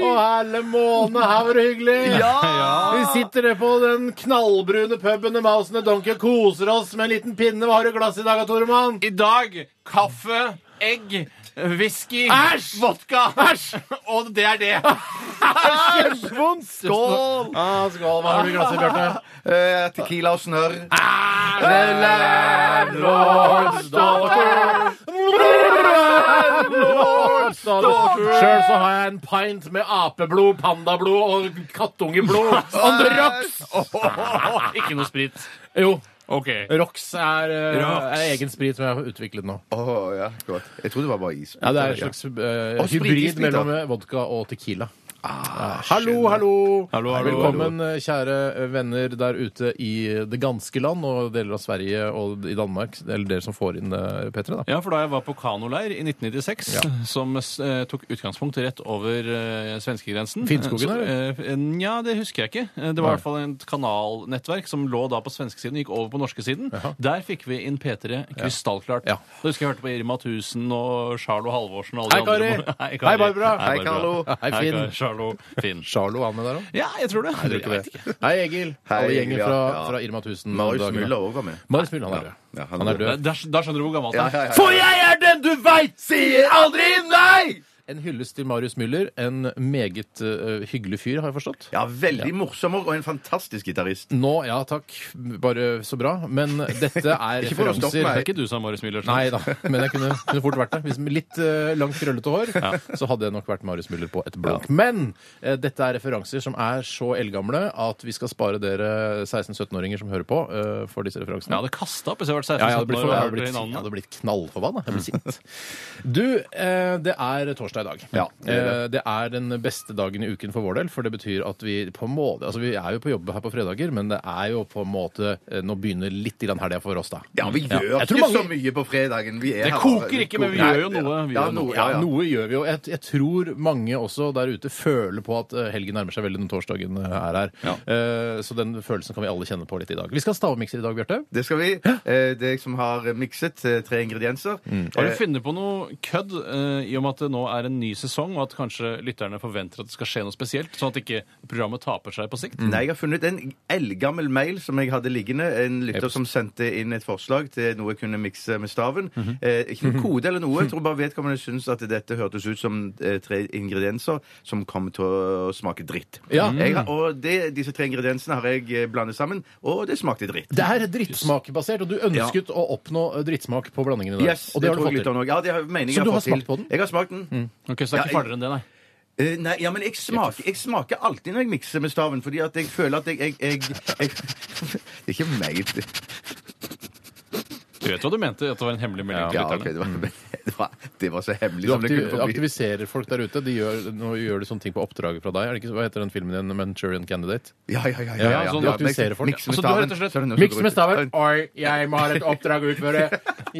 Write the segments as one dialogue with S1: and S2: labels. S1: herre måne, her var det hyggelig! Vi sitter der på den knallbrune puben i Mausen og Donkey og koser oss med en liten pinne. Hva har du i glasset i dag, Toremann?
S2: I dag kaffe, egg, whisky
S1: Æsj!
S2: Vodka! Og det er det.
S1: Kjempevondt! Skål! Ah, skål. Hva har du i glasset, Bjarte?
S3: Eh, tequila og snørr.
S1: Sjøl så har jeg en pint med apeblod, pandablod og kattungeblod. On
S3: Eh,
S1: the rocks!
S2: Ikke noe sprit.
S1: Jo.
S2: OK.
S1: Rox er, eh,
S2: Rox.
S1: er egen sprit som jeg har utviklet nå.
S3: Åh, ja, godt. Jeg trodde det var bare is.
S1: Ja, Det er en slags eh,
S3: Og sprit i
S1: hybrid
S3: sprit, da.
S1: mellom eh, vodka og tequila. hallo, hallo.
S2: Hallo, hallo,
S1: Velkommen, eh, kjære eh, venner der ute i det ganske land og deler av Sverige og i Danmark. Eller dere som får inn eh, P3, da.
S2: Ja, for da jeg var på kanoleir i 1996, som eh, tok utgangspunkt rett over eh, svenskegrensen
S1: Finnskogen,
S2: eh, så,
S1: eller?
S2: eh, Nja, det husker jeg ikke. Eh, Det var i hvert fall et kanalnettverk som lå da på svenskesiden og gikk over på norskesiden. Der fikk vi inn P3 krystallklart.
S1: Ja.
S2: Da husker jeg hørte på Irma 1000 og Charlo Halvorsen og
S1: Hei,
S2: alle de andre.
S1: Kari.
S2: Hei,
S1: Hei, Barbara.
S3: Hei, Carlo.
S1: Hei, Finn.
S2: Kari. Charlo. Finn.
S1: Charlo er med der òg.
S2: Ja, jeg tror det. Nei,
S1: Tror ikke det. Hei, Egil.
S3: Hei,
S1: Alle
S3: Egil,
S1: gjengen
S3: ja.
S1: fra,
S3: Ja.
S1: fra Irma 1000.
S3: Marius
S1: dagene.
S3: Müller òg var med.
S1: Marius Müller, han er død.
S3: Ja,
S1: Han er død.
S2: Da, da skjønner du hvor gammelt
S3: Ja,
S2: han
S3: ja,
S2: er.
S3: ja.
S1: jeg er den du veit sier
S3: aldri nei!
S1: En hyllest til Marius Müller. En meget eh, hyggelig fyr, har jeg forstått.
S3: Ja, veldig morsom og en fantastisk gitarist.
S1: Nå, ja takk. Bare så bra. Men dette er
S3: Ikke for å
S1: referanser
S3: stoppe
S2: Det
S3: meg.
S2: er ikke du som er Marius Müller.
S1: Nei da, men jeg kunne, kunne fort vært det. Hvis med litt eh, langt, krøllete hår, så hadde jeg nok vært Marius Müller på et blunk. Men eh, dette er referanser som er så eldgamle at vi skal spare dere 16-17-åringer som hører på, eh, for disse
S2: Jeg
S1: referansene.
S2: hadde kasta opp hvis jeg hadde vært 16
S1: Ja, jeg hadde blitt,
S2: år og
S1: jeg
S2: hørt
S1: hadde blitt,
S2: det
S1: jeg
S2: navnet.
S1: hadde blitt knallforbanna. Jeg ble sint. Du, eh, det er torsdag i dag.
S3: Ja, det er det.
S1: Eh, det er den beste dagen i uken for vår del, for det betyr at vi på en måte Altså, vi er jo på jobb her på fredager, men det er jo på en måte eh, Nå begynner litt grann helga for oss, da.
S3: Ja, vi gjør
S1: Jeg tror
S3: ikke så
S1: mange-
S3: mye på fredagen. Vi er
S2: Det
S3: her
S2: koker
S3: bare-
S2: ikke, men vi
S3: koker.
S2: gjør jo noe. Vi
S3: ja,
S2: gjør noe.
S3: Ja,
S1: Ja,
S3: ja.
S1: noe gjør vi jo. Jeg, jeg tror mange også der ute føler på at eh, helgen nærmer seg veldig når torsdagen eh, er her.
S2: Ja.
S1: Eh, så den følelsen kan vi alle kjenne på litt i dag. Vi skal ha stavmikser i dag, Bjarte.
S3: Det skal vi. Eh, Det er jeg som har mikset eh, tre ingredienser.
S2: Har du
S3: Eh,
S2: funnet på noe kødd eh, i og med at det nå er en ny sesong, og at kanskje lytterne forventer at det skal skje noe spesielt, sånn at ikke programmet taper seg på sikt?
S1: Mm.
S3: Nei, jeg har funnet en eldgammel mail som jeg hadde liggende. En lytter som sendte inn et forslag til noe jeg kunne mikse med staven.
S1: Mhm.
S3: eh, ikke noen kode eller noe. Jeg tror bare vedkommende syns at dette hørtes ut som eh, tre ingredienser som kom til å smake dritt.
S1: Ja. Mm.
S3: Jeg har, og det, disse tre ingrediensene har jeg eh, blandet sammen, og det smakte dritt.
S1: Det er drittsmakbasert, og du ønsket å oppnå eh, drittsmak på blandingen i dag.
S3: Yes,
S1: og det, har
S3: tror
S1: du
S3: jeg
S1: fått
S3: litt om
S1: til.
S3: nå. Ja, det har, mener jeg
S1: Så du har
S3: fått til.
S1: smakt på den? Mm.
S3: Jeg har smakt den.
S2: Ok, Så det
S3: Ja,
S2: er
S3: jeg-
S2: ikke farligere enn det, nei.
S3: Eh, nei, ja, men jeg smaker, jeg smaker alltid når jeg mikser med staven, fordi at jeg føler at jeg, jeg, jeg, jeg Det er ikke meg.
S2: Du vet hva du mente, at det var en hemmelig melding til
S3: Ja, ok,
S2: lytterne. Mm.
S3: det var, det var, det var så hemmelig
S1: Du
S3: som det kunne
S1: aktiv,
S3: forbli.
S1: aktiviserer folk der ute. De gjør, nå gjør de sånne ting på oppdraget fra deg. Er det ikke, hva heter den filmen igjen? Manchurian Candidate?
S3: Ja, ja, ja.
S1: Ja, sånn
S3: Ja,
S1: aktiviserer
S3: miks-
S1: folk.
S3: miks med
S2: Altså, du har
S3: staven,
S2: rett og slett
S3: så er det noe som
S1: Miks
S3: går
S1: med
S3: ut.
S1: staven! Oi, jeg må ha et oppdrag å utføre!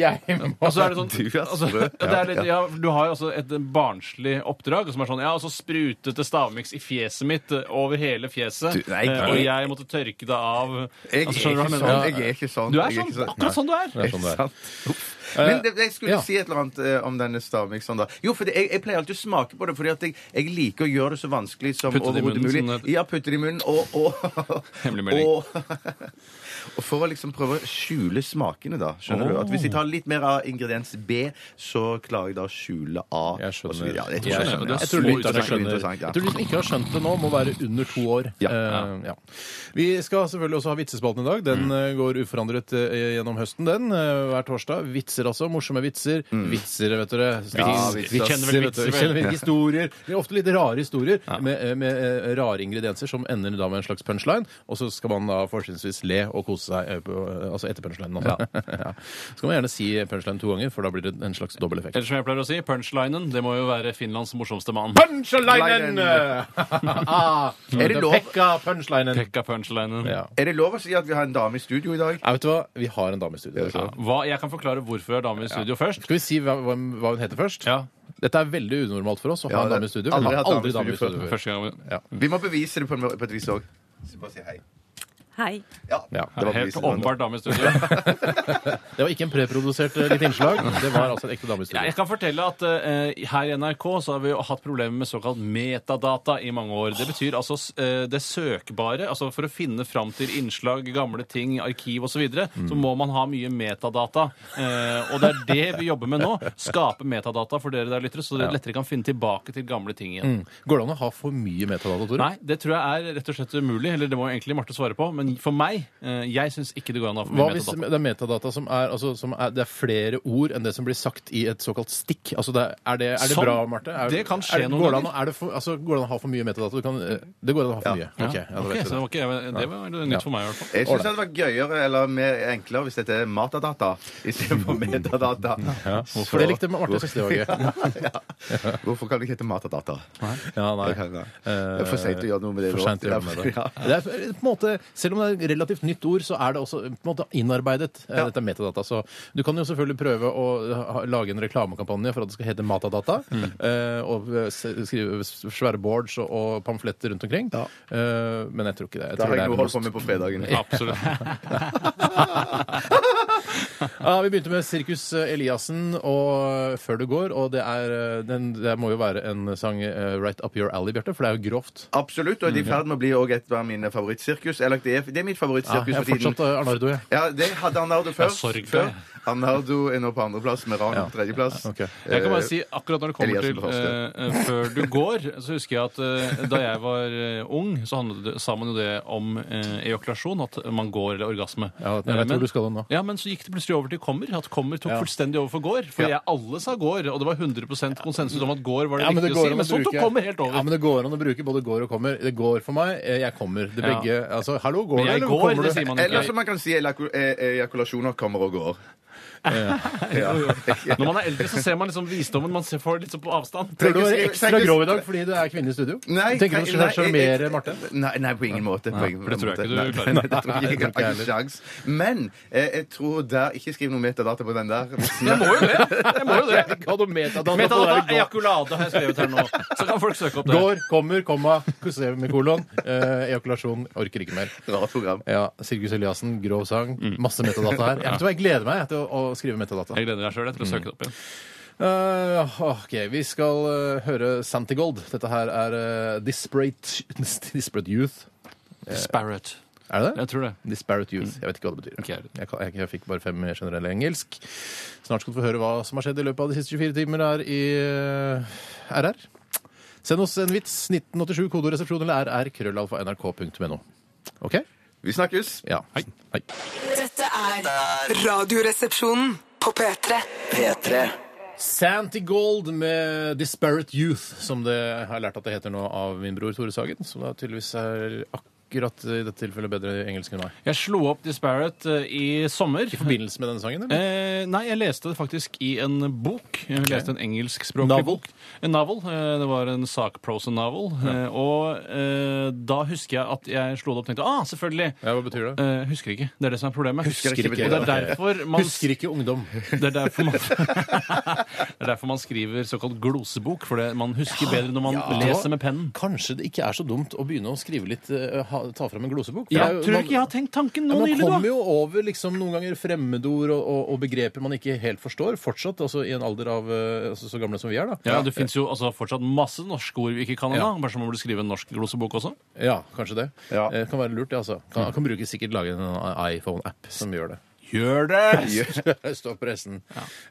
S1: Jeg må
S2: Og så er det sånn,
S3: Du er
S2: altså,
S3: sprø.
S2: det er litt, ja, du har jo også et barnslig oppdrag som er sånn Ja, og så sprutete stavmiks i fjeset mitt eh, over hele fjeset,
S3: Du, nei,
S2: eh,
S3: jeg-
S2: og jeg måtte tørke det av
S3: Jeg er
S2: Altså,
S3: ikke
S2: skjønner du hva jeg
S3: sånn.
S2: mener?
S3: Jeg er ikke sånn.
S2: Du
S3: jeg
S2: er sånn, akkurat sånn du er.
S1: Det er sånn det er.
S3: Sant. Uff. Men det, jeg skulle
S1: ja.
S3: si et eller annet eh, om denne stavmikseren. da. Jo, for det, jeg, jeg pleier alltid å smake på det, fordi at jeg, jeg liker å gjøre det så vanskelig som
S2: Putte det i
S3: overhodet mulig.
S2: munnen, sånn at-
S3: Ja, putte det i munnen, og, og,
S2: Hemmelig melding.
S3: og, og for å liksom prøve å skjule smakene, da. Skjønner du? At Hvis jeg tar litt mer av ingrediens B, så klarer jeg da å skjule A.
S1: Jeg
S3: og så
S1: skjønner.
S3: videre. Ja, jeg tror
S1: Jeg
S3: jeg
S2: skjønner.
S3: skjønner. ja.
S2: Det er
S1: Jeg tror
S2: så
S1: lytterne
S2: interessant.
S1: skjønner.
S3: Interessant, ja.
S1: Jeg tror de som ikke har skjønt det nå, må være under to år.
S3: Ja.
S1: Eh, ja. Vi skal selvfølgelig også ha vitsespalten i dag. Den eh, går uforandret eh, gjennom høsten, den. eh, hver torsdag. Vitser, altså. Morsomme vitser. Vitser, vet dere.
S3: Ja,
S1: Vits-
S3: vitser.
S2: Vi kjenner
S1: vet dere.
S2: vel vitser,
S1: Vi
S2: vel?
S1: kjenner vel historier. Det er ofte litt rare historier med, eh, med eh, rare ingredienser som ender da med en slags punchline, og så skal man da fortrinnsvis le og kose seg eh, på, eh, altså etter punchlinen. Altså. Ja. Så kan man gjerne si punchline to ganger, for da blir det en slags dobbel effekt.
S2: Eller som jeg pleier å si, punchlinen. Det må jo være Finlands morsomste mann.
S1: Punchlinen!
S3: Er det lov-
S1: Pekka punchlinen.
S2: Pekka punchlinen.
S1: Ja.
S3: Er det lov å si at vi har en dame i studio i dag?
S1: Ja, vet du hva? Vi har en dame i studio.
S2: Ja. Hva, jeg kan forklare hvorfor jeg har dame i studio først.
S1: Skal vi si hva, hva, hva hun heter først?
S2: Ja.
S1: Dette er veldig unormalt for oss å ha
S3: Ja,
S1: en dame i studio. for
S3: aldri
S1: Vi har
S3: hatt
S1: aldri dame i studio før.
S2: Første gang vi-
S3: Vi må bevise det på, en, på et vis òg. Bare si hei.
S4: Hei.
S3: Ja,
S1: Ja.
S3: det var
S2: Helt
S3: beviselig.
S2: åpenbart dame i studio.
S1: Det var ikke en preprodusert eh, litt innslag. Det var altså en ekte dame i
S2: Ja,
S1: studio.
S2: jeg kan fortelle at eh, her i NRK så har vi jo hatt problemer med såkalt metadata i mange år. Det betyr altså eh, det søkbare. altså For å finne fram til innslag, gamle ting, arkiv osv., så, videre, så må man ha mye metadata. Eh, og det er det vi jobber med nå. Skape metadata for dere der lyttere, så dere lettere kan finne tilbake til gamle ting igjen.
S1: Går det an å ha for mye metadata, Tore?
S2: Nei, det tror jeg er rett og slett umulig. Eller det må egentlig Marte svare på. Men for meg, eh, jeg syns ikke det går an å ha for
S1: Hva
S2: mye
S1: hvis
S2: metadata.
S1: det er metadata som er, altså, som er Det er flere ord enn det som blir sagt i et såkalt stikk. Altså, det er, er det, er det
S2: Sånn.
S1: bra, Marte? Er,
S2: Det kan skje
S1: er,
S2: noen
S1: går det an å-
S2: ganger.
S1: Er det, for, altså, går det an å ha for mye metadata? Du kan, eh, det går an å ha for mye. Ok, ja, da
S2: Ok,
S1: vet vi
S2: så det var, ikke, det var nytt for meg i hvert fall.
S3: Jeg syns det hadde vært gøyere eller mer enklere hvis dette er matadata istedenfor metadata.
S1: det. For det likte Marte. Jeg synes det var gøy.
S3: Hvorfor kan det ikke hete matadata?
S1: Ja, nei. Eh,
S3: Det kan jeg. Det er for sent å gjøre noe med det
S1: For
S3: nå.
S1: sent å gjøre noe med det.
S3: Ja.
S1: det er, på en måte, selv om det er et relativt nytt ord, så er det også på en måte innarbeidet. eh, Dette er metadata. Så du kan jo selvfølgelig prøve å ha- lage en reklamekampanje for at det skal hete Matadata.
S3: Mm.
S1: eh, Og eh, s- skrive s- svære boards og, og pamfletter rundt omkring.
S3: Ja.
S1: Eh, Men jeg tror ikke det. Jeg
S3: Da
S1: tror
S3: har
S1: det
S3: jeg
S1: er
S3: noe å holde på
S1: most-
S3: med på fredagen.
S2: Absolutt.
S1: Ja, Vi begynte med Sirkus eh, Eliassen og eh, Før det går. Og det, er, eh, den, det må jo være en sang eh, right up your alley, Bjarte, for det er jo grovt.
S3: Absolutt, og de er i ferd med å bli også et av mine favorittsirkus. Eller det er, det er mitt
S1: Ja,
S3: favorittsirkus
S1: jeg er
S3: for tiden.
S1: fortsatt eh, Arnardo, jeg.
S3: Ja, det hadde Arnardo før.
S2: sorg,
S3: før.
S2: det.
S3: Arnardo er nå på andreplass, med Ran på tredjeplass.
S1: Ok.
S2: Jeg kan bare si akkurat når det kommer
S3: Eliassen
S2: til
S3: på første.
S2: eh, eh, Før du går, så husker jeg at eh, da jeg var eh, ung, så handlet det, sa man jo det om eh, ejakulasjon, at man går eller orgasme.
S1: Ja, jeg vet
S2: Eh, men-
S1: hvor du skal nå.
S2: Ja, men så gikk det plutselig over til kommer. At kommer tok
S1: Ja.
S2: fullstendig over for går. For jeg alle sa går, og det var 100 konsensus om at går var det
S1: Ja, men det
S2: riktige å
S1: går
S2: si.
S1: an å
S2: Men så tok
S1: bruke-
S2: kommer helt over.
S1: Ja, men det går an å bruke både går og kommer. Det går for meg, eh, jeg kommer. Det
S2: Ja.
S1: begge, altså, hallo, går
S2: Men
S1: det,
S2: jeg
S1: eller
S2: går,
S1: kommer
S2: det
S1: du?
S2: sier man
S3: Eh, Eller
S2: ikke.
S3: som man kan si, elaku- eh, ejakulasjoner kommer og går.
S2: Når man er eldre, så ser man liksom visdommen man ser for litt sånn på avstand.
S1: Prøver du å være
S3: Tenk-
S1: ekstra
S3: tenk-
S1: grov i dag fordi det er kvinne i studio?
S3: Nei,
S1: Tenker du å
S3: nei, nei,
S1: sjarmere
S3: jeg-
S1: Marte?
S3: Nei, nei, på ingen måte. På ingen
S2: for det tror
S3: måte.
S2: jeg ikke du
S3: Nei,
S2: klarer.
S3: Nei, det tror
S1: Nei,
S3: jeg ikke.
S1: det tror ikke
S3: Jeg har
S1: jeg
S3: ikke sjans. Men eh, jeg tror der Ikke skriv noe metadata på den der.
S2: Jeg må jo det. Jeg må jo det.
S1: Hva du metadata på
S2: Metadata,
S1: det?
S2: ejakulade har jeg skrevet her nå. Så kan folk søke opp det.
S1: Går, kommer, komma, semikolon, eh, ejakulasjon, orker ikke mer.
S3: Rart program.
S1: Ja, Sirkus Eliassen, grov sang,
S2: Mm.
S1: masse metadata her. Jeg, vet du hva, jeg gleder meg til å, å skrive metadata.
S2: Jeg gleder deg sjøl til å søke det opp igjen.
S1: Eh, ok, vi skal eh, høre Santigold. Dette her er eh, Disparate, Disparate Youth.
S2: Disparate.
S1: Er det det?
S2: Jeg tror det.
S1: Disparate Youth. Jeg vet ikke hva det betyr.
S2: Ikke jeg heller.
S1: Jeg, kan, jeg, jeg fikk bare fem i generell engelsk. Snart skal du få høre hva som har skjedd i løpet av de siste 24 timer her i eh, RR. Send oss en vits. 1987 kodoresepsjon eller RR krøllalfa nrk.no. OK?
S3: Vi snakkes.
S1: Ja. Hei.
S5: Dette er Radioresepsjonen på P3.
S6: P3
S1: Santi Gold med Disparate Youth, som det har jeg lært at det heter nå av min bror Tore Sagen, som da tydeligvis er akkurat i dette tilfellet bedre i engelsk enn meg.
S2: Jeg slo opp Disparate eh, i sommer.
S1: I forbindelse med denne sangen, eller?
S2: Eh, nei, jeg leste det faktisk i en bok. Jeg leste en engelskspråklig
S1: Novel?
S2: bok. En novel. Eh, det var en sakprosa novel. Eh, og eh, da husker jeg at jeg slo det opp og tenkte ah, selvfølgelig.
S1: Ja, hva betyr det?
S2: Eh, husker ikke. Det er det som er problemet.
S3: Husker ikke
S2: Og det er
S3: betyr
S2: derfor man
S1: Husker ikke ungdom.
S2: Det er derfor man, det er derfor man skriver såkalt glosebok, for det, man husker bedre når man leser med pennen.
S1: Kanskje det ikke er så dumt å begynne å skrive litt, eh, ha, ta fram en glosebok? For det er
S2: Jeg
S1: jo-
S2: tror
S1: man-
S2: ikke jeg har tenkt tanken nå
S1: man
S2: nylig,
S1: kommer
S2: da.
S1: jo over liksom, noen ganger fremmedord og, og, og begreper man ikke helt forstår, fortsatt, altså i en alder av eh, altså, så gamle som vi er, da.
S2: Ja, Det fins jo altså, fortsatt masse norske ord vi ikke kan ennå.
S1: Ja.
S2: Kanskje man burde skrive en norsk glosebok også?
S1: Ja, kanskje det.
S3: Ja.
S2: Mm.
S1: Eh, kan være lurt, det, altså. Kan, kan bruke sikkert lage en sånn iPhone-app som gjør det.
S2: Gjør det!
S1: Stopp pressen.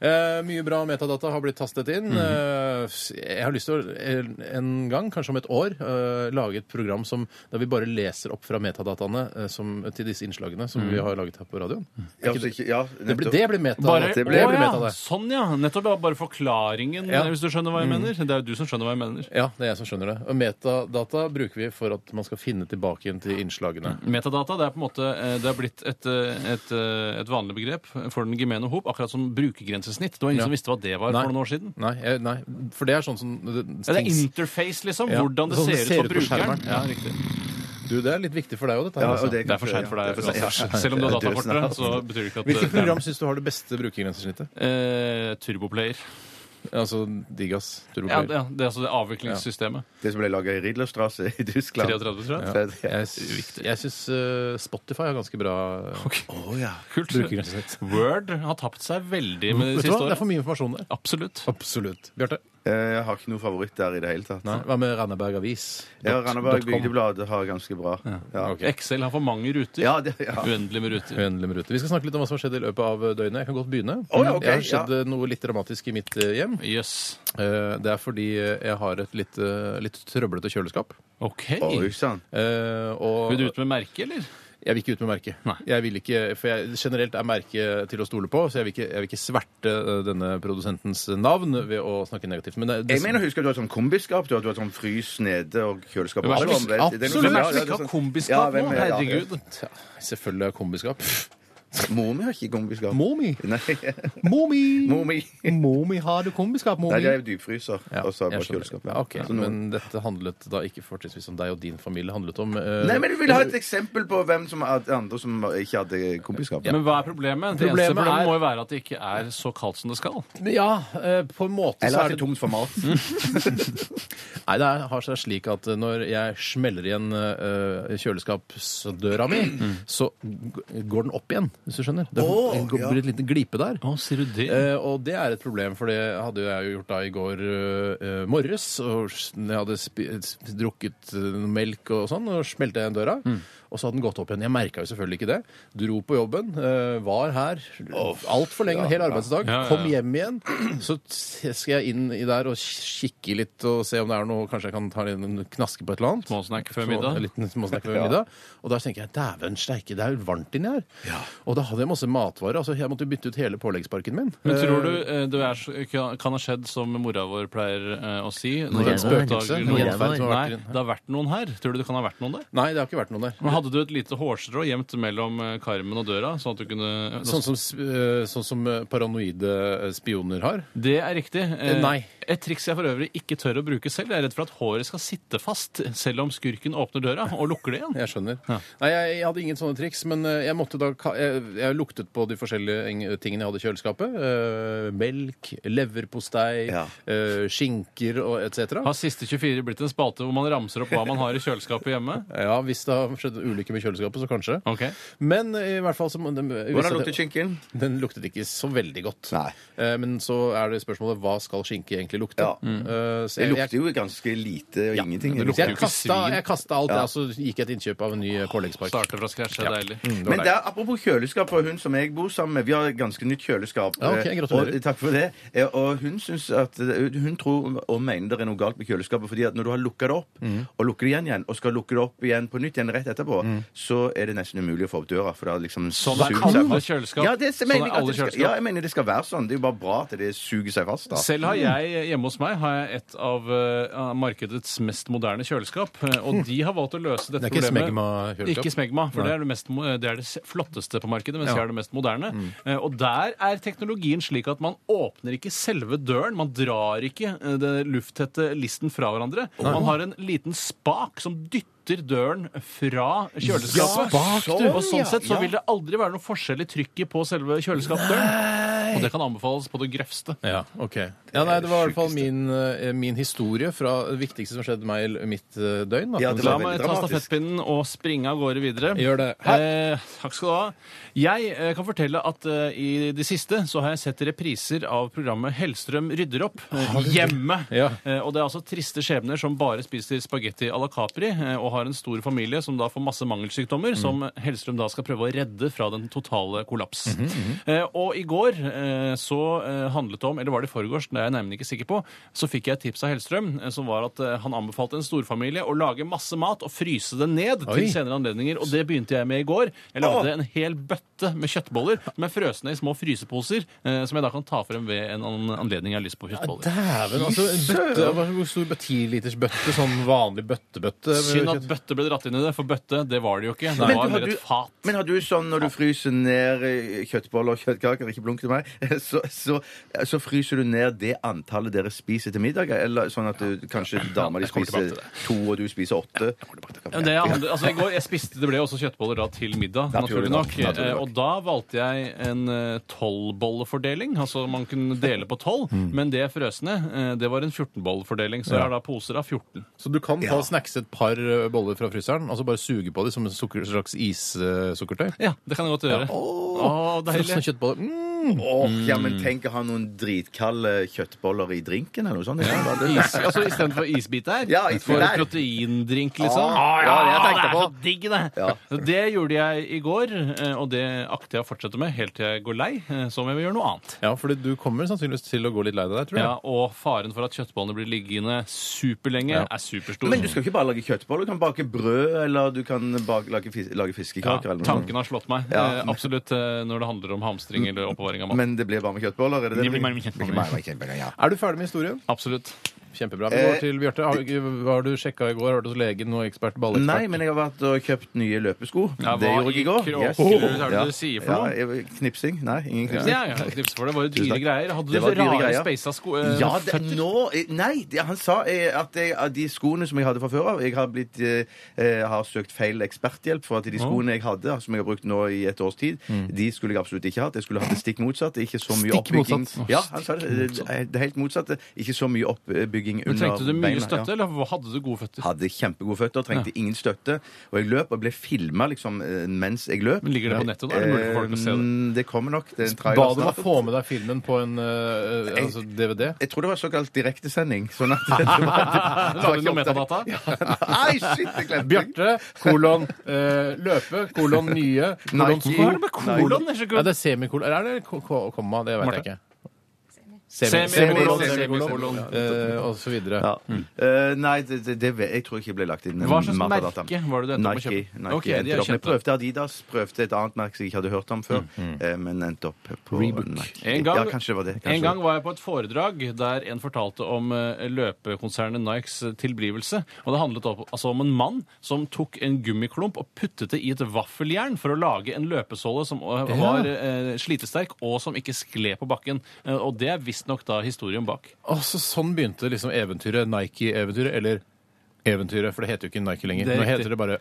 S1: Eh, mye bra metadata har blitt tastet inn.
S2: Mm.
S1: Eh, s- jeg har lyst til å en- en gang, kanskje om et år, eh, lage et program som, der vi bare leser opp fra metadataene eh, som, til disse innslagene som
S2: Mm.
S1: vi har laget her på radioen.
S3: Ja, så ikke- ja,
S1: Det blir,
S3: nettopp.
S1: det blir meta.
S2: Bare,
S1: det
S3: det
S2: det
S3: ble-
S1: blir
S2: ja.
S1: meta, det.
S2: Sånn, ja. Nettopp. Ja. Bare forklaringen,
S1: Ja. Mm.
S2: hvis du skjønner hva jeg mener. Det er jo du som skjønner hva jeg mener.
S1: Ja, det er jeg som skjønner det. Og metadata bruker vi for at man skal finne tilbake igjen til innslagene.
S2: Mm. Metadata det er på en måte, eh, det har blitt et, eh, et, eh, et vanlig begrep for den gemene hop, akkurat som brukergrensesnitt. Det var ingen
S1: Ja.
S2: som visste hva det var
S1: Nei.
S2: for noen år siden.
S1: Nei, jeg- nei, for det er sånn som
S2: Ja, det er interface, liksom.
S1: Ja.
S2: Hvordan det
S1: Sånn
S2: ser, ut for
S1: på
S2: brukeren.
S1: skjermen.
S2: Ja, riktig.
S1: Du, det er litt viktig for deg òg, dette. her,
S3: Ja,
S1: altså.
S3: og
S2: Det er for seint for deg. altså.
S3: Ja, ja,
S2: uansett.
S3: ja.
S2: Selv om du har
S3: Det er dødsnært.
S2: datafortere, så betyr det ikke at
S1: Hvilket program syns du har det beste brukergrensesnittet?
S2: Eh, Turboplayer.
S1: Altså Digas
S2: Ja,
S1: turboplayer.
S2: det, det er altså det avviklingssystemet.
S3: Det som ble laga i Riedlerstrasse i Tyskland.
S2: 33, tror jeg.
S3: Ja.
S1: Jeg, s- jeg syns eh, Spotify har ganske bra
S3: Å, ja.
S2: Kult.
S1: brukergrensesnitt.
S2: Word har tapt seg veldig med
S1: Vet
S2: de
S1: du
S2: siste
S1: hva? Det er
S2: årene.
S1: for mye informasjon der.
S2: Absolutt.
S1: Absolutt. Bjarte?
S3: Eh, Jeg har ikke noe favoritt der i det hele tatt.
S1: Hva med Randaberg Avis?
S3: Ja, Randaberg
S1: Dot- dot com.
S3: Bygdeblad har ganske bra. Ja,
S1: Ok.
S2: Excel har for mange ruter.
S3: ja, det, ja.
S2: Uendelig med ruter.
S1: Uendelig med ruter. Vi skal snakke litt om hva som har skjedd i løpet av døgnet. Jeg kan godt begynne.
S3: Å, ja, ok,
S1: Det har skjedd eh, noe litt dramatisk i mitt eh, hjem.
S2: Jøss. Yes.
S1: Eh, Det er fordi eh, jeg har et litt, eh, litt trøblete kjøleskap.
S2: OK.
S3: Oi sann.
S1: Eh,
S2: Vil
S1: Og
S2: du ut med merke, eller?
S1: jeg vil ikke ut med merket.
S2: Nei.
S1: Jeg vil ikke, for jeg, generelt er merket til å stole på, så jeg vil ikke, jeg vil ikke sverte eh, denne produsentens navn ved å snakke negativt. Men eh, det, det,
S3: Jeg mener, husker du har sånn kombiskap? Du har, du har sånn frys nede og kjøleskap
S2: Men hva
S3: oppe,
S2: slags-
S3: vet du. Det er noe sånn-
S2: absolutt. Hvem
S3: ja,
S2: er det som
S3: ja,
S2: ikke har
S3: sånn-
S2: kombiskap
S3: Ja, hvem
S2: nå?
S3: er- ja, ja.
S2: Herregud.
S1: Ja, selvfølgelig har jeg kombiskap.
S3: Mor mi har ikke kombiskap.
S1: Mor mi!
S3: Nei,
S1: Mor mi!
S3: mor mi.
S1: Mor mi har du kombiskap, mor
S3: Nei,
S1: mi!
S3: jeg er dypfryser, og så
S1: jeg
S3: har jeg bare
S1: skjønner.
S3: kjøleskap.
S1: Ja, ok,
S3: Så noen-
S1: Men dette handlet da ikke fortrinnsvis om deg og din familie. handlet om... eh,
S3: Nei, men du vil ha et eksempel på hvem som er andre som ikke hadde kombiskap?
S2: Men hva er problemet? Det
S1: Problemet
S2: eneste problemet
S1: er-
S2: må jo være at det ikke er så kaldt som det skal.
S1: Ja, eh, på en måte
S3: Eller
S1: så er det
S3: altså, at det er tomt for mat?
S1: Nei, det er- har seg slik at eh, når jeg smeller igjen eh, kjøleskapsdøra mi, så g- går den opp igjen, hvis du skjønner. Det
S3: Mm. Åh,
S1: det går-
S3: ja.
S1: blir et liten glipe der.
S2: Å, sier du det?
S1: Eh, og det er et problem, for det hadde jo jeg jo gjort da i går eh, eh, morges. Og s- jeg hadde spi s- drukket eh, noe melk og sånn, og smelte igjen døra.
S2: Mm.
S1: Og så hadde den gått opp igjen. Jeg merka jo selvfølgelig ikke det. Dro på jobben, eh, var her altfor lenge, en hel arbeidsdag.
S2: Ja, ja, ja.
S1: Kom hjem igjen. Så t- skal jeg inn i der og kikke litt og se om det er noe Kanskje jeg kan ta en knaske på et eller annet.
S2: Småsnakk før
S1: Små-
S2: middag.
S1: En liten småsnakk før middag. Og da tenker jeg dæven steike, det er jo varmt inni her. Og da hadde jeg masse matvarer. Altså, jeg måtte jo bytte ut hele påleggsparken min.
S2: Men tror du eh, det er, så- kan kan ha skjedd som mora vår peier eh, å si?
S1: det
S2: Når hun
S1: var en
S2: oppdager
S1: hendelse.
S2: noe
S1: Når det var-
S2: feil? Nei, det har vært noen her. Tror du det kan ha vært noen der?
S1: Nei, det har ikke vært noen der.
S2: Men hadde du et lite hårstrå gjemt mellom eh, karmen og døra? Sånn at du kunne
S1: Sånn som, eh, sånn som eh, paranoide eh, spioner har.
S2: Det er riktig. Eh,
S1: Nei.
S2: Et triks jeg for øvrig ikke tør å bruke selv. Jeg er redd for at håret skal sitte fast selv om skurken åpner døra og lukker det igjen.
S1: Jeg skjønner.
S2: Ja.
S1: Nei, jeg, jeg hadde ingen sånne triks, men eh, jeg måtte da ka- jeg, jeg luktet på de forskjellige ing- tingene jeg hadde i kjøleskapet. Eh, melk, leverpostei,
S3: Ja.
S1: eh, skinker og etc.
S2: Har siste 24 blitt en spalte hvor man ramser opp hva man har i kjøleskapet hjemme?
S1: Ja, hvis det har skjedd ulykker med kjøleskapet, så kanskje.
S2: Ok.
S1: Men eh, i hvert fall så må- den,
S3: Hvordan lukter skinken?
S1: Den luktet ikke så veldig godt.
S3: Nei.
S1: Eh, Men så er det spørsmålet hva skal skinke egentlig lukte?
S3: Ja.
S1: Eh, så
S3: Det
S1: jeg-
S3: lukter jo ganske lite og ingenting.
S2: Mm. det
S3: egentlig.
S1: Så
S2: lukter
S1: jeg kasta,
S2: svin.
S1: jeg kasta alt, og så gikk jeg til innkjøp av en ny eh, påleggspark.
S2: Starte fra scratch det er deilig.
S1: Det var
S3: Men
S1: deilig.
S3: der, apropos kjøleskap for hun som jeg bor sammen med Vi har ganske nytt kjøleskap. eh,
S1: Ja, ok, gratulerer.
S3: Og, takk for det. Eh, Og hun, synes at, eh, hun tror og mener det er noe galt med kjøleskapet, fordi at når du har lukka det opp,
S2: Mm.
S3: og lukker det igjen igjen, og skal lukke det opp igjen på nytt igjen rett etterpå, så er det nesten umulig å få opp døra. For det har liksom
S2: Sånn er
S3: suger
S2: alle
S3: seg fast.
S2: kjøleskap.
S3: Ja, det,
S2: Sånn
S3: mener
S2: er
S3: jeg, at
S2: alle
S3: det skal,
S2: kjøleskap.
S3: ja, jeg mener det skal være sånn. Det er jo bare bra at det suger seg fast. da.
S2: Selv har jeg hjemme hos meg har jeg et av eh, av markedets mest moderne kjøleskap. eh, Og de har valgt å løse dette
S1: Det er ikke
S2: problemet.
S1: Smegma-kjøleskap?
S2: Ikke smegma, for det er det, mest, mo- det er det s- flotteste på markedet, mens jeg er det mest moderne.
S1: Mm.
S2: Eh, Og der er teknologien slik at man åpner ikke selve døren. Man drar ikke eh, det lufttette listen fra hverandre. Man har en liten spak som dytter døren fra kjøleskapet.
S1: Ja, spak, du.
S2: og sånn sett så
S3: Ja.
S2: vil det aldri være noen forskjell i trykket på selve kjøleskapsdøren. Og det kan anbefales på det grøvste.
S1: Ja, ok.
S3: det
S1: Ja, nei,
S3: er
S1: Det var i hvert fall
S3: sjukeste.
S1: min, eh, min historie fra det viktigste som skjedde meg i mitt eh, døgn. Da,
S3: Ja,
S1: kan
S3: det
S1: du
S3: var
S2: La
S1: si.
S3: veldig
S2: meg ta
S3: dramatisk.
S2: stafettpinnen og springe av gårde videre.
S1: Gjør det.
S2: Eh, takk skal du ha. Jeg eh, kan fortelle at eh, i det siste så har jeg sett repriser av programmet Hellstrøm rydder opp eh, hjemme.
S1: Ja.
S2: Eh, og det er altså triste skjebner som bare spiser spagetti à la Capri eh, og har en stor familie som da får masse
S1: Mhm.
S2: mangelsykdommer, som Hellstrøm da skal prøve å redde fra den totale kollaps.
S1: Mhm,
S2: eh, og i går eh, så eh, handlet det om, eller var det i forgårs, det er jeg nemlig ikke sikker på, så fikk jeg et tips av Hellstrøm eh, som var at eh, han anbefalte en storfamilie å lage masse mat og fryse det ned
S1: Oi.
S2: til senere anledninger, og det begynte jeg med i går. Jeg lagde en hel bøtte med kjøttboller som er frøsne i små fryseposer, eh, som jeg da kan ta frem ved en an- anledning jeg har lyst på kjøttboller.
S1: Dæven, altså. En bøtte, hva er det, hvor stor bøtte? 10 liters bøtte? Sånn vanlig bøttebøtte?
S2: Synd at bøtte ble dratt inn i det, for bøtte det var det jo ikke. Det
S3: Men
S2: var
S3: du, har
S2: mer
S3: du-
S2: et fat.
S3: Men har du sånn når du fryser ned eh, kjøttboller og kjøttkaker, ikke blunk til meg, så, så, så fryser du ned det antallet dere spiser til middag? Eller sånn at du, kanskje dama di
S2: Jeg kommer tilbake
S3: spiser
S2: til det.
S3: to, og du spiser åtte?
S2: Men det handler, altså i går, jeg spiste, Det ble også kjøttboller da til middag,
S3: Naturlig
S2: naturlig nok.
S3: nok, naturlig
S2: Eh,
S3: nok.
S2: Og da valgte jeg en eh, tolvbollefordeling. Altså man kunne dele på tolv,
S3: Mm.
S2: men det frøsne eh, det var en 14-bollefordeling. Så jeg har da poser av 14.
S1: Så du kan ta
S3: Ja.
S1: og snackse et par eh, boller fra fryseren, altså bare suge på dem som en sukker, slags issukkertøy?
S2: Ja, det kan jeg godt gjøre. Å, deilig.
S1: Frosne kjøttboller. Mm.
S3: Åh, ja, men tenk å ha noen dritkalde kjøttboller i drinken eller noe sånt. Ja,
S2: Is, altså Istedenfor isbit der?
S3: Ja, isbit
S2: for
S3: der.
S2: proteindrink, liksom?
S3: Ah, ja, det jeg tenkte
S2: det er
S3: på.
S2: så digg, det!
S3: Ja.
S2: Så Det gjorde jeg i går, eh, og det akter jeg å fortsette med helt til jeg går lei, eh, så må jeg gjøre noe annet.
S1: Ja, for du kommer sannsynligvis til å gå litt lei deg der, tror jeg.
S2: Ja, og faren for at kjøttbollene blir liggende superlenge,
S1: Ja.
S2: er superstor.
S3: Men du skal ikke bare lage kjøttboller. Du kan bake brød, eller du kan bake, lage, fis lage
S2: ja,
S3: fiskekaker. eller noe sånt.
S2: tanken har slått meg.
S3: Ja.
S2: eh, Absolutt eh, når det handler om hamstring eller oppbevaring av mat.
S3: Men det blir bare med kjøttboller? Er det det?
S2: Det blir bare med kjøttboller.
S3: Det blir bare med kjøttboller, ja.
S1: Er du ferdig med historien?
S2: Absolutt.
S1: Kjempebra. Vi går
S3: Eh,
S1: til Bjarte. Har, hva har du sjekka i går? Har du hos legen og ekspert?
S3: Nei,
S1: Ballekspert?
S3: men jeg har vært og kjøpt nye løpesko.
S2: Ja,
S3: det
S2: hva
S3: gjorde jeg
S2: i
S3: i går.
S2: kråkerud er det
S3: Ja.
S2: du sier for noe?
S3: Ja, jeg- knipsing? Nei, ingen knipsing.
S2: Ja, ja, jeg knipser for det. Det var jo dyre
S3: takk.
S2: greier. Hadde
S3: Det var
S2: du
S3: dyre
S2: rare
S3: greier.
S2: speisa sko... eh,
S3: Ja, det, nå eh, Nei, det, han sa eh, at jeg, at de skoene som jeg hadde fra før av Jeg har, blitt, eh, eh, har søkt feil eksperthjelp for at de skoene jeg hadde, altså, som jeg har brukt nå i et års tid,
S2: Mm.
S3: de skulle jeg absolutt ikke hatt. Jeg skulle hatt det stikk motsatt. Ikke så mye
S1: Stikk
S3: oppbygging.
S1: motsatt.
S3: Ja, han sa det. Det er helt motsatt. Ikke så mye oppbygging
S2: Men
S3: under
S2: Trengte du mye
S3: beina, ja.
S2: støtte, eller hadde du gode føtter?
S3: Hadde kjempegode føtter, trengte ingen støtte. Og jeg løp og ble filma liksom, eh, mens jeg løp.
S2: Men Ligger det på nettet, da? Er det mulig for folk å se det?
S3: Eh, Det kommer nok. Det er en
S1: Ba
S3: trailer
S1: dem å
S3: snart.
S1: få med deg filmen på en eh, eh, altså DVD?
S3: Jeg tror det var såkalt direktesending. Sånn at det var, det var,
S2: Lagde du noe
S3: ikke opptak.
S2: metadata?
S3: Nei, shit, jeg glemte det.
S1: Bjarte, kolon eh, løpe, kolon nye, kolon
S3: Nike.
S1: sko
S3: Hva er det med
S2: kolon? Det er så kult.
S1: Nei, det er semikolon. Eller er det ko- ko- komma? Det vet jeg
S2: Marte?
S1: ikke.
S2: Semi-
S1: Semikolon,
S3: semi-
S1: semikolon, eh, og så videre.
S3: Ja. Eh, nei, det, det, det, vet- jeg tror ikke det ble lagt inn.
S2: Hva slags
S3: metadata.
S2: merke var det du endte opp med å
S3: Nike.
S2: kjøpe?
S3: Nike
S2: Ok, de er
S3: endte opp. Men jeg
S2: kjente.
S3: prøvde Adidas, prøvde et annet merke som jeg ikke hadde hørt om før, eh, men endte opp på
S1: Reebok.
S3: Nike.
S2: Mm, En gang,
S3: ja, kanskje det var det. Kanskje
S2: en gang var jeg på et foredrag der en fortalte om eh, løpekonsernet Nikes eh, tilblivelse. Og det handlet opp, altså om en mann som tok en gummiklump og puttet det i et vaffeljern for å lage en løpesåle som eh, var eh, slitesterk og som ikke skled på bakken. Eh, og det er visstnok da historien bak.
S1: Og så sånn begynte liksom eventyret. Nike-eventyret, eller Eventyret, for det heter jo ikke Nike lenger.
S2: Det er
S1: Nå
S2: riktig.
S1: heter det bare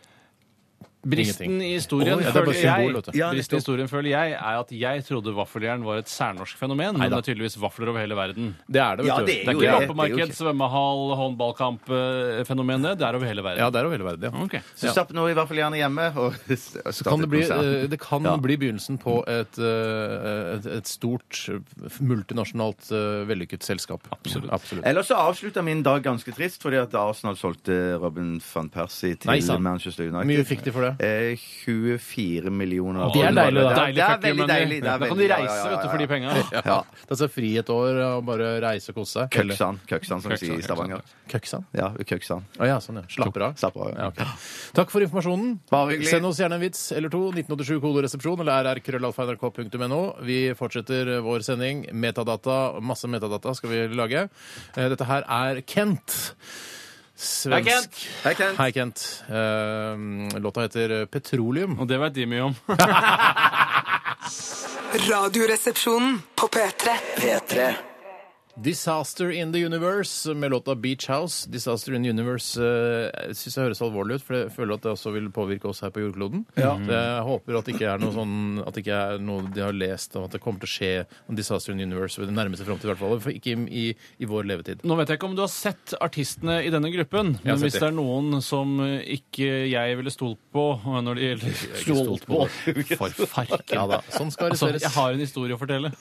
S2: Bristen
S1: Ingenting.
S2: i historien,
S1: Å, ja, det er bare
S2: føler
S1: symbol, vet
S2: jeg,
S1: du.
S3: Ja,
S2: bristen i
S3: nettopp.
S2: historien føler jeg er at jeg trodde vaffeljern var et særnorsk fenomen, men det er tydeligvis vafler over hele verden.
S1: Det er det, vet
S3: Ja,
S1: du.
S3: det er jo
S2: Det er ikke
S3: det. Det er
S2: loppemarked,
S3: jo ikke-
S2: svømmehall, håndballkamp-fenomenet. Det er over hele verden.
S1: Ja, det er jo veldig verdig. Ja.
S2: Ok.
S3: Så slapp nå i hvert fall gjerne hjemme. Og, og
S1: Så kan det, bli, eh, det kan
S3: Ja.
S1: bli begynnelsen på et, eh, et, et stort, eh, multinasjonalt, eh, vellykket selskap. Absolutt. Eh,
S3: Ellers så avslutta min dag ganske trist, fordi at Arsenal solgte Robin van Persie til
S1: Nei, sant.
S3: Manchester United.
S1: Mye fikk de for det.
S3: Eh, 24 millioner.
S1: Det er deilig, da.
S3: Det er,
S2: Deilig
S3: det er
S2: fuck you
S3: veldig
S2: money.
S3: deilig. Det er
S2: Da kan
S3: veldig-
S2: de
S3: ja, ja,
S2: reise
S3: ja,
S2: vet du,
S3: ja,
S2: for de
S3: ja.
S2: penga.
S1: Ja. Ta seg fri et år og bare reise og kose seg. Eller-
S3: Køksan, køksan, som vi sier i Stavanger.
S1: Køksan?
S3: Ja, køksan.
S1: Å ja, sånn ja. Slapper av.
S3: Slapp av.
S1: Ja, ok. Takk for informasjonen.
S3: Bare hyggelig.
S1: Send oss gjerne en vits eller to. 1987 kodoresepsjon eller rrkrøllalfa.nrk.no. Vi fortsetter vår sending. Metadata, masse metadata skal vi lage. Eh, Dette her er Kent. Svensk.
S2: Hei, Kent.
S3: Hei, Kent.
S1: Hei, Kent. Eh, låta heter Petroleum.
S2: Og det vet de mye om.
S5: Radioresepsjonen på P3.
S6: P3.
S1: Disaster in the Universe med låta Beach House. Disaster in the Universe uh, syns jeg høres alvorlig ut, for jeg føler at det også vil påvirke oss her på jordkloden. Så jeg håper at det ikke er noe sånn At det ikke er noe de har lest om at det kommer til å skje en Disaster in the Universe ved den nærmeste framtid, i hvert fall. For ikke i, i vår levetid.
S2: Nå vet jeg ikke om du har sett artistene i denne gruppen,
S1: Jeg har
S2: men
S1: sett
S2: hvis det
S1: de.
S2: er noen som ikke jeg ville stolt på når det gjelder
S1: ikke stolt på.
S2: For farken.
S1: Ja da, sånn skal
S2: Altså,
S1: arresteres.
S2: jeg har en historie å fortelle.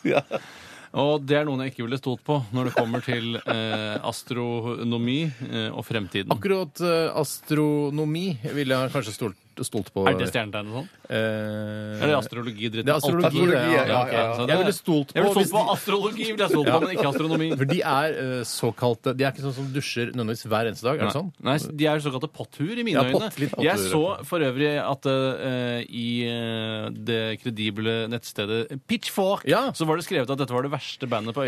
S2: Og det er noen jeg ikke ville stolt på når det kommer til eh, astronomi eh, og fremtiden.
S1: Akkurat eh, astronomi ville jeg kanskje stolt, stolt på.
S2: Er det stjernetegn og sånn?
S1: Eh,
S2: Eller astrologi? Dritt?
S1: Det er astrologi, det.
S3: Astrologi, ja, ja,
S2: ok.
S3: ja.
S2: Så det-
S1: Jeg ville stolt på
S2: Jeg ville
S1: hvis
S2: stolt på
S1: de-
S2: astrologi, ville jeg stolt på, men ikke astronomi.
S1: For de er eh, såkalte De er ikke sånn som dusjer nødvendigvis hver eneste dag, er det sånn?
S2: Nei, s- de er såkalte potthuer i mine
S1: Ja,
S2: øyne.
S1: pott- litt potthuer,
S2: jeg så for øvrig at eh, i eh, det kredible nettstedet Pitchfork
S1: Ja.
S2: så var det skrevet at dette var det verste bandet på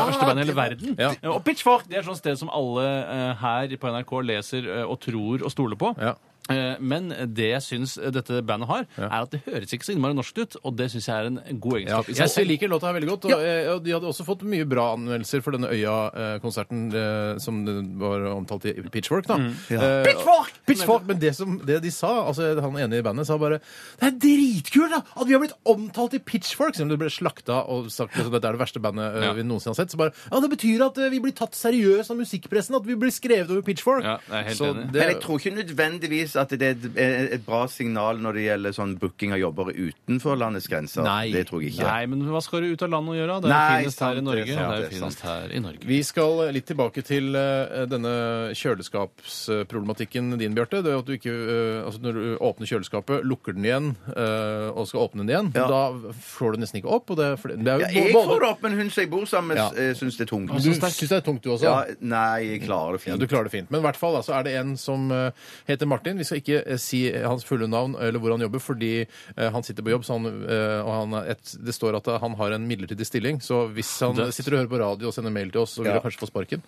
S1: Ja,
S2: det verste bandet i hele verden.
S1: Ja.
S2: Og Pitchfork det er et sånt sted som alle eh, her på NRK leser eh, og tror og stoler på.
S1: Ja.
S2: Eh, Men det jeg syns dette bandet har, er at det høres ikke så innmari norsk ut. Og det syns jeg er en god
S1: Ja,
S2: egenskap. i
S1: jeg
S2: seg selv.
S1: selv liker låta her veldig godt. Og, eh, og de hadde også fått mye bra anmeldelser for denne Øya-konserten eh, som den var omtalt i Pitchfork. da.
S2: Mm.
S1: Eh,
S2: Pitchfork!
S1: Pitchfork! Men det, som, det de sa, altså han ene i bandet sa bare Det er dritkult da, at vi har blitt omtalt i Pitchfork! Selv om det ble slakta og sagt at dette er det verste bandet eh,
S2: Ja.
S1: vi noensinne har sett. Så bare Ja, det betyr at eh, vi blir tatt seriøst av musikkpressen, at vi blir skrevet over Pitchfork!
S2: Ja, jeg er helt
S1: Så
S2: enig.
S1: det-
S3: Men jeg tror ikke nødvendigvis at det er et, et bra signal når det gjelder sånn booking av jobber utenfor landets grenser.
S1: Nei.
S3: Det tror jeg ikke.
S2: Nei, men hva skal du ut av landet og gjøre? Det er
S3: Nei,
S2: jo finest
S3: sant,
S2: her i Norge.
S3: det er sant,
S2: det er jo
S3: det er sant.
S2: finest her i Norge.
S1: Vi skal litt tilbake til eh, denne kjøleskapsproblematikken din, Bjarte. Det er at du ikke, eh, altså Når du åpner kjøleskapet, lukker den igjen eh, og skal åpne den igjen,
S3: Ja.
S1: da får du nesten ikke opp. Og det, er fordi- det er
S3: Ja,
S1: jo
S3: jeg
S1: både-
S3: får det opp, men hun som jeg bor sammen
S1: Ja.
S3: med, ja. syns det er tungt.
S1: Du syns det er tungt, du også?
S3: Ja, nei, jeg klarer det
S1: Ja,
S3: fint.
S1: du klarer det fint. Men i hvert fall da, så er det en som eh, heter Martin. Vi skal ikke eh, si hans fulle navn eller hvor han jobber, fordi eh, han sitter på jobb, så han, eh, og han er et, det står at eh, han har en midlertidig stilling. Så hvis han
S2: Dødt.
S1: sitter og hører på radio og sender mail til oss, så vil
S3: Ja.
S1: han kanskje få sparken.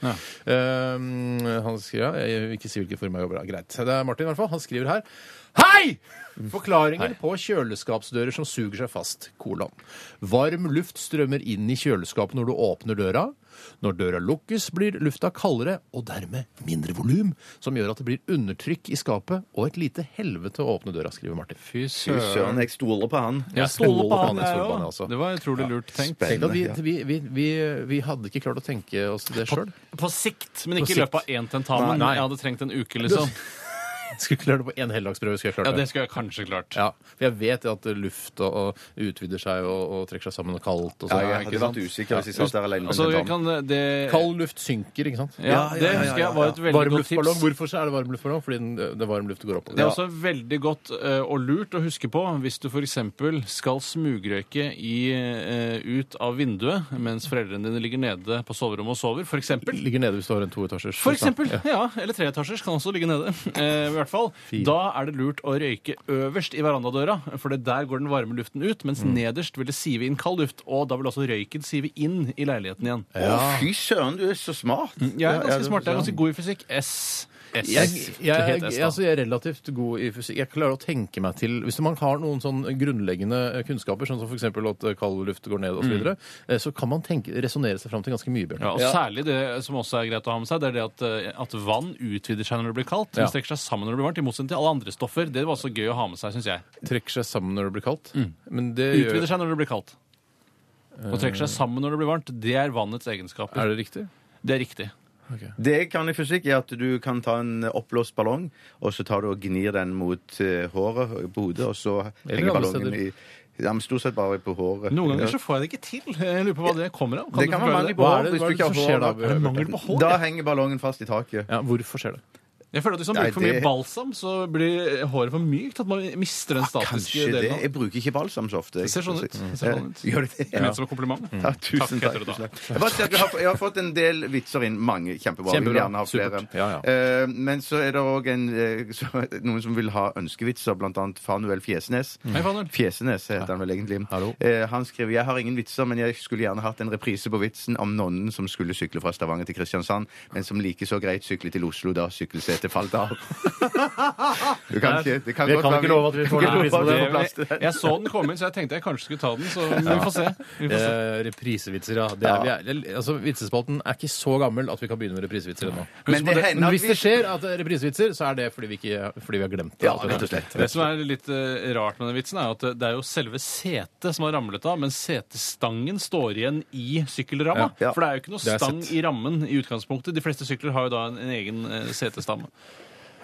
S1: Eh, han skriver, ja, jeg vil ikke si hvilken firma jeg jobber i. Greit. Det er Martin i hvert fall. Han skriver her. Hei! Forklaringen på kjøleskapsdører som suger seg fast, kolon. Varm luft strømmer inn i kjøleskapet når du åpner døra. Når døra lukkes, blir lufta kaldere og dermed mindre volum, som gjør at det blir undertrykk i skapet og et lite helvete å åpne døra, skriver Martin.
S2: Fy
S3: Fy søren, jeg stoler på han.
S2: Jeg stoler på han,
S1: stoler
S2: jeg
S1: på han,
S2: òg.
S1: altså.
S2: Det var utrolig lurt tenkt.
S1: Tenk at vi,
S3: Ja.
S1: vi, vi, vi, vi hadde ikke klart å tenke oss det sjøl.
S2: På sikt, men ikke i
S1: sikt.
S2: løpet av én tentamen.
S1: Nei.
S2: Jeg hadde trengt en uke, liksom.
S1: Skulle klart det på én heldagsprøve. skulle jeg klart
S2: Ja, det skulle jeg kanskje klart.
S1: Ja, for jeg vet at lufta og utvider seg og, og trekker seg sammen og kaldt og
S3: Ja,
S1: sånn.
S3: jeg hadde vært usikker hvis jeg satt der alene med
S2: Altså, jeg
S3: en dame.
S2: kan det
S1: Kald luft synker, ikke sant?
S2: ja,
S3: Ja, ja,
S2: Det
S3: ja,
S2: husker
S3: ja,
S2: jeg var et veldig
S1: Varm
S2: godt
S1: luftballong.
S2: tips.
S1: Hvorfor så er det varm luftballong? Fordi den, den varme luften går opp.
S2: Det er også veldig godt eh, og lurt å huske på hvis du f.eks. skal smugrøyke i, eh, ut av vinduet mens foreldrene dine ligger nede på soverommet og sover, f.eks.
S1: Ligger nede hvis du har en toetasjers.
S2: For eksempel. Ja, eller treetasjers kan også ligge nede. Eh, I hvert fall.
S1: Fire.
S2: Da er det lurt å røyke øverst i verandadøra, for det der går den varme luften ut, mens nederst vil det sive inn kald luft, og da vil også røyken sive inn i leiligheten igjen.
S3: Å, fy søren, du er så smart!
S2: Jeg er
S1: ja, det-
S2: Mm, ganske smart. Jeg er ganske god i fysikk. S. S.
S1: Jeg,
S2: Det
S1: jeg,
S2: het S,
S1: jeg,
S2: da.
S1: altså, jeg er relativt god i fysikk. Jeg klarer å tenke meg til Hvis man har noen sånn grunnleggende kunnskaper, sånn som f.eks. at kald luft går ned osv., så, videre, eh, så kan man tenke- resonnere seg fram til ganske mye, Bjørn.
S2: Ja, og Særlig det som også er greit å ha med seg, det er det at, eh, at vann utvider seg når det blir kaldt.
S1: Ja.
S2: Men strekker seg sammen når det blir varmt, i motsetning til alle andre stoffer. Det var også gøy å ha med seg, syns jeg.
S1: Trekker seg sammen når det blir kaldt. Men det gjør,
S2: Utvider seg når det blir kaldt. Og trekker seg sammen når det blir varmt. Det er vannets egenskaper.
S1: er det riktig?
S2: Det er riktig.
S3: Det jeg kan i fysikk, er at du kan ta en oppblåst ballong, og så tar du og gnir den mot eh, håret på hodet, og så
S1: Eller
S3: henger
S1: andre
S3: ballongen i
S1: steder.
S3: ja, men Stort sett bare på håret.
S2: Noen ganger
S3: Ja.
S2: så får jeg det ikke til. Jeg lurer på hva det kommer av.
S3: Det
S2: du
S3: kan være
S2: forklare
S3: mangel
S2: det?
S3: på
S1: Hva er
S3: hår
S1: det-
S3: hvis
S1: hva
S3: du
S1: er det
S3: ikke har
S1: som skjer
S3: hår.
S1: da,
S3: da,
S1: Bjørte? Er det mangel
S2: på hår?
S3: Da henger ballongen fast i taket.
S1: Ja, hvorfor skjer det?
S2: Jeg føler at Hvis man
S3: Nei,
S2: bruker for mye
S3: det-
S2: balsam, så blir håret for mykt. At man mister den statiske
S3: Kanskje det.
S2: delen av det.
S3: Jeg bruker ikke balsam så ofte. jeg.
S2: ser sånn ut. Det ser sånn ut.
S3: Eh, Gjør det det?
S2: Jeg vet som en kompliment.
S3: Ja, Mm. tusen takk.
S2: Takk heter det da.
S3: tusen takk. Jeg, bare sier at vi har, jeg har fått en del vitser inn. Mange. Kjempebra. Vi vil
S1: Kjempebra.
S3: gjerne ha flere.
S1: Supert. Ja, ja.
S3: Eh, men så er det òg noen som vil ha ønskevitser, blant annet Fanuel Fjesnes.
S2: Hei, Fanuel.
S3: Fjesnes heter han vel egentlig.
S1: Mm. Hallo.
S3: Eh, han skriver jeg har ingen vitser, men jeg skulle gjerne hatt en reprise på vitsen om nonnen som skulle sykle fra Stavanger til Kristiansand, men som like så greit syklet til Oslo da sykkelsetet det falt av. Du kan ikke, det kan
S1: Vi
S3: godt
S1: kan
S3: være
S1: ikke love at vi får
S3: kan
S1: den
S3: ikke
S1: prisen på
S3: love at
S1: det.
S3: vi får plass til
S2: Jeg, jeg så den komme inn, så jeg tenkte jeg kanskje skulle ta den. Så vi får se. Vi får se.
S1: Eh, reprisevitser, ja. Det er, vi er, altså, vitsespalten er ikke så gammel at vi kan begynne med reprisevitser ennå.
S3: Men det hender
S1: Men
S3: at
S1: hvis det skjer at det er reprisevitser, så er det fordi vi, ikke, fordi vi har glemt det.
S3: Ja,
S1: alt det der.
S3: rett og slett.
S2: Det som er litt eh, rart med den vitsen, er jo at det er jo selve setet som har ramlet av, men setestangen står igjen i sykkelramma.
S3: Ja. Ja.
S2: For det er jo ikke noe
S1: Det har jeg
S2: stang
S1: sett.
S2: i rammen i utgangspunktet. De fleste sykler har jo da en, en egen eh, setestamme.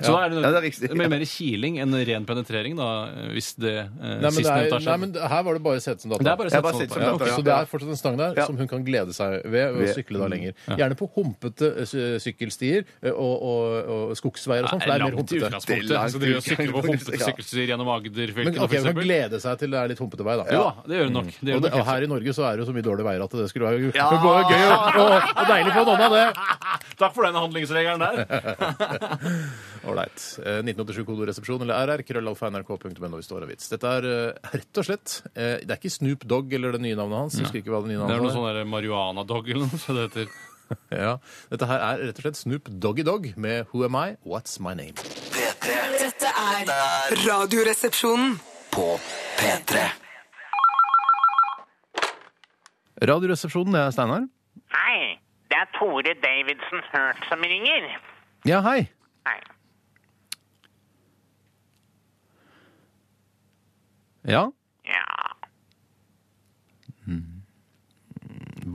S2: Så da er det,
S3: Ja, det er riktig.
S2: mye mer kiling enn ren penetrering, da, eh, hvis det eh,
S1: Nei, men, det
S2: sistnevnte
S1: er, nei,
S2: har skjedd.
S1: men her var det bare sete som dato.
S2: Det er bare
S3: Jeg bare
S2: sete
S3: sitter som
S2: som dato.
S3: dato, ja.
S1: Så det er sånn, fortsatt en stang der
S3: Ja.
S1: som hun kan glede seg ved ved å
S3: Ved.
S1: sykle da lenger. Gjerne på humpete ø, sy- sykkelstier ø, og, og, og skogsveier og sånn, for det er mer
S2: langt i
S1: humpete.
S3: Det er
S2: utgangspunktet. Altså,
S3: langt
S2: Så driver og
S3: i
S2: sykler på
S3: utgangspunktet,
S2: humpete
S3: ja.
S2: sykkelstier gjennom Agder-fylkene,
S1: Men ok,
S2: for
S1: hun kan
S2: eksempel.
S1: glede seg til det er litt humpete vei, da.
S2: Jo da, det gjør hun nok. Det
S1: Og,
S2: gjør hun
S1: det,
S2: nok.
S1: og her i Norge så er det jo så mye dårlige veier at det skulle være
S3: Ja.
S1: det går jo gøy og, og, og deilig for noen av det.
S2: Takk for den handlingsregelen der.
S1: Ålreit. 1987-kodoresepsjon eller RR, krøllalfa.nrk.no hvis det var en vits. Dette er eh, rett og slett eh, Det er ikke Snoop Dogg eller det nye navnet hans. Jeg Husker ikke hva det nye
S2: Det er noe
S1: navnet
S2: sånn der marihuana-dog eller noe så det heter.
S1: er. Ja. Dette her er rett og slett Snoop Doggy Dogg med Who Am I? What's My Name?
S6: P3
S5: Dette er Radioresepsjonen.
S6: på P3.
S1: Radioresepsjonen, det er Steinar.
S4: Hei, det er Tore Davidsen Hurt som ringer.
S1: Ja, hei.
S4: Hei.
S1: Ja,
S4: Ja,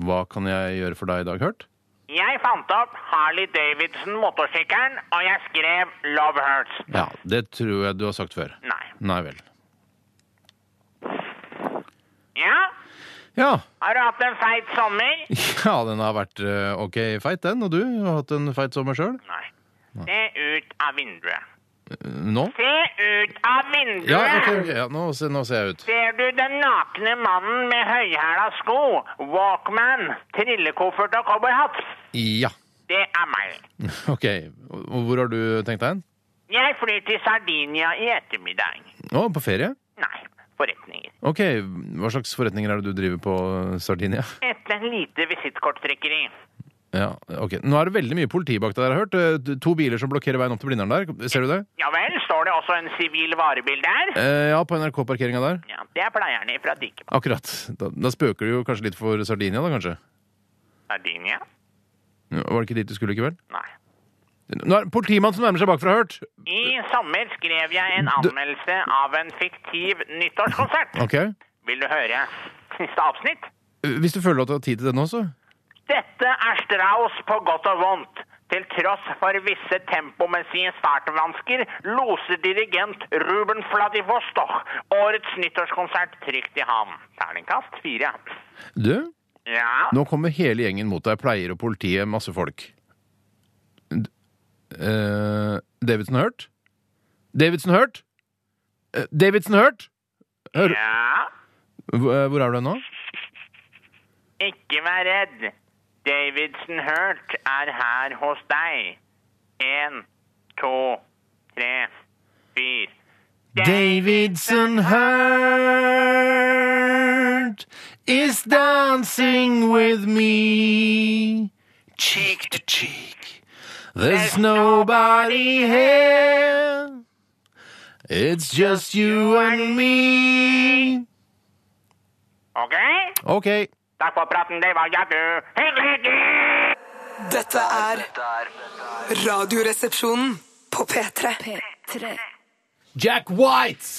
S1: hva kan jeg gjøre for deg i dag, Hørt?
S4: jeg fant opp Harley Davidson motorsykkelen, og jeg skrev Love Hurts.
S1: Ja, det tror jeg du har sagt før.
S4: Nei.
S1: Nei vel.
S4: Ja,
S1: Ja.
S4: har du hatt en feit sommer?
S1: ja, den har vært eh, OK feit, den. Og du har hatt en feit sommer sjøl?
S4: Nei. Se ut av vinduet.
S1: Nå?
S4: Se ut av vinduet!
S1: Ja, ok, ok. Ja, nå, ser- nå ser jeg ut.
S4: Ser du den nakne mannen med høyhæla sko, walkman, trillekoffert og cowboyhatt?
S1: Ja.
S4: Det er meg.
S1: OK. Og hvor har du tenkt deg hen?
S4: Jeg flyr til Sardinia i ettermiddag.
S1: Å, på ferie?
S4: Nei, forretninger.
S1: OK. Hva slags forretninger er det du driver på Sardinia?
S4: Et lite visittkorttrekkeri.
S1: Ja, ok. Nå er det veldig mye politi bak deg, har jeg hørt. Eh, To biler som blokkerer veien opp til Blindern der. Ser du det?
S4: Ja vel, står det også en sivil varebil der?
S1: Eh, ja, på NRK-parkeringa der.
S4: Ja, det er pleierne fra Dikemark.
S1: Akkurat. Da, da spøker du jo kanskje litt for Sardinia, da kanskje?
S4: Sardinia?
S1: Ja, Var det ikke dit du skulle i kveld?
S4: Nei.
S1: Nå er det politimann som nærmer seg bakfra, hørt!
S4: I sommer skrev jeg en anmeldelse av en fiktiv nyttårskonsert.
S1: Ok. Eh,
S4: Vil du høre siste avsnitt?
S1: Hvis du føler at du har tid til det nå, så.
S4: Dette er Strauss på godt og vondt. Til tross for visse tempomessige startvansker loser dirigent Ruben Vladivostok årets nyttårskonsert trygt i havn. Terningkast fire.
S1: Du,
S4: Ja,
S1: nå kommer hele gjengen mot deg. Pleier og politiet, masse folk. D- eh, Davidsen hørt? Davidsen hørt? Eh, Davidsen hørt? Hør,
S4: ja.
S1: Hvor eh, hvor er du nå?
S4: Ikke vær redd. Davidsen Hurt er her hos deg. En, to, tre, fyr.
S1: Davidson Hurt is dancing with me. Cheek to cheek. There's nobody here. It's just you and me.
S4: OK?
S1: Ok.
S4: Takk for praten, det var Jagu. Hyggelig, hyggelig!
S5: Dette er Radioresepsjonen på P3.
S1: Jack Whites!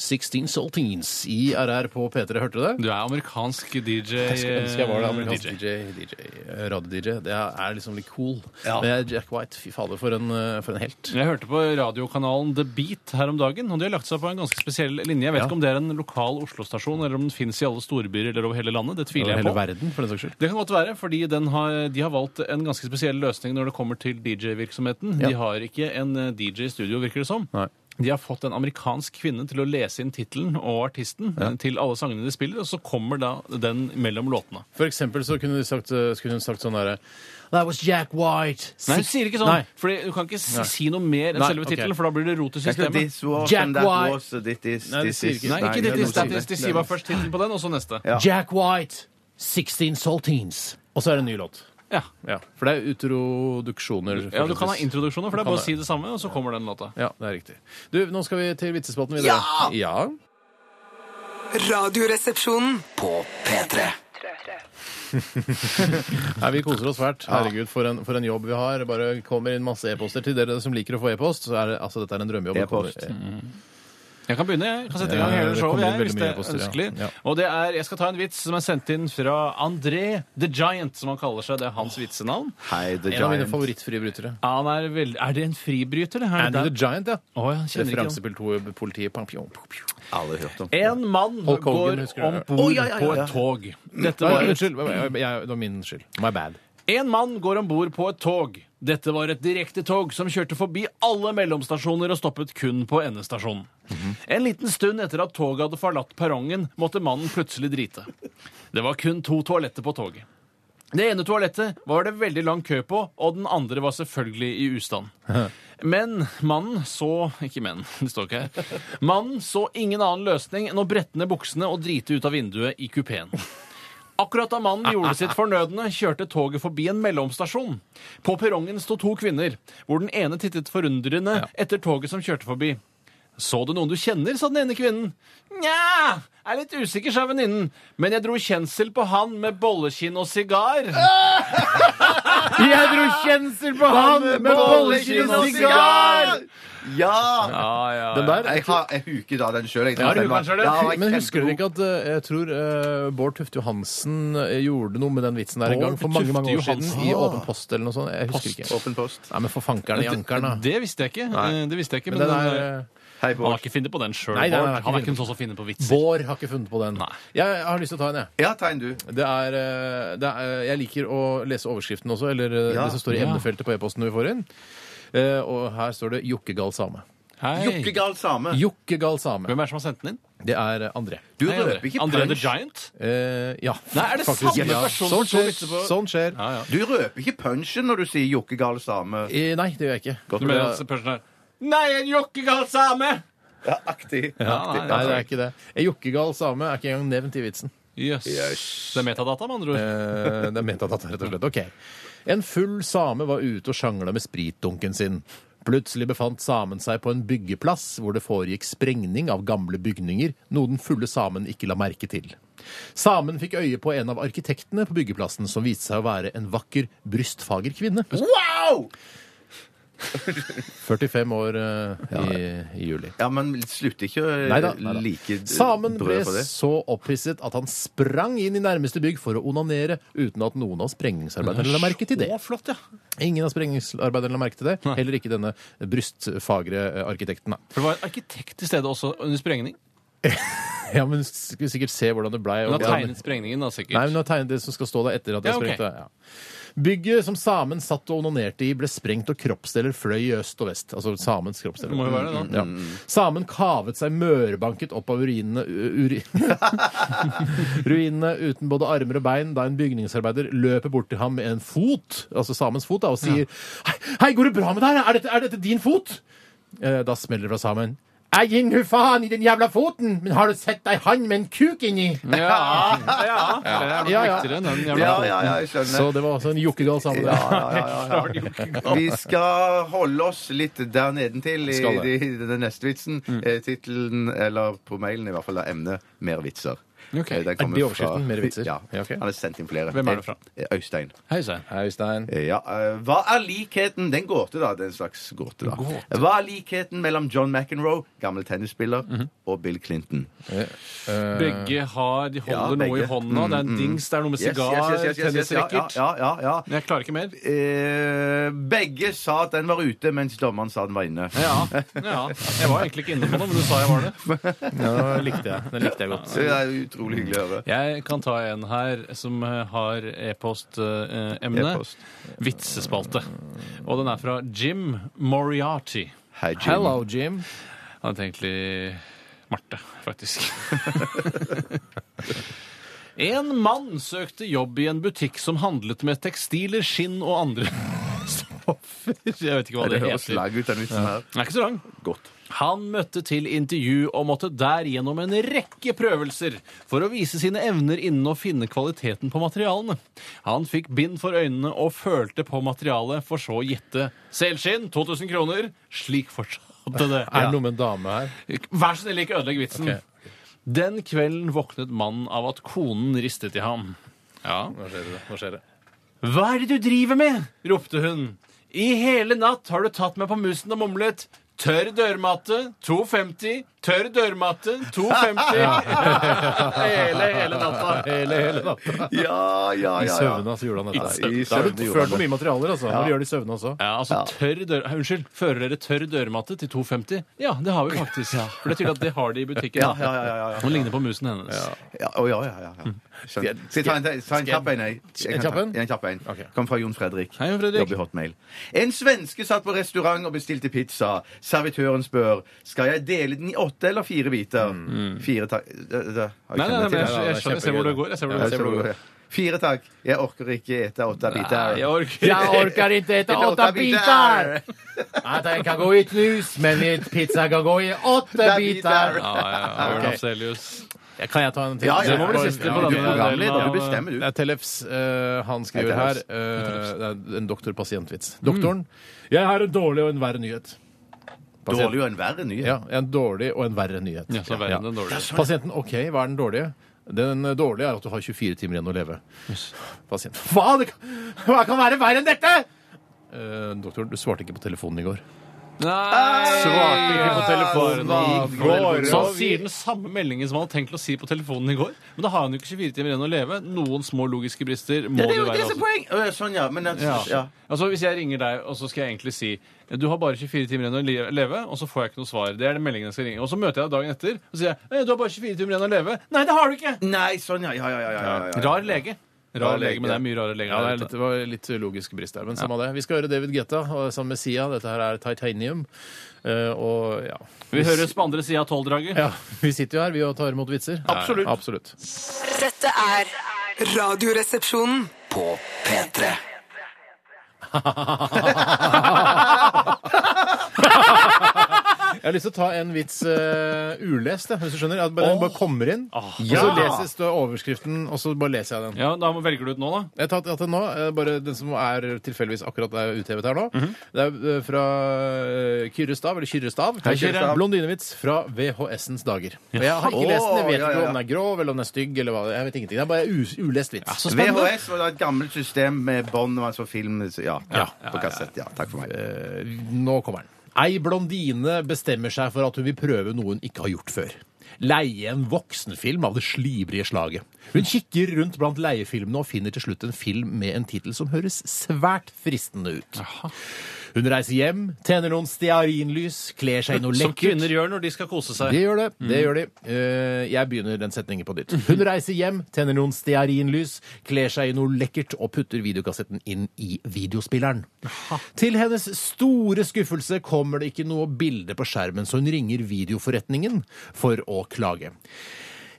S1: 16 Saltines i RR på P3. Hørte du det?
S2: Du er amerikansk DJ.
S1: Jeg skulle ønske jeg var det. Amerikansk
S2: DJ.
S1: DJ, DJ radio-DJ. Det er liksom litt cool. Men Jack White, fy fader, for en, eh, for en helt.
S2: Jeg hørte på radiokanalen The Beat her om dagen, og de har lagt seg på en ganske spesiell linje. Jeg vet
S1: Ja.
S2: ikke om det er en lokal Oslo-stasjon, eller om den finnes i alle storbyer eller over hele landet. Det
S1: Eller
S2: tviler jeg
S1: hele
S2: på.
S1: verden, for den saks skyld.
S2: Det kan godt være, fordi den har, de har valgt en ganske spesiell løsning når det kommer til DJ-virksomheten.
S1: Ja.
S2: De har ikke en eh, DJ i studio, virker det som.
S1: Nei.
S2: De har fått en amerikansk kvinne til å lese inn tittelen og artisten eh, til alle sangene de spiller, og så kommer da den mellom låtene.
S1: For eksempel så kunne, de sagt, eh, skulle hun sagt sånn derre That was Jack White.
S2: Nei, hun sier ikke sånn,
S1: Nei.
S2: Fordi du kan ikke si,
S1: Nei.
S2: si noe mer enn
S1: Nei,
S2: selve
S1: ok.
S2: tittelen, for da blir det rot i
S3: Det er ikke
S2: systemet.
S3: this was
S1: Jack
S3: and that
S1: White.
S3: was and this is,
S1: Nei, det
S3: this
S1: sier
S3: is.
S1: ikke-
S2: Nei, ikke
S3: det er
S2: dette.
S3: noe sier.
S2: dette- De sier bare først tittelen på den, og så neste.
S3: Ja.
S1: Jack White, 16 Saltines. Og så er det en ny låt.
S2: Ja.
S1: Ja, For det er utroduksjoner.
S2: ja, du kan ha
S1: fortsettelses.
S2: introduksjoner, for det
S1: Kan
S2: er bare
S1: det.
S2: å si det samme, og så kommer den låta.
S1: Ja, det er riktig. Du, nå skal vi til vitsespalten videre. Ja!
S5: Radioresepsjonen.
S6: På P3.
S1: Nei, vi koser oss fælt. Herregud, for en, for en jobb vi har. Bare kommer inn masse e-poster til dere som liker å få e-post. Så er det, altså, dette er en drømmejobb.
S3: E-post. Mm.
S1: Det kommer-
S2: Jeg kan begynne. jeg kan sette i gang
S1: Ja,
S2: hele
S1: det
S2: showet
S1: kommer
S2: jeg, hvis
S1: veldig
S2: det
S1: mye
S2: er
S1: poster, ja.
S2: ønskelig.
S1: Ja.
S2: Og det er, Jeg skal ta en vits som er sendt inn fra André The Giant, som han kaller seg. Det er hans vitsenavn.
S3: Hei, The
S1: En av mine
S3: Giant.
S1: favorittfribrytere.
S2: Han er, vel, er det en fribryter? det her?
S1: Andy the
S2: Det er-
S1: Giant, ja.
S2: Å, jeg kjenner ikke han.
S1: Referansepill 2, eh, politiet. Pang, pjong, pjong, pjong.
S3: Aldri hørt om.
S2: En mann
S1: Hulk Hogan,
S2: går
S1: husker du
S2: om
S1: det?
S2: bord på et tog. Dette
S1: Nei,
S2: var et
S1: Unnskyld. jeg- jeg- Det var min skyld. My bad.
S2: En mann går om bord på et tog. Dette var et direktetog som kjørte forbi alle mellomstasjoner og stoppet kun på endestasjonen. En liten stund etter at toget hadde forlatt perrongen, måtte mannen plutselig drite. Det var kun to toaletter på toget. Det ene toalettet var det veldig lang kø på, og den andre var selvfølgelig i ustand. Men mannen så Ikke men, det står ikke her. Mannen så ingen annen løsning enn å brette ned buksene og drite ut av vinduet i kupeen. Akkurat da mannen gjorde sitt fornødne, kjørte toget forbi en mellomstasjon. På perrongen sto to kvinner, hvor den ene tittet forundrende etter toget som kjørte forbi. Så du noen du kjenner, sa den ene kvinnen. Nja, er litt usikker, sa venninnen. Men jeg dro kjensel på han med bollekinn og sigar.
S1: Jeg dro kjensel på han med bollekinn og sigar!
S3: Ja!
S1: Den der
S3: Jeg har jeg huker da den sjøl.
S1: Ja, du kan
S2: selv det.
S1: Men husker dere ikke at eh, jeg tror eh, Bård Tufte Johansen eh, gjorde noe med den vitsen der en
S2: Bård
S1: gang for mange
S2: Tufte
S1: mange år siden?
S2: Johansen.
S1: I Åpen post eller noe sånt. Jeg husker ikke.
S3: Åpen post.
S1: Nei, men for fankeren i ankeren, da.
S2: Det visste jeg ikke.
S1: Nei.
S2: Eh, Det visste jeg ikke
S1: Men
S2: men
S1: den
S2: den
S1: er
S2: er-
S1: eh,
S3: Hei,
S2: Han
S3: Bård.
S2: har ikke funnet på den sjøl.
S1: Nei, nei, han har ikke
S2: Han er ikke
S1: funnet
S2: en sånn som finner på vitser.
S1: Bård har ikke funnet på den.
S2: Nei.
S1: Jeg har lyst til å ta en, jeg.
S3: Ja, tegn du.
S1: Det er, eh, det er, eh, jeg liker å lese overskriften også, eller eh,
S3: Ja.
S1: det som står i
S2: Ja.
S1: emnefeltet på e-posten vi får inn. Eh, Og her står det 'jokkegal same'.
S2: Hei.
S3: Jokkegal same.
S1: Jokkegal same.
S2: Hvem er det som har sendt den inn?
S1: Det er eh, André.
S3: Du
S2: Nei,
S3: røper ikke
S2: André the
S3: punch.
S2: Giant?
S1: Eh, ja.
S2: Nei, er det
S1: faktisk,
S2: samme
S1: ja.
S2: person
S1: Sånn
S2: som
S1: skjer.
S2: sitter på-
S1: Sånn skjer.
S2: Ja, ja.
S3: Du røper ikke punchen når du sier jokkegal same.
S1: Eh, Nei, det gjør jeg ikke.
S3: Godt
S2: Du mener at personen er Nei, en jokkegal same!
S3: Ja, aktig. aktig.
S1: Nei, det er ikke det. En jokkegal same er ikke engang nevnt i vitsen.
S2: Jøss. Det er metadata, med andre ord.
S1: Eh, Det er metadata, rett og slett. Ok. En full same var ute og sjangla med spritdunken sin. Plutselig befant samen seg på en byggeplass hvor det foregikk sprengning av gamle bygninger, noe den fulle samen ikke la merke til. Samen fikk øye på en av arkitektene på byggeplassen, som viste seg å være en vakker, brystfager kvinne.
S3: Wow!
S1: 45 år eh, i, i juli.
S3: Ja, men slutt ikke å eh,
S1: Neida, neida.
S3: like eh,
S1: Samen ble
S3: brød på det.
S1: så opphisset at han sprang inn i nærmeste bygg for å onanere uten at noen av sprengningsarbeiderne la merke til det.
S2: Å, flott, ja.
S1: Ingen av sprengningsarbeiderne la merke til det. Heller ikke denne brystfagre eh, arkitekten. da.
S2: For det var en arkitekt til stede også under sprengning.
S1: Ja, men skulle sikkert se hvordan det blei. og
S2: Hun har
S1: hvordan-
S2: tegnet sprengningen, da, sikkert.
S1: Nei, men hun har tegnet det som skal stå der etter at jeg
S2: Ja, ok.
S1: sprengte. Ja. Bygget som samen satt og onanerte i, ble sprengt, og kroppsdeler fløy i øst og vest. Altså samens kroppsdeler.
S2: Det må jo være det, da.
S1: Ja. Mm. Samen kavet seg mørbanket opp av ruinene, u- uri- ruinene uten både armer og bein da en bygningsarbeider løper bort til ham med en fot, altså samens fot, da, og sier Hei, hei, går det bra med deg? Er dette, er dette din fot? Eh, Da smeller det fra samen. «Ei, ginn hu faen i den jævla foten, men har du sett ei hann med en kuk inni?
S2: Ja, ja.
S1: mm.
S2: Det er
S1: Ja,
S2: ja,
S1: ja.
S2: viktigere enn den
S3: Ja,
S2: jævla
S3: ja, ja, jeg skjønner.
S1: Så det var altså en jokkegal same.
S3: ja,
S1: det.
S3: ja, ja, ja. Vi skal holde oss litt der nedentil i,
S1: Skal
S3: i
S1: det.
S3: den neste vitsen. Eh, Tittelen, eller på mailen i hvert fall, er emnet 'Mer vitser'.
S2: Ok.
S3: Eh, den
S2: Er
S3: kommer
S1: det overskriften,
S3: fra-
S1: «Mer vitser»?
S3: Ja.
S1: Ja, ok.
S3: Han har sendt inn flere.
S2: Hvem er det fra?
S3: Eh, Øystein.
S2: Hei sann.
S1: Hei, Øystein.
S3: Eh, Ja, eh, Hva er likheten Det er en gåte, da. Det er en slags gåte, da. Hva er likheten mellom John McEnroe, gammel tennisspiller, og Bill Clinton?
S2: Begge har De
S3: Ja,
S2: holder noe
S3: begge.
S2: i hånda. Det er en dings, det er noe med
S3: Yes, yes,
S2: sigar,
S3: yes, yes, yes, yes, ja,
S2: tennisracket.
S3: Ja, ja, ja. ja.
S2: Men jeg klarer ikke mer.
S3: Eh, begge sa at den var ute, mens dommeren sa den var inne.
S2: Ja, ja. Jeg var egentlig ikke inne på noe, men du sa jeg var det.
S1: Den likte jeg. Den likte jeg godt.
S3: Så det er utrolig hyggelig å høre.
S2: Jeg kan ta en her som eh, har e-postemne.
S3: E-post.
S2: Vitsespalte. Og den er fra Jim Moriarty.
S3: Hei, Jim.
S1: Hello, Jim.
S2: Han heter egentlig Marte, faktisk. en mann søkte jobb i en butikk som handlet med tekstiler, skinn og andre Christoffer Jeg vet ikke hva
S3: Det
S2: det,
S3: høres
S2: heter.
S3: slag ut, den vitsen her.
S2: Den er ikke så lang. Godt. Han møtte til intervju og måtte der gjennom en rekke prøvelser for å vise sine evner innen å finne kvaliteten på materialene. Han fikk bind for øynene og følte på materialet, for så å gjette. Selskinn 2000 kroner. Slik fortsatte det.
S1: Er det noe med en dame her?
S2: Vær så snill, ikke ødelegg vitsen.
S1: Ok.
S2: Den kvelden våknet mannen av at konen ristet i ham. Ja.
S1: Nå skjer det. Nå skjer det.
S2: Hva er det du driver med? ropte hun. I hele natt har du tatt meg på musen og mumlet. Tørr dørmatte, 2,50. Tørr dørmatte, 2,50. hele, hele natta.
S1: Hele, hele natta.
S3: Ja, ja,
S1: I
S3: ja.
S1: søvne altså, gjorde han
S3: I
S1: dette.
S3: søvne
S1: Da har du
S3: gjorde
S1: ført
S3: han
S1: på mye materialer, altså. Når du gjør det i søvne også.
S2: Ja, altså tørr dør... Unnskyld, fører dere tørr dørmatte til 2,50? Ja, det har vi faktisk. For det er tydelig at det har de i butikken.
S3: Ja, ja, ja, ja, ja.
S2: Hun ligner på musen hennes.
S3: Ja, å, ja, ja, ja, ja. Skjønner. Skal jeg ta en, ta en kjapp en? jeg? Jeg
S1: En
S3: kan
S1: kjapp en?
S3: ta- En kjapp en.
S1: Ok.
S3: Kom fra Jon Fredrik.
S2: Hei, Jon Fredrik.
S3: Jobber i Hotmail. En svenske satt på restaurant og bestilte pizza. Servitøren spør skal jeg dele den i åtte eller fire biter. Mm. Fire takk Nei,
S2: Nei, nei, nei, men jeg,
S1: Ja, det er
S2: jeg, skjønner- jeg ser hvor
S1: kjempegøy,
S2: det går. Jeg ser hvor
S1: Ja,
S2: det
S1: jeg
S2: går.
S1: ser hvor det går.
S3: Fire takk. Jeg orker ikke ete åtte biter.
S2: Nei, jeg orker
S1: ikke ete Nei, den kan gå i knus, men pizza kan gå i åtte
S3: Det er biter.
S2: Ja, ja, ja.
S3: Ok.
S2: Bjørn Afzelius.
S1: Kan jeg ta en til?
S3: Ja, ja,
S2: Det må bli
S3: ja.
S2: siste
S3: Ja,
S2: på
S3: Du
S2: denne
S3: er
S2: delen
S3: programleder,
S2: av-
S3: du bestemmer, du.
S1: Det er Tellefs. eh, han skriver
S3: Hei,
S1: her
S3: Tellefs.
S1: eh, Det er en doktor-pasient-vits. Doktoren. Jeg har en dårlig og en verre nyhet. Pasient.
S3: Dårlig og en verre nyhet.
S1: Ja, en dårlig og en verre nyhet.
S2: Ja, så verre enn den dårlige.
S1: Pasienten OK, hva er den dårlige? Den dårlige er at du har 24 timer igjen å leve. Pasient. Hva? Det kan, hva kan være verre enn dette?! Eh, doktor, du svarte ikke på telefonen i går.
S2: Nei!
S1: Svarte ikke på
S3: telefonen i går. Sånn.
S2: Så han sier den samme meldingen som han hadde tenkt å si på telefonen i går. Men da har han jo ikke 24 timer igjen å leve. Noen små logiske brister må
S3: Ja,
S2: det
S3: det er jo
S2: være.
S3: det som er
S2: Altså.
S3: poeng! Å, ja, Sånn, ja. Men at,
S2: Ja.
S3: ja.
S2: Altså, hvis jeg ringer deg, og så skal jeg egentlig si du har bare 24 timer igjen å li- leve, og så får jeg ikke noe svar. Det er den meldingen jeg skal ringe. Og så møter jeg deg dagen etter og sier jeg, «Eh, du har bare 24 timer igjen å leve. Nei, det har du ikke!
S3: Nei, sånn, ja. Ja, ja, ja. ja, ja, ja.
S2: Rar lege. Rar lege, men det er mye rare leger.
S1: Ja, det
S2: der
S1: er
S2: ute.
S1: litt, det var litt logisk brist der, men samme det. Vi skal høre David Guetta og- sammen med Sia. Dette her er Titanium. Eh, og ja
S2: Vi høres på andre sida av tolvdraget.
S1: Ja, Vi sitter jo her, vi, og tar imot vitser.
S3: Absolutt.
S1: Absolutt.
S7: Dette er Radioresepsjonen.
S6: På P3.
S1: Jeg har lyst til å ta en vits eh, ulest, jeg, hvis du skjønner. At bare, den bare kommer inn, og så leses det overskriften, og så bare leser jeg den.
S2: Ja, Da må- velger du ut nå, da.
S1: Jeg har tatt tatt den nå, eh, bare den som er tilfeldigvis akkurat er uthevet her nå.
S3: Mhm.
S1: Det er eh, fra eh, Kyrre Stav, eller Kyrre Stav.
S3: Hei, Kyrre Stav.
S1: Blondinevits fra VHS-ens dager. Og jeg har ikke lest den, jeg vet ikke
S3: Å, ja, ja, ja.
S1: om den er grov, eller om den er stygg, eller hva. det- Jeg vet ingenting. Det er bare u- ulest vits.
S3: VHS var da et gammelt system med bånd og altså film så ja, på kassett. Ja, takk for meg.
S1: Eh, Nå kommer den. Ei blondine bestemmer seg for at hun vil prøve noe hun ikke har gjort før. Leie en voksenfilm av det slibrige slaget. Hun kikker rundt blant leiefilmene og finner til slutt en film med en tittel som høres svært fristende ut. Hun reiser hjem, tenner noen stearinlys, kler seg i noe
S2: Som
S1: lekkert.
S2: kvinner gjør når de skal kose
S1: Det
S2: seg.
S1: gjør det. det gjør de. Eh, Jeg begynner den setningen på nytt. Hun reiser hjem, tenner noen stearinlys, kler seg i noe lekkert og putter videokassetten inn i videospilleren. Til hennes store skuffelse kommer det ikke noe bilde på skjermen, så hun ringer videoforretningen for å klage.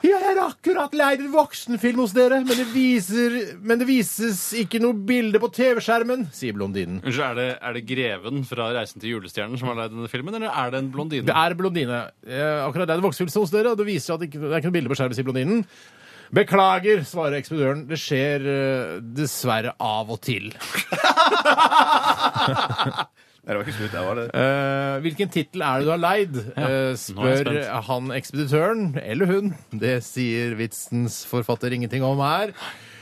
S1: Jeg har akkurat leid en voksenfilm hos dere, men det, viser, men det vises ikke noe bilde på TV-skjermen, sier blondinen.
S2: Unnskyld, er det, er det greven fra 'Reisen til julestjernen' som har leid denne filmen, eller er det en blondine?
S1: Det er blondine. Eh, akkurat det er en voksenfilm hos dere, og det viser at det ikke det er ikke noe bilde på skjermen, sier blondinen. Beklager, svarer ekspeditøren. Det skjer eh, dessverre av og til.
S3: Nei, det var ikke slutt. Der var det.
S1: Eh, hvilken tittel er det du har leid? Eh,
S2: nå er jeg
S1: spør han ekspeditøren, eller hun. Det sier vitsens forfatter ingenting om her.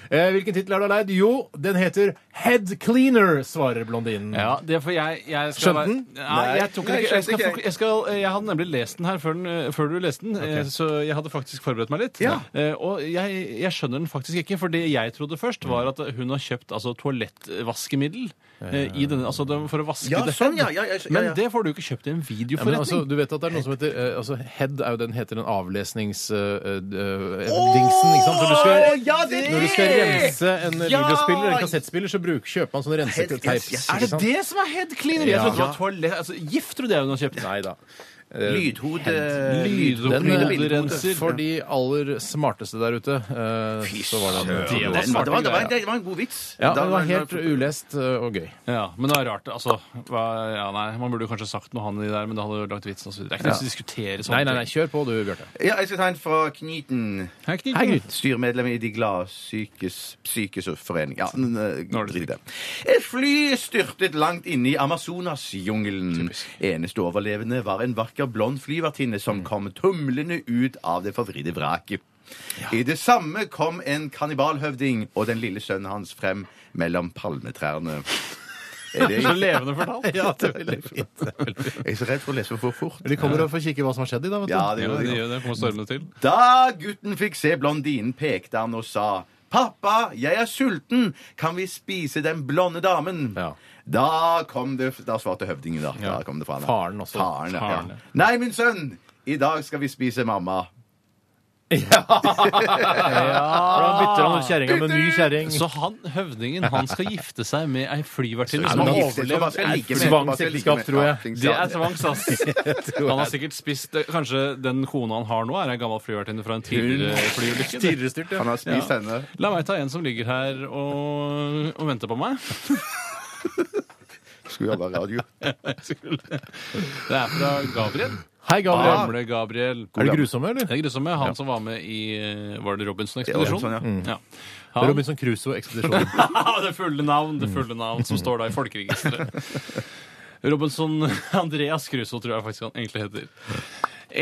S1: Eh, hvilken tittel er det du har leid? Jo, den heter Head Cleaner, svarer blondinen.
S2: Ja, det er for jeg, jeg skal
S1: Skjønte
S2: være-
S1: den?
S2: Nei, jeg tok den
S3: Nei,
S2: ikke. Jeg, skal,
S3: skjønte
S2: fok- jeg, skal, jeg hadde nemlig lest den her før, den, før du leste den, eh, så jeg hadde faktisk forberedt meg litt.
S3: Ja.
S2: Eh, og jeg, jeg skjønner den faktisk ikke, for det jeg trodde først, var at hun har kjøpt altså, toalettvaskemiddel eh, i denne, altså, det- for å vaske
S3: Ja,
S2: det
S3: sånn, ja, ja, ja, ja, ja.
S2: Men det får du ikke kjøpt i
S1: Ja,
S2: en
S1: men
S2: videoforretning.
S1: altså, du vet at det er noe som heter eh, altså, Head er jo den heter den avlesnings-dingsen. ikke sant? Når du skal,
S3: ja, det er
S1: når du skal rense en
S3: Ja!
S1: videospiller eller en kassettspiller, så bruk, kjøper man sånne renseteips.
S3: yes, yes.
S2: er det det som er head cleaner? Jeg
S1: Ja.
S2: trodde det var toalett, altså, gift, trodde jeg hun har kjøpt.
S1: Nei da. eh,
S3: Lydhode...
S1: Den,
S3: Lyd- og
S1: eh,
S2: bilderenser.
S1: For de aller smarteste der ute, eh, så var den
S2: søren.
S3: Det var, det,
S2: smarte
S3: var, det, var,
S2: greier.
S3: det var en god vits.
S1: Ja,
S3: Da
S1: den
S3: var-
S1: var helt ulest eh, og gøy.
S2: Ja, men det er rart. altså, hva, ja, nei, Man burde jo kanskje sagt noe han i der, men det hadde jo lagt vitsen og så videre. Det er ikke noe å diskutere sånne
S1: Nei, nei, nei, kjør på du, Bjarte.
S3: Ja, jeg skal ta en fra Kniten.
S2: ting.
S1: Hei, Knut.
S3: Styremedlem i De gladpsykesforening. Ja, n- n-
S2: Nå er det
S3: drit i det. Et fly styrtet langt inne i Amazonasjungelen. Eneste overlevende var en vakker blond flyvertinne som kom tumlende ut av det forvridde vraket. I det samme kom en kannibalhøvding og den lille sønnen hans frem mellom palmetrærne. Er det,
S2: Så levende fortalt.
S1: Ja, det er veldig fint.
S3: jeg er så redd for å lese for fort.
S1: De kommer og får kikke hva som har skjedd i dag, vet du.
S3: Ja, det
S2: Ja,
S3: gjør
S2: det
S3: jeg.
S2: gjør det. Kommer stormende til.
S3: Da gutten fikk se blondinen, pekte han og sa Pappa, jeg er sulten. Kan vi spise den blonde damen?
S1: Ja.
S3: Da kom det Da svarte høvdingen, da.
S1: Ja.
S3: da kom det fra han, da.
S1: Faren også.
S3: Faren, ja.
S2: Faren, ja.
S3: Nei, min sønn, i dag skal vi spise mamma.
S1: For da bytter han ut kjerringa med en ny kjerring.
S2: Så han, høvdingen han skal gifte seg med ei flyvertinne
S3: Så
S2: som
S3: man
S2: har
S3: gifter seg, så man skal
S2: overlevd
S3: like
S1: et
S3: med- man skal like
S1: tvangsekteskap,
S3: med-
S1: tror jeg.
S3: Ja,
S2: Det er tvangs, ass.
S1: jeg.
S2: Han har sikkert spist eh, Kanskje den kona han har nå, er ei gammel flyvertinne fra en tidligere flyulykke? det.
S1: Tirrestyrt, ja.
S3: Han har spist henne.
S2: La meg ta en som ligger her og, og venter på meg.
S3: Skulle jobbe radio.
S2: Det er fra Gabriel.
S1: Hei,
S2: Ah.
S1: Gabriel.
S2: Gamle Gabriel.
S1: Er det grusomme, eller?
S2: Det er grusomme. Han som var med i eh, Var det
S3: Ja,
S2: Robinson-ekspedisjonen?
S3: Robinson,
S2: ja. Mm. Han,
S1: Robinson Crusoe-ekspedisjonen.
S2: det fulle navn, det fulle navn som står da i folkeregisteret. Robinson Andreas Crusoe tror jeg faktisk han egentlig heter.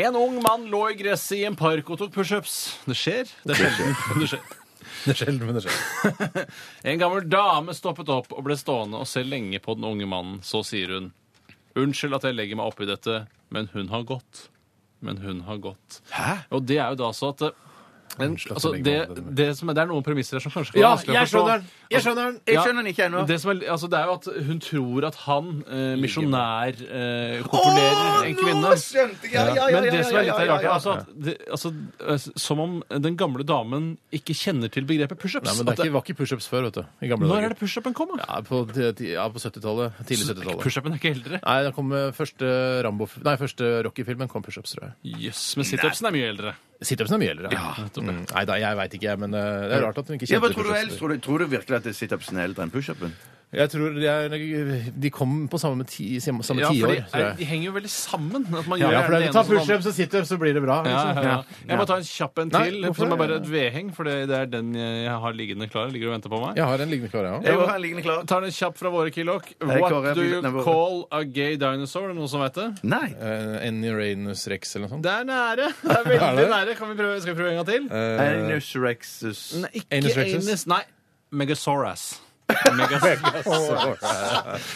S2: En ung mann lå i gresset i en park og tok pushups. Det skjer. Det er sjelden. Det skjer.
S1: Det er sjelden, men det skjer.
S2: En gammel dame stoppet opp og ble stående og se lenge på den unge mannen. Så sier hun Unnskyld at jeg legger meg oppi dette, men hun har gått. Men hun har gått. Hæ? Og det er jo da så at eh, den,
S1: Unnskyld at
S2: altså,
S1: jeg
S2: det,
S1: legger meg oppi dette, men-
S2: det, som er, det er noen premisser her som kanskje kan
S1: Ja,
S2: være vanskelig å
S1: jeg
S2: forstå.
S1: skjønner den! Jeg skjønner den!
S3: Jeg
S2: Ja,
S3: skjønner den ikke ennå.
S2: Det, som er, altså, det er jo at hun tror at han, eh, misjonær, eh, kopulerer en kvinne.
S3: Nå skjønte jeg! Ja, ja, ja, ja,
S2: Men det som er litt
S3: ja,
S2: her
S3: ja,
S2: rart, er
S3: ja.
S2: altså at det, altså, eh, Som om den gamle damen ikke kjenner til begrepet pushups.
S1: Nei, men det
S2: At
S1: er
S2: det-
S1: ikke, var ikke pushups før, vet du. I gamle
S2: Når er
S1: dager.
S2: det pushupen kom, da?
S1: Ja, på, ti- ti- ja, på 70-tallet. Tidlig 70-tallet.
S2: Pushupen er ikke eldre.
S1: Nei, da kom eh, første, Rambo, nei, første Rocky-filmen kom pushups, tror jeg.
S2: Jøss, men situpsen er mye eldre.
S1: Situpsen er mye eldre. Ja. Mm. Nei da, jeg veit ikke, jeg. Men eh, det er rart at hun ikke
S3: Ja, hva
S1: kjente
S3: tror du ellers?
S1: pushups.
S3: Tror du, tror du virkelig at situpsen er eldre enn pushupen?
S1: Jeg tror de, er, de kom på samme, ti, samme
S2: Ja, for
S1: tiår.
S2: de,
S1: tror
S2: er,
S1: jeg.
S2: de henger jo veldig sammen. At man
S1: Ja,
S2: gjør
S1: ja, for det,
S2: det ene
S1: ta
S2: som andre.
S1: pushups og situps, så blir det bra.
S2: Ja,
S1: Liksom.
S2: ja, ja. Jeg må ta en kjapp en
S1: Nei,
S2: til,
S1: hvorfor
S2: som er
S1: det?
S2: bare et vedheng. For det det er den jeg har liggende klar. Ligger og venter på meg.
S1: Jeg har en liggende klar, jeg òg.
S3: Jeg må ha en liggende klar.
S2: tar den kjapp fra våre kilok.
S3: Nei, Kåre,
S2: What do
S3: nei,
S2: you
S3: våre.
S2: call a gay dinosaur? Er det Noen som vet det?
S3: Nei.
S1: En Uranus Eh, Rex eller noe sånt.
S2: Det er nære. Det er veldig nære. Kan vi prøve, skal vi prøve en gang til?
S3: Eh, Anus rexus.
S2: Nei, ikke
S1: Eh, Anus Rexus?
S2: anus. Nei. Megasaurus. Megas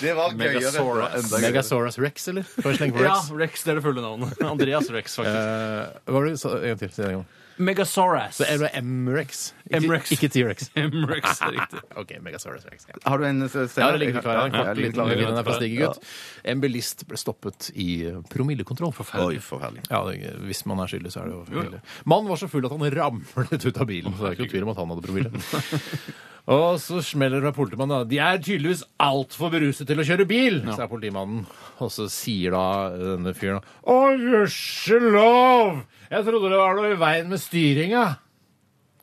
S3: Det var gøyere.
S2: Megasaurus.
S3: Enda gøyere.
S1: Megasaurus Rex, eller? Kan vi slenge på
S2: ja,
S1: Rex?
S2: Rex. Det er det fulle navnet. Andreas Rex, faktisk.
S1: Eh, hva var det du sa en gang til? Si det en gang.
S2: Megasaurus.
S1: Det er M-Rex.
S2: M-Rex.
S1: Ikke T-Rex.
S2: Rex, det er riktig.
S1: OK, Megasaurus Rex. Ja.
S3: Har du en eh, scene?
S1: Jeg har en liggende klar. En
S3: Ja,
S1: kort liten
S3: liggende klar.
S1: lyd. Den er fra
S2: Ja.
S1: Stigegutt. En bilist ble stoppet i promillekontroll.
S3: Oi, forferdelig.
S1: Ja, det, Hvis man er skyldig, så er det jo promille. Mannen var så full at han ramlet ut av bilen. Så det er ikke noe tvil om at han hadde promille. Og så smeller det med politimannen. da. De er tydeligvis altfor beruset til å kjøre bil, sa politimannen. Og så sier da denne fyren Å, gudskjelov! Jeg trodde det var noe i veien med styringa.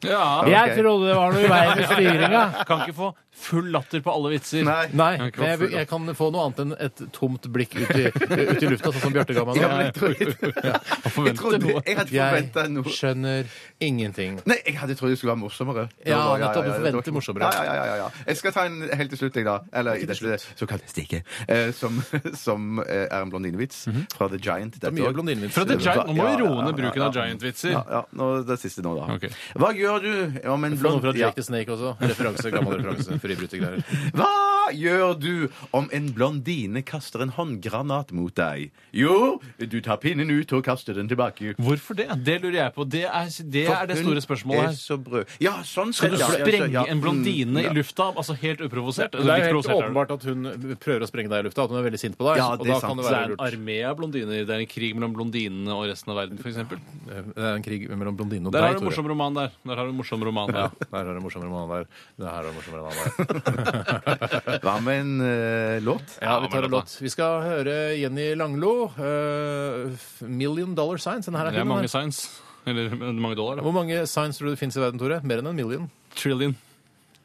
S2: Ja.
S1: Jeg trodde det var noe i veien med styringa.
S2: Kan ikke få full latter på alle vitser.
S3: Nei.
S1: Nei,
S2: Jeg kan
S1: men jeg,
S2: få-
S1: jeg kan få noe annet enn et tomt blikk ut i, ut i lufta, sånn som Bjarte ga meg
S3: Ja, men
S1: nå.
S3: jeg, tror,
S2: Jeg
S3: jeg,
S2: forventer
S3: trodde,
S2: noe.
S3: jeg hadde forventa
S1: Jeg
S3: noe
S1: skjønner ingenting.
S3: Nei, jeg hadde trodd det skulle være morsommere. Det
S1: Ja,
S3: var-
S1: nettopp, du
S3: det var-
S1: forventer morsommere.
S3: Ja, ja, ja, ja, ja. Jeg skal ta en helt til slutt, jeg, da. Eller i dette såkalte stikket. Eh, som som eh, er en blondinevits fra The Giant. Dette
S1: Mhm. Mye
S3: også.
S1: blondinevits.
S2: Fra The Giant, Nå må
S3: Ja,
S2: vi
S3: ja,
S2: roe ned
S3: ja,
S2: bruken
S3: ja,
S2: av
S3: ja.
S2: Giant-vitser.
S3: Ja, ja, nå, det siste nå, da.
S2: Ok.
S3: Hå gjør du om en
S1: Noe
S3: blond...
S1: fra Jake
S3: Ja.
S1: the Snake også. Referanse, gammel referanse. Fribrytergreier.
S3: Hva gjør du om en blondine kaster en håndgranat mot deg? Jo, du tar pinnen ut og kaster den tilbake.
S2: Hvorfor det? Det lurer jeg på. Det er det, er det
S3: Hun
S2: store spørsmålet
S3: er
S2: her.
S3: så brød. Ja, sånn sett,
S2: Skal du
S3: ja, ja, så-
S2: sprenge
S3: ja.
S2: en blondine i
S3: Mm, ja.
S2: lufta? Altså helt uprovosert?
S1: Det er jo helt åpenbart at hun prøver å sprenge deg i lufta, at hun er veldig sint på deg.
S3: Ja,
S1: og
S3: det er
S1: da
S3: sant.
S1: kan det
S2: Så det
S1: være
S2: er en
S1: lurt.
S2: armé av blondiner. Det er en krig mellom blondinene og resten av verden, f.eks.
S1: Det er en krig mellom blondine og
S2: Der har
S1: deg,
S2: du en morsom
S1: Tore.
S2: roman der. Der Der har du en morsom roman.
S1: Ja,
S2: der.
S1: der har du en morsom roman der. Der har du en morsom roman der.
S3: Hva med en eh, låt?
S1: Ja, vi tar en låt. Vi skal høre Jenny Langlo. eh, Million Dollar Signs. Den her er
S2: Det er
S1: fin. den
S2: mange
S1: her.
S2: signs. Eller mange dollar. da.
S1: Hvor mange signs tror du det finnes i verden, Tore? Mer enn en million?
S2: Trillion.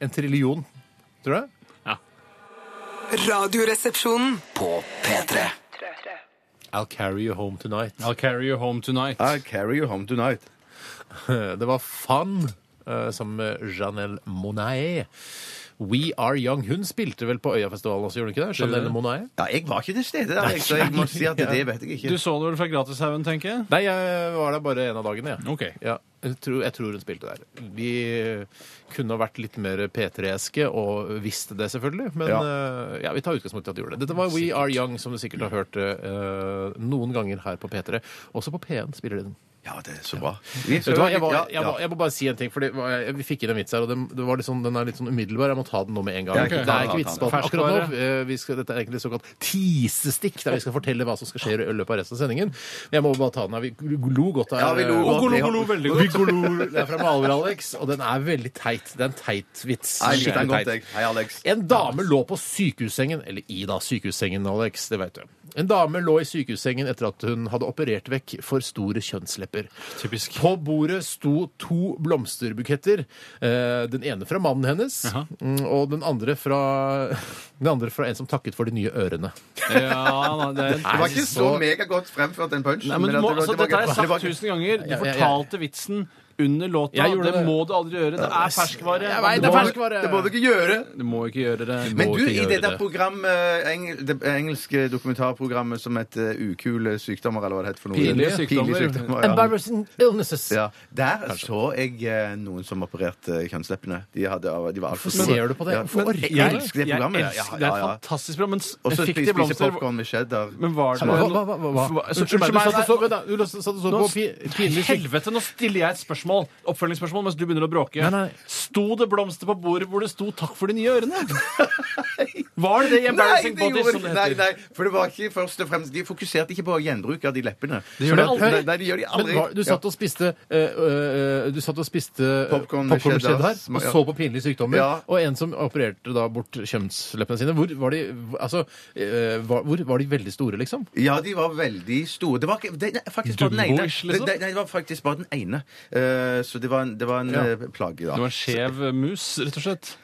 S1: En trillion, tror du? det?
S2: Ja.
S7: Radioresepsjonen.
S6: På P3.
S1: I'll carry you home tonight.
S2: I'll carry you home tonight.
S3: I'll carry you home tonight.
S1: Det var Fan eh, sammen med Janelle Monae. We Are Young. Hun spilte vel på Øyafestivalen også, gjorde hun ikke det? Janelle Monae?
S3: Ja, jeg var ikke til stede der, jeg, så jeg må si at det vet jeg
S2: Du
S3: ikke.
S2: så det vel fra Gratishaugen, tenker jeg?
S1: Nei, jeg var der bare en av dagene, jeg.
S2: Ok.
S1: Ja, jeg, tror, jeg tror hun spilte der. De kunne ha vært litt mer P3-eske og visste det, selvfølgelig. Men ja. ja, vi tar utgangspunkt i at de gjorde det. Dette var We Are Young, som du sikkert har hørt eh, noen ganger her på P3. Også på P1 spiller de den.
S3: Ja, det er så bra. Vi
S1: Vet du hva, jeg, var,
S3: Ja,
S1: jeg,
S3: ja.
S1: må- jeg må bare si en ting, for det var, jeg, vi fikk inn en vits her, og den, det var litt sånn, den er litt sånn umiddelbar. Jeg må ta den nå med en gang.
S3: Ja, ok.
S1: Det
S3: Ta
S1: er
S3: den, ta
S1: ikke
S3: den,
S1: vitsespalten
S2: ta den.
S1: akkurat nå. Eh, Vi skal, dette er egentlig såkalt teasestikk, der vi skal fortelle hva som skal skje i løpet av resten av sendingen. Men jeg må bare ta den her. Vi lo godt av
S3: Ja, vi lo
S1: eh,
S3: godt.
S2: Golo, golo, veldig
S1: Vi glor. Det er fra Maler-Alex, og den er veldig teit. Det er en teit vits.
S3: Nei, jeg likte
S1: Skikkelig
S3: den godt,
S1: teit.
S3: jeg. Hei, Alex.
S1: En dame lå på sykehussengen, eller i da sykehussengen, Alex, det vet du. En dame lå i sykehussengen etter at hun hadde operert vekk for store kjønnslepper.
S2: Typisk.
S1: På bordet sto to blomsterbuketter. Eh, Den ene fra mannen hennes,
S2: Jaha.
S1: mm, og den andre fra den andre fra en som takket for de nye ørene.
S2: Ja, da, det er
S3: Det var
S1: Nei,
S3: ikke så
S1: så-
S3: megagodt fremført, den punchen.
S2: Nei, men du
S3: at
S2: må,
S3: det var-
S2: altså,
S3: det var
S2: dette har jeg
S3: greit. Det var-
S2: sagt tusen ganger. Du
S1: Ja, ja, ja.
S2: fortalte vitsen under låta.
S1: Jeg gjorde
S2: Det
S1: det.
S2: må du aldri gjøre. Det er ferskvare.
S1: Jeg vet,
S2: Du
S1: det er
S2: må-
S1: fersk- ferskvare.
S3: Det må du ikke gjøre.
S2: Du må ikke gjøre det.
S3: Men
S1: må
S3: du,
S1: ikke
S3: i
S1: gjøre
S3: det der
S1: det.
S3: program, eh, engel, det engelske dokumentarprogrammet som heter Ukule sykdommer, eller hva det heter for noe?
S2: Pinlige
S3: Pinlige
S2: sykdommer.
S3: sykdommer, ja.
S1: Embarrassing illnesses.
S3: Ja, der så jeg eh, noen som opererte eh, kjønnsleppene. De, hadde, de var altfor
S1: Hvorfor ser du på det? Hvorfor orker du
S3: jeg,
S1: det?
S3: elsker det
S2: Jeg
S3: programmet.
S2: elsker- Det er et fantastisk program. Men s-
S3: Og så
S2: fikk
S3: spise
S2: de blomster?
S3: popkorn med cheddar.
S2: Men var det
S1: Hva, hva, hva, hva?
S2: Hva- så-
S1: Unnskyld meg, du
S2: nei,
S1: satt og så,
S2: nei,
S1: vent da, du satt og så
S2: nå,
S1: på pi- pinlig syk-
S2: helvete, nå stiller jeg et spørsmål oppfølgingsspørsmål mens du begynner å bråke.
S1: Nei, nei.
S2: Sto det blomster på bordet hvor det sto 'takk for de nye ørene'? Var det det i Embarrassing
S3: det
S2: Bodies,
S3: gjorde-
S2: som det
S3: nei,
S2: heter?
S3: nei, for det var ikke først og fremst De fokuserte ikke på gjenbruk av de leppene.
S1: Det gjør de
S3: Så
S1: aldri.
S3: Nei, nei, de gjør de
S1: Men
S3: aldri.
S1: hva, du satt og spiste eh, eh, Du satt og spiste eh,
S3: Popcorn
S1: popcorn med
S3: med cheddar.
S1: cheddar
S3: Sma-
S1: og
S3: ja.
S1: så på pinlige sykdommer.
S3: Ja.
S1: Og en som opererte da bort kjønnsleppene sine. Hvor var de altså, eh, var, hvor var de veldig store, liksom?
S3: Ja, de var veldig store. Det var ikke, det, nei, faktisk bare den ene.
S2: Dumboish,
S3: Det-
S2: liksom?
S3: det- Nei, det var faktisk bare den ene. Eh, så det var en, det var en eh, plage, da. Eh,
S2: Det var en skjev eh, mus, rett og slett.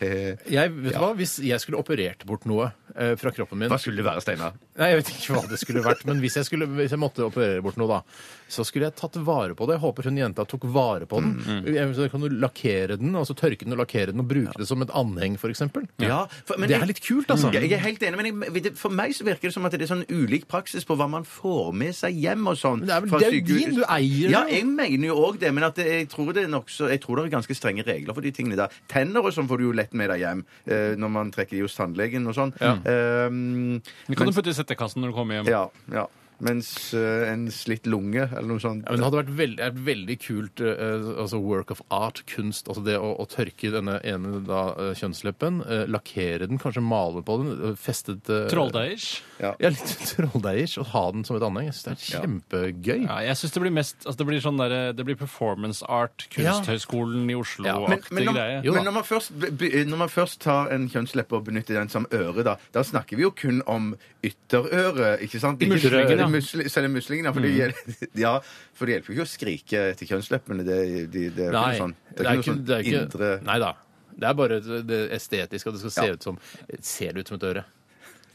S1: Jeg, vet du hva, Hvis jeg skulle operert bort noe eh, fra kroppen min
S3: Hva skulle det være, Steinar?
S1: Nei, Jeg vet ikke hva det skulle vært, men hvis jeg, skulle, hvis jeg måtte operere bort noe, da, så skulle jeg tatt vare på det. Jeg håper hun jenta tok vare på den.
S3: Mm,
S1: Eventuelt kan du lakkere den, altså tørke den og lakkere den og bruke det som et anheng, f.eks.
S3: Ja, for, men
S1: Det
S3: jeg-
S1: er litt kult, altså.
S3: Mm. Jeg, jeg er helt enig, men jeg, for meg så virker det som at det er sånn ulik praksis på hva man får med seg hjem og sånn.
S1: Men det er vel-
S3: fra
S1: det er jo
S3: sykehus.
S1: din, du eier det
S3: Ja,
S1: jo.
S3: jeg mener jo òg det, men at det, jeg, tror det er nok så, jeg tror det er ganske strenge regler for de tingene der. Tenner og sånn får du jo lett med deg hjem eh, når man trekker de hos tannlegen og sånn. Ehm,
S2: Du kan
S3: mens-
S2: jo putte i settekassen når du kommer hjem.
S3: ja, ja. Mens eh, en slitt lunge eller noe sånt
S1: Ja, men det hadde vært veldig, et veldig kult eh, altså work of art, kunst. altså Det å, å tørke denne ene da, eh, kjønnsleppen, eh, lakkere den, kanskje male på den, eh, festet uh,
S2: Trolldeish.
S3: Ja.
S1: Ja, litt trolldeiger. Og ha den som et anheng. Jeg syns det er kjempegøy.
S2: Ja, jeg syns det blir mest altså det, blir sånn der, det blir performance art,
S1: Ja.
S2: Kunsthøgskolen i
S3: men,
S2: Oslo-aktig
S3: men, når,
S2: greie.
S1: Jo da.
S3: men når, man først, be- be- når man først tar en kjønnsleppe og benytter den som øre, da, da snakker vi jo kun om ytterøre, ikke sant? Ikke
S2: Muslingen,
S3: selve
S2: ja.
S3: musli- Selve muslingen, ja. For,
S1: Mm.
S3: det gjelder- ja, for det hjelper jo ikke å skrike etter kjønnsleppene. Det, det, det
S1: Nei,
S3: er jo ikke noe sånn,
S1: det er ikke, det er ikke
S3: indre
S1: Nei da. Det er bare det det estetiske, at det skal se
S3: Ja.
S1: ut som Ser det ut som et øre?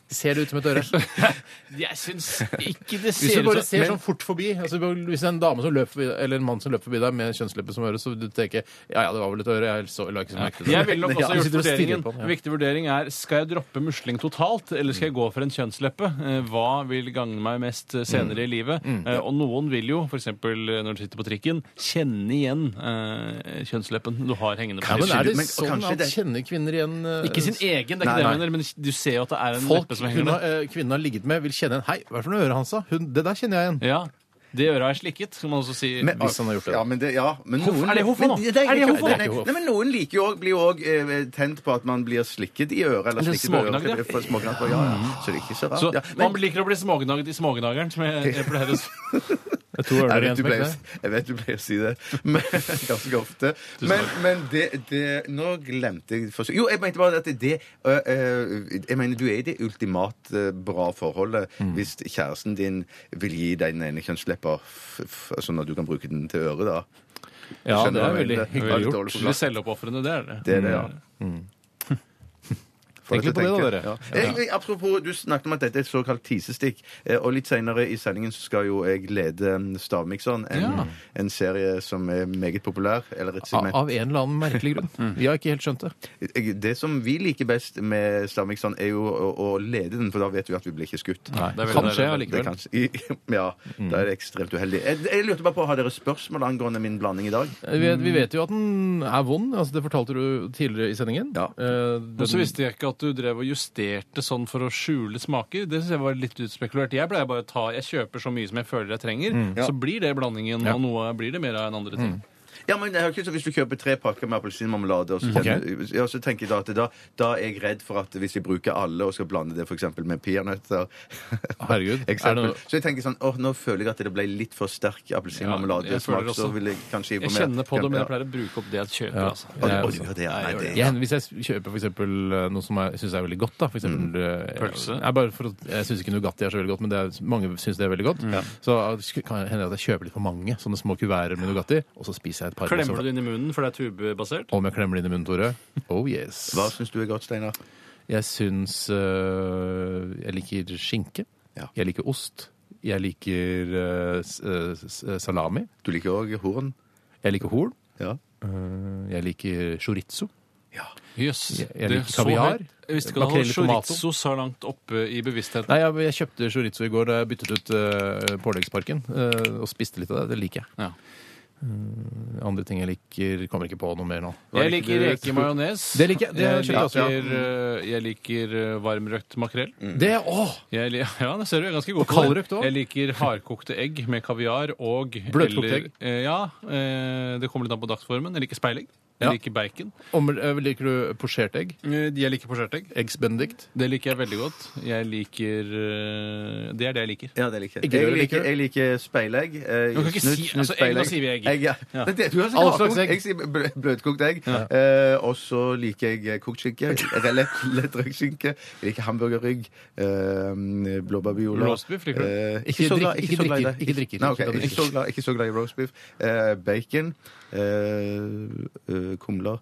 S1: Ser det ut som et øre?
S2: Jeg syns ikke det
S1: Hvis
S2: ser
S1: du bare
S2: ut som
S1: ser sånn fort forbi altså Hvis det er en dame som løper forbi, eller en mann som løper forbi deg med kjønnsleppe som øre, så du tenker ja ja, det var vel et øre, jeg så, la ikke så merke til det.
S2: Jeg ville nok
S3: Ja,
S2: også
S1: du
S2: gjort
S1: sitter og stirrer
S2: vurderingen.
S1: på den, ja.
S2: En viktig vurdering er skal jeg droppe musling totalt, eller skal jeg gå for en kjønnsleppe? Eh, Hva vil gagne meg mest eh, senere i livet? Eh, Og noen vil jo, f.eks. når du sitter på trikken, kjenne igjen eh, kjønnsleppen du har hengende på
S1: Ja, men
S2: tissen.
S1: er det
S3: Men
S1: sånn
S3: kanskje
S1: at
S3: det-
S1: kjenner kvinner igjen eh,
S2: Ikke sin egen, det er ikke
S3: Nei,
S2: det jeg
S3: nei.
S2: mener, men du ser jo at det er en
S1: Folk
S2: leppe som
S1: hun
S2: henger
S1: har,
S2: der.
S1: eh, kvinnen har ligget med, vil kjenne igjen Hei, hva er det for noe øre han sa? Hun, det der kjenner jeg igjen.
S2: Ja, Det øret er slikket, skal man også si.
S3: Men- ah,
S1: Hvis han har gjort det.
S3: Ja, men det, ja, men
S2: Hoff,
S3: noen,
S2: er det hoff
S3: men
S2: nå?
S3: det-
S2: Er det
S3: ikke
S2: hoff
S3: hoff,
S2: nå?
S3: nei. Nei, men noen liker jo òg blir jo òg eh, tent på at man blir slikket i øret. Eller
S2: Eller
S3: slikket på øret.
S2: smågnagd, ja. Mm-hmm.
S3: For smågnagd, ja, ja. Så det er ikke så rart.
S2: Så
S3: ja.
S2: man liker å bli smågnagd i smågnageren, som jeg, jeg pleier å si.
S1: Det er to ørner igjen
S3: Jeg vet, du
S1: som
S3: pleier,
S1: ikke
S3: å
S1: det.
S3: si- jeg vet du pleier å si det men, ganske ofte. Men, men det, det Nå glemte jeg for, Jo, jeg mente bare at det øh, øh, Jeg mener, du er i det ultimat øh, bra forholdet
S2: Mm.
S3: hvis kjæresten din vil gi deg den ene kjønnsleppa, f- f- sånn at du kan bruke den til øret, da.
S1: Ja,
S3: Skjønner
S1: det
S3: hva
S1: er
S3: jeg
S1: veldig
S3: mener.
S1: hyggelig
S3: Veldig
S1: gjort.
S3: dårlig
S2: Skikkelig
S3: forklart.
S2: selvoppofrende, det er det. Mm.
S3: Det er det, ja. Får
S1: Tenk litt
S3: deg til
S1: på
S3: å
S1: det da,
S3: tenke. Ja. Jeg, apropos, du snakket om at dette er et såkalt tisestikk. eh, Og litt senere i sendingen så skal jo jeg lede mm, Stavmikseren, en,
S2: Ja. Ah,
S3: en serie som er meget populær. Eller et
S1: Av
S3: segment.
S1: av en eller annen merkelig grunn. Vi har ikke helt skjønt det.
S3: Jeg- Det som vi liker best med Stavmikseren, er jo å, å lede den, for da vet vi at vi blir ikke skutt.
S2: det er Mm. veldig
S1: kan
S2: deilig.
S1: skje
S3: Det
S1: allikevel.
S3: kan, i, ja, da er det ekstremt uheldig. Jeg, jeg lurte bare på, Har dere spørsmål angående min blanding i dag?
S1: Vi, vi vet jo at den er vond. altså Det fortalte du tidligere i sendingen.
S3: Ja.
S1: Eh,
S2: Men så
S1: den-
S2: visste jeg ikke at du drev og justerte sånn for å skjule smaker. Det synes jeg var litt utspekulert. Jeg pleier bare å ta, jeg kjøper så mye som jeg føler jeg trenger,
S1: Mm.
S2: så blir det blandingen, og noe blir det mer av enn andre ting.
S3: Ja, men jeg har ikke lyst til- Hvis du kjøper tre pakker med appelsinmarmelade, og så,
S2: Mm,
S3: kjenner- ja, så tenker jeg da at da, da er jeg redd for at hvis vi bruker alle og skal blande det for eksempel med peanøtter
S1: Herregud. Er det
S3: eksempel,
S1: noe-
S3: Så jeg tenker sånn åh, nå føler jeg at det ble litt for sterk
S2: Ja, jeg føler
S3: appelsinmarmeladesmak.
S2: også-
S3: så vil jeg kanskje
S2: Jeg kjenner på det, men jeg pleier å bruke opp det jeg kjøper. Altså.
S3: Å, det- å,
S1: Jeg
S3: ja, det er- nei, det er-
S1: Jeg, hvis jeg kjøper for eksempel eh, noe som jeg syns er veldig godt, da, for eksempel
S3: Mm.
S1: eh,
S2: Pølse.
S1: Jeg, bare for, å- jeg syns ikke Nugatti er så veldig godt, men det er, mange syns det er veldig godt.
S2: Mm.
S1: Så eh, sk- kan det hende at jeg kjøper litt for mange sånne små kuverter med Nugatti, og så spiser jeg et par. med
S2: Klemmer
S1: sånn-
S2: du det inn i munnen, for det er tubebasert?
S1: Om jeg klemmer det inn i munnen, Tore? Oh yes.
S3: Hva syns du er godt, Steinar?
S1: Jeg syns eh, Jeg liker skinke.
S3: Ja.
S1: Jeg liker ost. Jeg liker eh, s- eh, s- eh, salami.
S3: Du liker òg horn?
S1: Jeg liker horn.
S3: Ja.
S1: Eh, Jeg liker chorizo.
S2: Jøss.
S1: Jeg- jeg
S2: det
S1: liker
S2: er så
S1: kaviar.
S2: høyt. Jeg visste ikke at
S1: Makrell i
S2: det var
S1: tomato.
S2: chorizo så langt oppe i bevisstheten.
S1: Nei, jeg, jeg kjøpte chorizo i går da jeg byttet ut eh, påleggsparken. eh, og spiste litt av det. Det liker jeg.
S2: Ja.
S1: Mm, andre ting jeg liker Kommer ikke på noe mer nå.
S2: Jeg liker reker i majones.
S1: Det liker jeg. altså, Det
S2: jeg.
S1: skjønner jeg
S2: Liker, eh, jeg liker eh, varmrøkt makrell.
S1: Det, åh!
S2: Jeg, li- ja, det ser du, jeg er ganske god
S1: Og
S2: på det.
S1: kaldrøkt også.
S2: Jeg liker hardkokte egg med kaviar og
S1: Bløtkokte
S2: eller-
S1: egg?
S2: eh, Ja. eh, Det kommer litt an på dagsformen. Jeg liker speilegg. Jeg
S1: Ja.
S2: liker bacon.
S1: Om, eh, liker du posjert egg?
S2: Eh, Jeg liker posjert egg.
S1: Eggs benedict?
S2: Det liker jeg veldig godt. Jeg liker eh, Det er det jeg liker.
S3: Ja, det liker jeg.
S1: Ikke
S3: Jeg
S1: rød, liker
S3: liker,
S1: du?
S3: jeg liker speilegg. Eh,
S2: Du kan ikke
S3: snus-
S2: si-
S3: snus
S2: altså, egg,
S3: speilegg.
S2: da sier vi egg.
S3: ja.
S2: Ja.
S3: Det, det, du har sagt
S1: Alle
S3: hardkokt.
S1: slags egg.
S3: Jeg sier blø- bløtkokt egg. Eh, og så liker jeg eh, kokt skinke. eller Lett, lett røkt skinke. Jeg liker hamburgerrygg. Eh, Blåbærbiola.
S2: Roastbeef liker du?
S3: Eh, ikke,
S1: Ikke
S3: så glad,
S1: drikk-
S3: ikke,
S1: ikke
S3: så glad i
S1: drikker,
S3: det.
S1: ikke drikker.
S3: Nei, ok,
S1: Ikke
S3: ikke, så glad, ikke så glad i roastbeef. Eh, bacon. Eh, eh, kumler.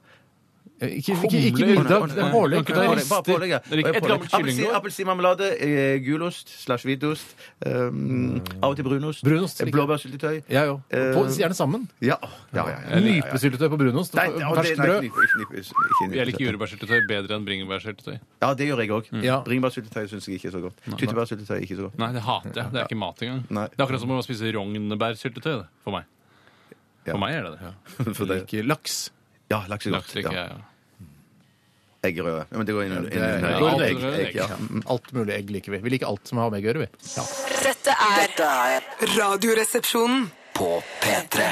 S1: Eh, Ikke, ikke,
S2: Kumler.
S1: ikke middag. Det er
S2: Nei,
S1: pålegg.
S2: nei,
S1: Det er
S2: nei.
S3: Bare pålegg, ja.
S2: Jeg liker et gammelt
S3: Appelsin-
S2: kyllinglår.
S3: Appelsinmarmelade, eh, gulost slash hvitost. Um, av og til brunost.
S1: Brunost, liker
S3: Eh,
S1: jeg.
S3: Blåbærsyltetøy.
S1: Jeg òg. På- Gjerne sammen.
S3: Ja. Eh, ja, ja, ja, ja, ja.
S1: Nypesyltetøy på brunost.
S3: Nei, ja, det-
S1: Ferskt
S3: nei,
S1: brød.
S3: knipe- knipe- ikke knipe-
S2: Jeg liker jordbærsyltetøy bedre enn bringebærsyltetøy.
S3: Ja, det gjør jeg òg.
S1: Ja.
S3: Bringebærsyltetøy syns jeg ikke er så godt. Tyttebærsyltetøy er ikke så godt.
S2: Nei, det hater jeg. Det er ikke mat engang.
S3: Nei.
S2: Det er akkurat som å spise rognebærsyltetøy det, for meg. For meg er det det.
S3: For det.
S1: Ikke laks.
S3: Ja, laks er
S2: Laks
S3: godt.
S2: liker
S3: Ja.
S2: jeg. ja.
S3: Eggerøre. Ja, men det går inn under
S2: ja,
S1: går
S3: egg.
S2: det.
S3: egg, ja.
S1: Alt mulig egg liker vi. Vi liker alt som har med egg å gjøre, vi.
S7: Dette er Radioresepsjonen.
S6: På P3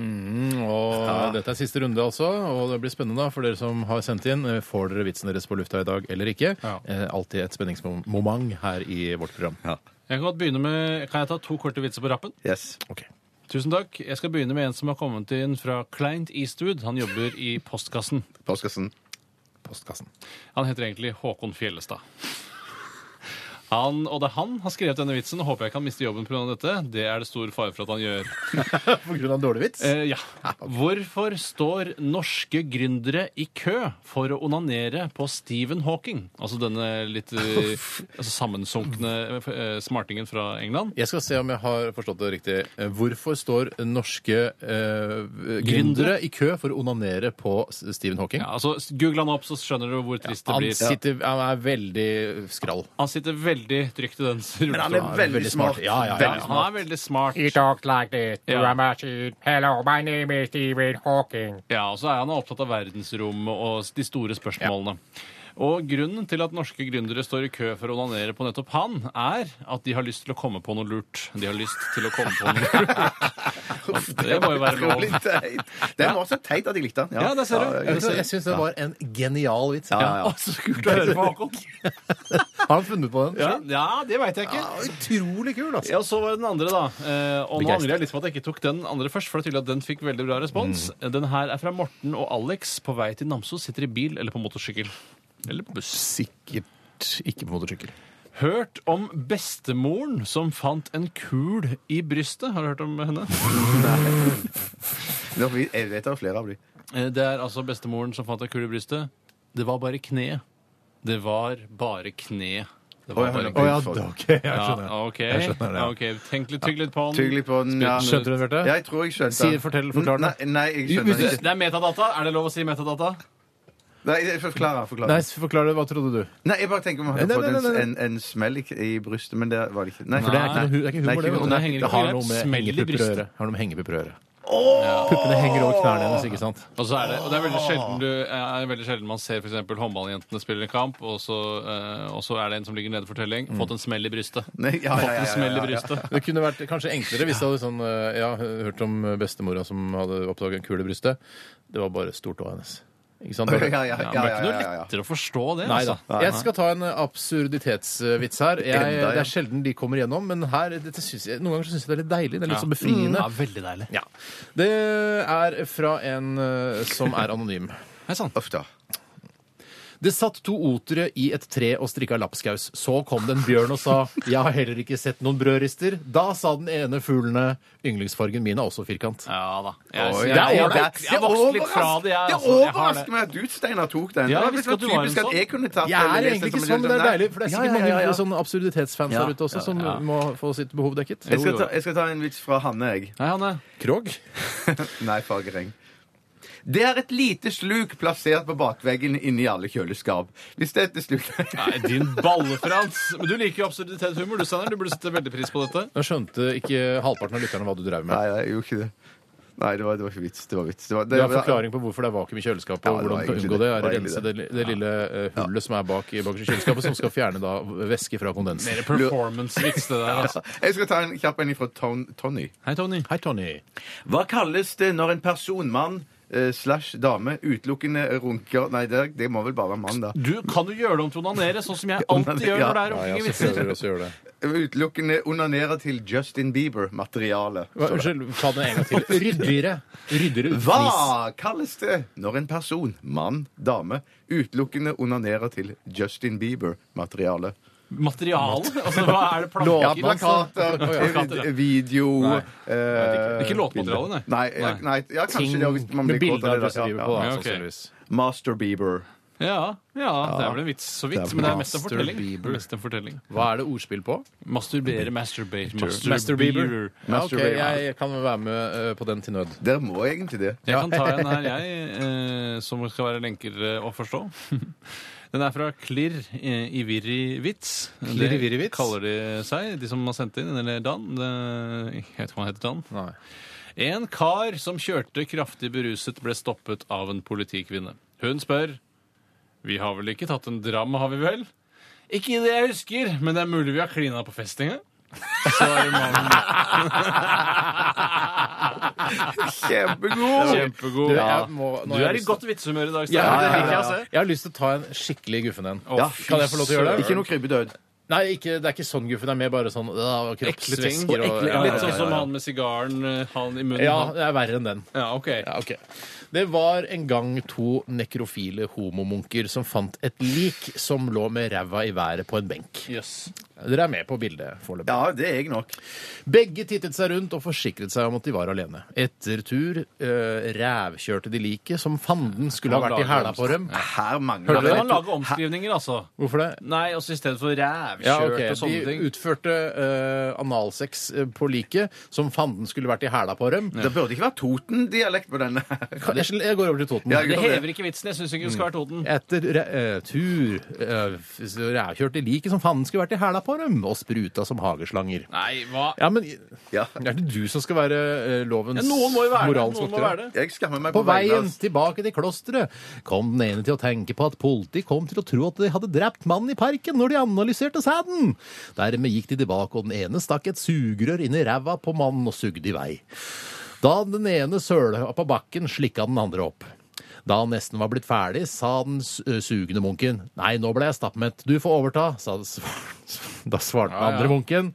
S1: Og dette er siste runde, altså. Og det blir spennende da, for dere som har sendt inn. eh, Får dere vitsen deres på lufta i dag eller ikke?
S2: Ja.
S1: Eh, alltid et spenningsmoment her i vårt program.
S3: Ja.
S2: Jeg kan godt begynne med Kan jeg ta to korte vitser på rappen?
S3: Yes.
S1: Ok.
S2: Tusen takk. Jeg skal begynne med en som har kommet inn fra Client Eastwood. Han jobber i postkassen.
S3: Påskassen.
S1: Postkassen.
S2: Han heter egentlig Håkon Fjellestad. Han, og det er han har skrevet denne vitsen, og håper jeg ikke han mister jobben pga. dette. Det er det stor fare for at han gjør.
S1: På grunn av dårlig vits?
S2: Eh, ja. Hvorfor står norske gründere i kø for å onanere på Stephen Hawking? Altså denne litt eh, altså sammensunkne eh, smartingen fra England.
S1: Jeg skal se om jeg har forstått det riktig. Eh, Hvorfor står norske eh, gründere
S2: Gründere?
S1: i kø for å onanere på S- Stephen Hawking?
S2: Ja, altså, Google han opp, så skjønner du hvor trist det
S1: Han,
S2: blir.
S1: sitter, han er veldig skrall. Altså,
S2: Han sitter veldig trygt i den rullestolen.
S3: Men han er veldig smart.
S1: Ja, ja, ja.
S3: Veldig
S2: Han er veldig smart.
S8: He talks like this to
S2: Yeah.
S8: a machine. Hello, my name is Stephen Hawking.
S2: Ja, og så er han opptatt av verdensrommet og de store spørsmålene. Og grunnen til at norske gründere står i kø for å onanere på nettopp han, er at de har lyst til å komme på noe lurt. De har lyst til å komme på noe lurt. Det må jo være lov.
S3: Utrolig teit. Det var også teit at jeg likte den.
S2: Ja, det ser du.
S3: Ja,
S1: Jeg syns det var en genial vits.
S3: Ja, ja.
S2: Å, så kult å høre på, Håkon.
S1: Har han funnet på den?
S2: Ja, ja det veit jeg ikke.
S1: utrolig kul, altså.
S2: Ja, og Så var det den andre, da. Eh, og nå
S1: Begeistret.
S2: angrer jeg litt på at jeg ikke tok den andre først. For det er tydelig at den fikk veldig bra respons. Den her er fra Morten og Alex på vei til Namsos. Sitter i bil eller på motorsykkel. Eller på buss.
S1: Sikkert ikke på motorsykkel.
S2: Hørt om bestemoren som fant en kul i brystet. Har du hørt om henne?
S3: Nå, vi- Jeg vet det er flere av de.
S2: Eh, Det er altså bestemoren som fant en kul i brystet. Det var bare kneet. Det var bare kneet. Det var
S3: Å, jeg
S2: bare
S3: hører
S1: Å
S2: kneet.
S1: ja, da, ok. Jeg skjønner.
S2: Ja, OK.
S1: Jeg skjønner det.
S2: Ok, Tenk litt, tygg litt på den.
S3: Tygg litt på den. Ja.
S1: Skjønte du det, Bjarte?
S3: Jeg tror jeg skjønte
S1: Si-
S3: den.
S1: fortell- forklar den.
S3: Nei, nei, jeg skjønte den ikke.
S2: Det er metadata. Er det lov å si metadata?
S3: Nei, jeg forklarer. forklarer.
S1: Nei, forklar det. Hva trodde du?
S3: Nei, jeg bare tenker om jeg hadde
S1: Nei, nei,
S3: fått
S1: nei,
S3: en,
S1: nei,
S3: en, en smell i, i brystet, men det var det ikke. Nei,
S1: For det er ikke noe, hu- det er ikke
S3: Nei,
S1: humor, det. vet du.
S3: humor.
S2: Det henger ikke
S1: det har
S2: på
S1: noe med
S2: grep. Smell i
S1: hengepupper å
S2: brystet.
S1: gjøre. Det Har noe med hengepupper å gjøre. Puppene henger over knærne hennes, ikke sant?
S2: Og så er det, og det er
S3: Ah.
S2: veldig sjelden, du, eh, er veldig sjelden man ser f.eks. håndballjentene spille en kamp, og så, eh, og så er det en som ligger nede for telling. Fått en smell i brystet.
S3: Nei, ja, Mm. ja, ja, ja,
S2: Fått en
S3: ja,
S2: smell i
S3: ja, ja.
S2: brystet.
S1: Det kunne vært kanskje enklere hvis du hadde sånn, eh, ja, hørt om bestemora som hadde oppdaget en kule i brystet. Det var bare stort tå hennes. Ikke sant?
S3: Ja, ja, ja,
S2: Ja, men
S3: ja,
S2: det
S3: ja,
S2: er ikke noe
S3: ja, ja.
S2: lettere å forstå det.
S1: Nei da.
S2: altså.
S1: Jeg skal ta en eh, absurditetsvits her. Jeg,
S3: Enda, ja.
S1: Det er sjelden de kommer igjennom, men her, dette synes jeg, noen ganger syns jeg det er litt deilig. Det er litt så befriende.
S2: Ja, veldig deilig.
S1: Ja. Det er fra en eh, som er anonym.
S2: Hei sann.
S3: Uff da.
S1: Det satt to otere i et tre og strikka lapskaus. Så kom det en bjørn og sa 'Jeg har heller ikke sett noen brødrister'. Da sa den ene fuglene 'Yndlingsfargen min er også firkant'.
S2: Ja da. Jeg,
S3: Oi,
S2: jeg,
S3: det er
S2: jeg, jeg,
S3: ålreit.
S2: jeg har vokst litt fra det, jeg.
S3: Det
S2: Altså. Jeg har det.
S3: overrasker meg at du, Steinar, tok den.
S2: Ja,
S3: det
S2: jeg
S3: var
S2: visste at
S3: så
S2: du var en
S3: typisk at
S2: sånn.
S3: jeg kunne tatt
S1: Jeg er egentlig ikke sånn, men det er deilig. For det er sikkert mange
S3: ja, ja.
S1: sånne absurditetsfans
S2: Ja,
S1: der ute også
S2: ja,
S1: som
S2: ja.
S1: må få sitt behov dekket.
S3: Jeg skal,
S2: Jo, jo.
S3: ta, jeg skal ta en vits fra Hanne, jeg.
S2: Hei, Hanne.
S1: Krog?
S3: Nei, Fagereng. Det er et lite sluk plassert på bakveggen inni alle kjøleskap. Hvis dette sluket
S2: Nei, din balle, Frans. Men du liker jo absurditetshumor, du, Steinar. Du burde sette veldig pris på dette.
S1: Nå skjønte ikke halvparten av lytterne hva du drev med.
S3: Nei, jeg gjorde ikke det. Nei, det var, det var ikke vits. Det var vits. Det var, det,
S1: Du har
S3: var-
S1: forklaring på hvorfor det er vakuum i kjøleskapet,
S3: Ja,
S1: og
S3: det
S1: hvordan
S3: var
S1: du kan
S3: egentlig
S1: unngå det.
S3: det.
S1: er å
S3: Det var
S1: rense det,
S3: egentlig
S1: det lille eh, hullet som er bak i bakerst i kjøleskapet, som skal fjerne da væske fra kondens.
S2: Mer performance-vits, det der. Altså.
S3: Jeg skal ta en kjapp en fra Ton, Tony.
S2: Hei, Tony.
S1: Hei, Tony.
S3: Hva kalles det når en person, mann eh, slash dame, utelukkende runker Nei, det, det må vel bare være mann, da.
S2: Du kan jo gjøre det om til onanere, sånn som jeg alltid gjør når det er
S1: Ja,
S2: runking
S1: ja, så
S2: i vitser.
S1: prøver vi også å gjøre det.
S3: Utelukkende onanerer til Justin Bieber-materiale.
S1: Hva- Unnskyld, ta den en gang til. Ryddigere. Ryddigere uten fnis.
S3: Hva kalles det når en person, mann, dame, utelukkende onanerer til Justin Bieber-materiale?
S2: Materiale? Altså, hva er det altså? planker?
S3: Ja,
S1: Plakater,
S3: plakater,
S2: plakater, ja.
S3: eh, video
S2: Nei,
S3: eh,
S2: Ikke låtmateriale, nei.
S3: Nei, ja, nei ja, kanskje det, hvis man
S1: med
S3: blir
S1: bilder
S3: kåt av
S1: av
S3: det.
S1: Justin Bieber på,
S3: Ja,
S1: da,
S3: ja.
S2: Ja, ok.
S1: sannsynligvis.
S3: Master Bieber.
S2: Ja, ja, det er vel en vits så vidt,
S3: Det er
S2: men det er mest en
S1: Master
S2: fortelling.
S1: Bieber.
S2: Mest en fortelling.
S1: Hva er det ordspill på?
S2: Masturbere, masturbate,
S1: Master Bieber. Ja, ok,
S3: Masturbate.
S1: jeg kan være med eh, på den til nød.
S3: Dere må egentlig det.
S2: Jeg kan ta en her, jeg, eh, som skal være lenkere å forstå. Den er fra Klirr eh, i Virri Vits.
S1: Klirr i Virri Vits?
S2: Det kaller de seg, de som har sendt inn, eller Dan. Det- Jeg vet ikke hva han heter, Dan.
S1: Nei.
S2: En kar som kjørte kraftig beruset, ble stoppet av en politikvinne. Hun spør Vi har vel ikke tatt en dram, har vi vel? Ikke det jeg husker, men det er mulig vi har klina på festinga. Svarer mannen.
S3: Kjempegod!
S2: Kjempegod.
S1: Du, jeg må- nå
S2: du
S1: har jeg
S2: er i
S1: lyst
S2: godt vitshumør i
S1: Ja,
S2: dag,
S1: ja,
S2: Steinar. Det liker jeg å
S1: ja,
S2: se.
S1: ja. Jeg har lyst til å ta en skikkelig guffen en.
S2: Å, fy
S1: Kan jeg få lov til å gjøre det?
S3: Ikke noe krybbedød.
S1: Nei, ikke, det er ikke sånn guffen. Det er mer bare sånn øh,
S2: Ekle ting.
S1: kroppsvæsker og ja,
S2: Litt sånn
S1: ja,
S2: som
S1: ja,
S2: han med sigaren, eh, han i munnen.
S1: ja,
S2: han.
S1: det er verre enn den.
S2: Ja, ok.
S1: Ja, ok. Det var en gang to nekrofile homomunker som fant et lik som lå med ræva i været på en benk.
S2: Jøss.
S1: Dere er med på bildet foreløpig.
S3: Ja, det er jeg nok.
S1: Begge tittet seg rundt og forsikret seg om at de var alene. Etter tur eh, rævkjørte de liket som fanden skulle ha vært i hæla på dem.
S3: Her
S2: Da
S3: mangler
S2: kan
S3: det
S2: man lage omskrivninger, altså.
S1: Hvorfor det?
S2: Nei, også i stedet for rævkjørt
S1: Ja, ok.
S2: og sånne
S1: De
S2: ting.
S1: utførte eh, analsex eh, på liket som fanden skulle vært i hæla på dem.
S3: Det burde ikke være Toten-dialekt på denne.
S1: Kan- Jeg jeg går over til Toten.
S3: Ja,
S2: Det hever ikke vitsen. Jeg syns ikke det skal være Toten.
S1: Etter eh, tur eh, så rævkjørte de liket som fanden skulle vært i hæla på dem, og spruta som hageslanger.
S2: Nei, hva
S1: Ja, men
S3: Ja.
S1: er det du som skal være eh, lovens
S2: Ja, Noen må jo være det.
S1: moralens
S2: Noen må
S1: voktere?
S2: være det.
S3: Jeg skammer meg
S1: På
S3: på,
S1: veien
S3: vegne av-
S1: tilbake til klosteret kom den ene til å tenke på at politiet kom til å tro at de hadde drept mannen i parken når de analyserte sæden. Dermed gikk de tilbake, og den ene stakk et sugerør inn i ræva på mannen og sugde i vei. Da den ene søla på bakken, slikka den andre opp. Da han nesten var blitt ferdig, sa den s- sugende munken. Nei, nå ble jeg stappmett. Du får overta, sa den svar- Da svarte den andre munken.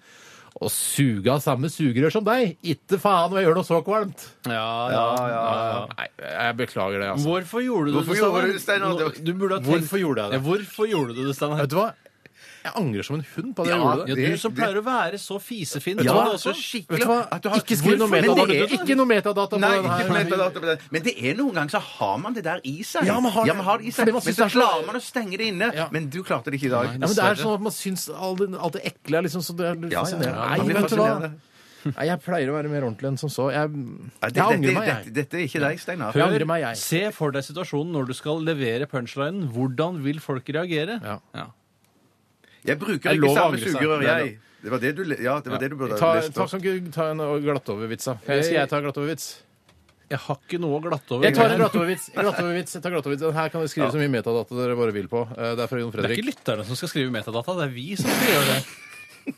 S1: Og suge av samme sugerør som deg. Itte faen hva jeg gjør noe så kvalmt.
S2: Ja, ja,
S1: Nei, jeg beklager det, altså.
S2: Hvorfor gjorde du
S3: Hvorfor
S2: det,
S3: gjorde du det, Steinar?
S2: Nå- Du burde ha tenkt...
S1: Hvorfor gjorde jeg det?
S2: Ja, hvorfor gjorde du det, Steinar?
S1: Vet du hva? Jeg angrer som en hund på det
S3: Ja,
S1: jeg gjorde. det.
S2: Ja, du
S3: det-
S2: som
S3: det-
S2: pleier å være så fisefin.
S3: Ja,
S2: vet du hva?
S3: altså,
S1: Vet
S3: skikkelig
S1: du hva?
S3: at du har-
S1: Ikke skriv noe
S3: Hvorfor? Men
S1: metadata.
S3: det er
S1: Ikke noe metadata på
S3: Nei,
S1: den
S3: ikke
S1: her.
S3: metadata på det. Men det er noen ganger så har man det der i seg.
S1: Ja, man har det.
S3: det i seg.
S1: Fordi man synes
S3: Men så
S1: det er så-
S3: klarer man å stenge det inne.
S1: Ja.
S3: Men du klarte det ikke i dag.
S1: Ja, men det er sånn at man syns alt det, alt det ekle er liksom så det er litt
S3: Ja, ja, ja.
S1: fascinerende.
S3: Man blir
S1: Nei, vet du hva?
S3: fascinerende.
S1: Nei, jeg pleier å være mer ordentlig enn som så. Jeg,
S3: Ja,
S1: jeg
S3: det- dette-
S1: angrer meg,
S3: dette-
S1: jeg.
S3: Dette er ikke deg, Steinar.
S1: Jeg angrer meg, jeg.
S2: Se for deg situasjonen når du skal levere punchlinen. Hvordan vil folk reagere?
S1: Ja.
S3: Jeg bruker
S1: Jeg
S3: ikke
S1: lover å
S3: samme
S1: angre seg.
S3: sugerør,
S1: Det er
S3: jeg. Det var det du, le- ja, det var det du burde
S1: Ta,
S3: ha lest
S1: ta,
S3: opp.
S1: kan ikke du ta en glattovervits, da. Skal jeg ta en glattovervits?
S2: Jeg har ikke noe å glatte over.
S1: Jeg tar en glattovervits. En glattovervits. Jeg tar glattovervits. Den her kan dere skrive så mye metadata dere bare vil på. Eh, Det er fra Jon
S2: Det er
S1: Fredrik.
S2: ikke lytterne som skal skrive metadata, det er vi som skal gjøre det.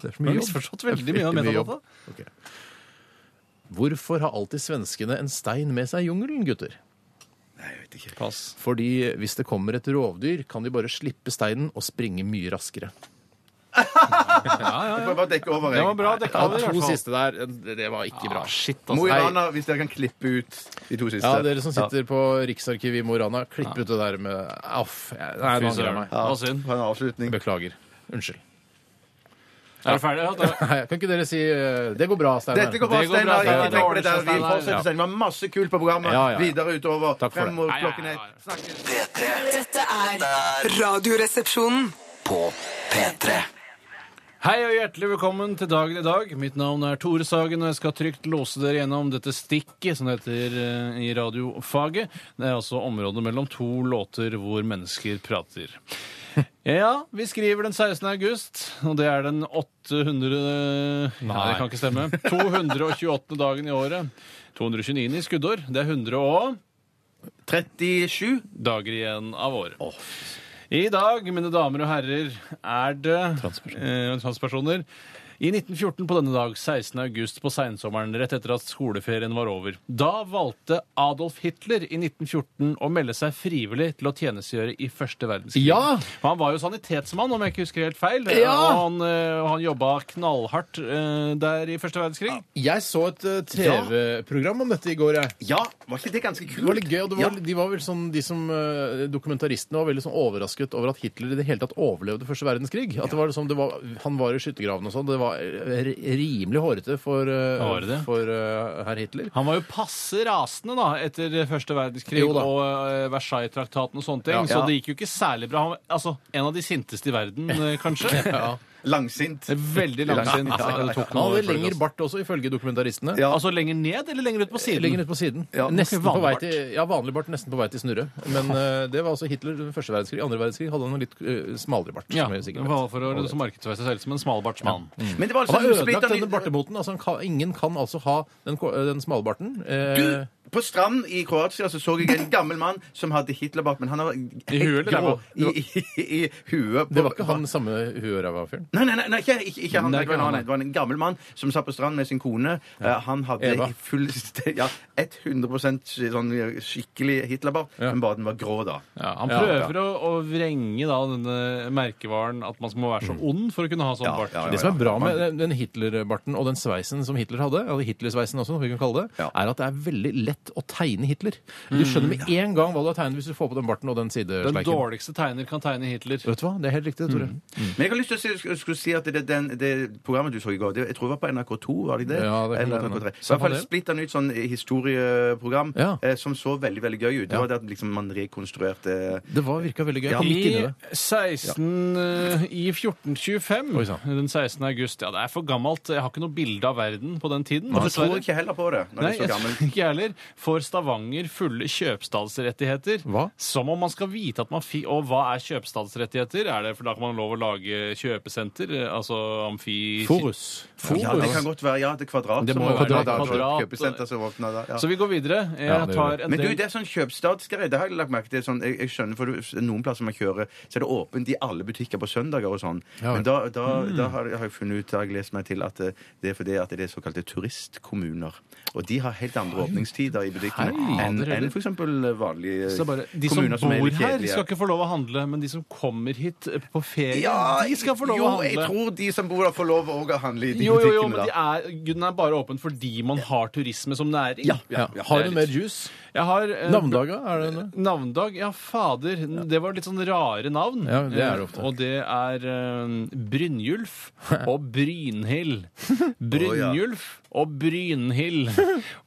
S1: Det er
S2: Vi har misforstått veldig mye av metadata.
S1: Hvorfor har alltid svenskene en stein med seg i jungelen, gutter?
S2: Pass.
S1: Fordi hvis det kommer et rovdyr, kan de bare slippe steinen og springe mye raskere.
S3: Jeg prøver bare å dekke over. jeg.
S2: Det var bra dekka
S1: Ja,
S2: over, i
S1: to
S2: hvert fall. Ah,
S1: siste der, det var ikke bra.
S2: Shit, altså.
S3: Mo i
S2: Nei.
S3: Rana, hvis dere kan klippe ut de to siste.
S1: Ja, dere som sitter på Riksarkivet i Mo i Rana, klipp ut det der med Aff. jeg- Nei, nå
S2: Fy
S1: angrer jeg
S2: søren.
S1: meg.
S2: Det var synd.
S3: Ha en avslutning.
S1: Beklager. Unnskyld.
S2: Er du ferdig? da?
S1: Nei, Kan ikke dere si eh, Det går bra, Steinar.
S3: Dette går bra,
S2: Det går bra,
S3: Steinar. Ikke
S2: Steinar.
S3: tenk på det der. Vi
S2: Ja.
S3: fortsetter sendingen. Det var masse kult på
S1: Ja,
S3: programmet
S1: ja, ja.
S3: videre
S1: Takk
S3: utover.
S1: for det.
S3: Frem mot klokken
S2: Nei,
S3: ett.
S2: nei, nei.
S6: P3
S7: Dette er Radioresepsjonen.
S6: på P3
S2: Hei og hjertelig velkommen til dagen i dag. Mitt navn er Tore Sagen, og jeg skal trygt låse dere gjennom dette stikket som det heter eh, i radiofaget. Det er altså området mellom to låter hvor mennesker prater. Ja, vi skriver den 16. august, og det er den 800 Nei, det kan ikke stemme. 228. dagen i året. 229 i skuddår. Det er 100 og
S3: 37.
S2: dager igjen av året. I dag, mine damer og herrer, er det transpersoner. Eh, transpersoner. I 1914 på denne dag, 16. august på seinsommeren, rett etter at skoleferien var over. Da valgte Adolf Hitler i 1914 å melde seg frivillig til å tjenestegjøre i første verdenskrig.
S1: Ja!
S2: For Han var jo sanitetsmann, om jeg ikke husker helt feil.
S1: Ja!
S2: Og han, eh, og han jobba knallhardt eh, der i første verdenskrig.
S1: Jeg så et eh, TV-program om dette i går, jeg.
S3: Ja, var ikke det ganske
S1: Det var
S3: kult?
S1: litt gøy, og det var, de, var vel sånn, de som eh, dokumentaristene var veldig sånn overrasket over at Hitler i det hele tatt overlevde første verdenskrig. At det var liksom, det var, Han var i skyttergraven og sånn. Det var eh, rimelig hårete for, eh,
S2: Var det det?
S1: for eh, herr Hitler.
S2: Han var jo passe rasende da, etter første verdenskrig
S1: Jo da.
S2: og eh, Versailles-traktaten og sånne ting,
S1: Ja.
S2: så
S1: Ja.
S2: det gikk jo ikke særlig bra. Han var, altså, en av de sinteste i verden, eh, kanskje.
S3: Langsint.
S2: Veldig langsint.
S3: Ja, ja, ja.
S2: Det tok
S1: Han
S2: noe
S1: hadde
S2: for det,
S1: lengre
S2: altså.
S1: bart også, ifølge dokumentaristene.
S3: Ja.
S2: Altså lenger ned eller lenger ut på siden?
S1: Lenger ut på siden.
S3: Ja,
S1: nesten
S2: ikke
S1: på
S2: vanlig
S1: vei
S2: bart.
S1: til, ja, vanlig bart, nesten på vei til snurre. Men eh, det var altså Hitler første verdenskrig. Andre verdenskrig hadde han en litt eh, smalere bart.
S2: Ja,
S1: som jeg sikkert vet. Mm.
S2: bare for å liksom markedsføre seg selv som en smalbartsmann.
S3: Men det var
S1: Han har
S3: altså
S1: ødelagt
S3: splitter-
S1: denne bartemoten. Altså, han kan, ingen kan altså ha den, ko- den smalbarten. Eh,
S3: Du, på strand i Kroatia så, så jeg en gammel mann som hadde Hitlerbart, men han var
S2: I huet, eller
S3: grå.
S2: ræva?
S3: I, i, i huet. på-
S1: det var ikke han samme huøræva-fyren?
S3: Nei, nei, nei, nei, ikke, ikke, ikke han.
S2: Nei,
S3: det, var
S2: ikke
S3: en
S2: han,
S3: annen. det var en gammel mann som satt på stranden med sin kone. Eh, Han hadde
S1: Eva.
S3: full ja, 100 sånn skikkelig Hitlerbart, men bare den var grå, da.
S2: Ja, han
S1: Ja.
S2: prøver Å, å vrenge da, denne merkevaren at man må være
S1: Mm.
S2: så ond for å kunne ha sånn
S3: Ja,
S2: bart.
S3: ja, ja.
S1: Det som er bra med den- den Hitler-barten og den sveisen som Hitler hadde, eller Hitler-sveisen også, som vi kan kalle det,
S3: Ja.
S1: er at det er veldig lett å tegne Hitler. Du skjønner med en gang hva du har tegnet hvis du får på den barten og den
S2: Den
S1: sidesleiken.
S2: dårligste tegner kan tegne Hitler.
S1: Vet du hva? Det er helt riktig, Tore.
S3: Men jeg har lyst til å si, skulle- skulle si at det, den, det programmet du så i går, det, jeg tror det var på NRK2, var det ikke det?
S1: Ja, det kan
S3: Eller
S1: godt hende.
S3: NRK3. I hvert
S1: Samme
S3: fall
S1: det.
S3: splitter nytt sånn historieprogram
S1: Ja.
S3: eh, som så veldig, veldig gøy ut. Det var det at liksom man rekonstruerte
S1: Det var, virka veldig gøy. Jeg
S3: Ja.
S1: kom ikke inn i
S2: I,
S1: det.
S2: 16, eh, I 1425,
S1: Oi sann.
S3: sånn.
S2: den 16. august Ja, det er for gammelt. Jeg har ikke noe bilde av verden på den tiden.
S3: Og så
S2: dessverre.
S3: Altså, tror jeg ikke heller på det når
S2: Nei,
S3: det er
S2: jeg
S3: så
S2: tror
S3: gammelt.
S2: ikke jeg heller. Får Stavanger fulle kjøpstadsrettigheter?
S1: Hva?
S2: Som om man skal vite at man fikk Og hva er kjøpstadsrettigheter? Er det for da kan man lov å lage kjøpesenter? Eh, Altså amfi...
S1: Forus.
S2: Forus.
S3: Ja, det kan godt være. Ja, det er kvadrat
S1: Det må
S3: som
S1: jo være
S3: åpner da,
S1: kvadrat.
S3: tror jeg.
S2: Kvadrat.
S3: Kjøpesenter som åpner da. ja.
S2: Så vi går videre.
S1: Ja,
S2: Jeg
S1: det gjør
S2: tar en
S3: Men du,
S2: del
S3: det er sånn kjøpstadsgreie. Det har jeg lagt merke til. Sånn, jeg, jeg skjønner, for du- Noen plasser man kjører, så er det åpent i alle butikker på søndager og sånn.
S1: Ja,
S3: Men da, da,
S2: Mm.
S3: da har, jeg- har jeg funnet ut, har jeg lest meg til, at eh, det er fordi at det er såkalte turistkommuner. Og de har helt andre åpningstider kjedeligere i butikkene
S2: Hei.
S3: enn
S2: Fader,
S3: en f.eks. vanlige
S2: Så det er bare, de som
S3: kommuner som er
S2: bor
S3: litt
S2: her,
S3: kjedelige.
S2: skal ikke få lov å handle, men de som kommer hit eh, på ferie,
S3: Ja,
S2: de skal få lov
S3: jo,
S2: å handle.
S3: jeg tror de som bor der, får lov òg å handle i de
S2: jo, jo, jo, men
S3: butikkene.
S2: de
S3: da.
S2: er, den er bare åpen fordi man har turisme som næring.
S1: Ja.
S2: Det er
S1: Har du
S2: litt-
S1: mer juice?
S2: Jeg har eh,
S1: Navndaga, er det noe?
S2: Navndag? Ja, fader. Det var litt sånn rare navn.
S1: Ja, det er det ofte.
S2: Eh, Og det er eh, Brynjulf og Brynhild. Brynjulf og Brynhild.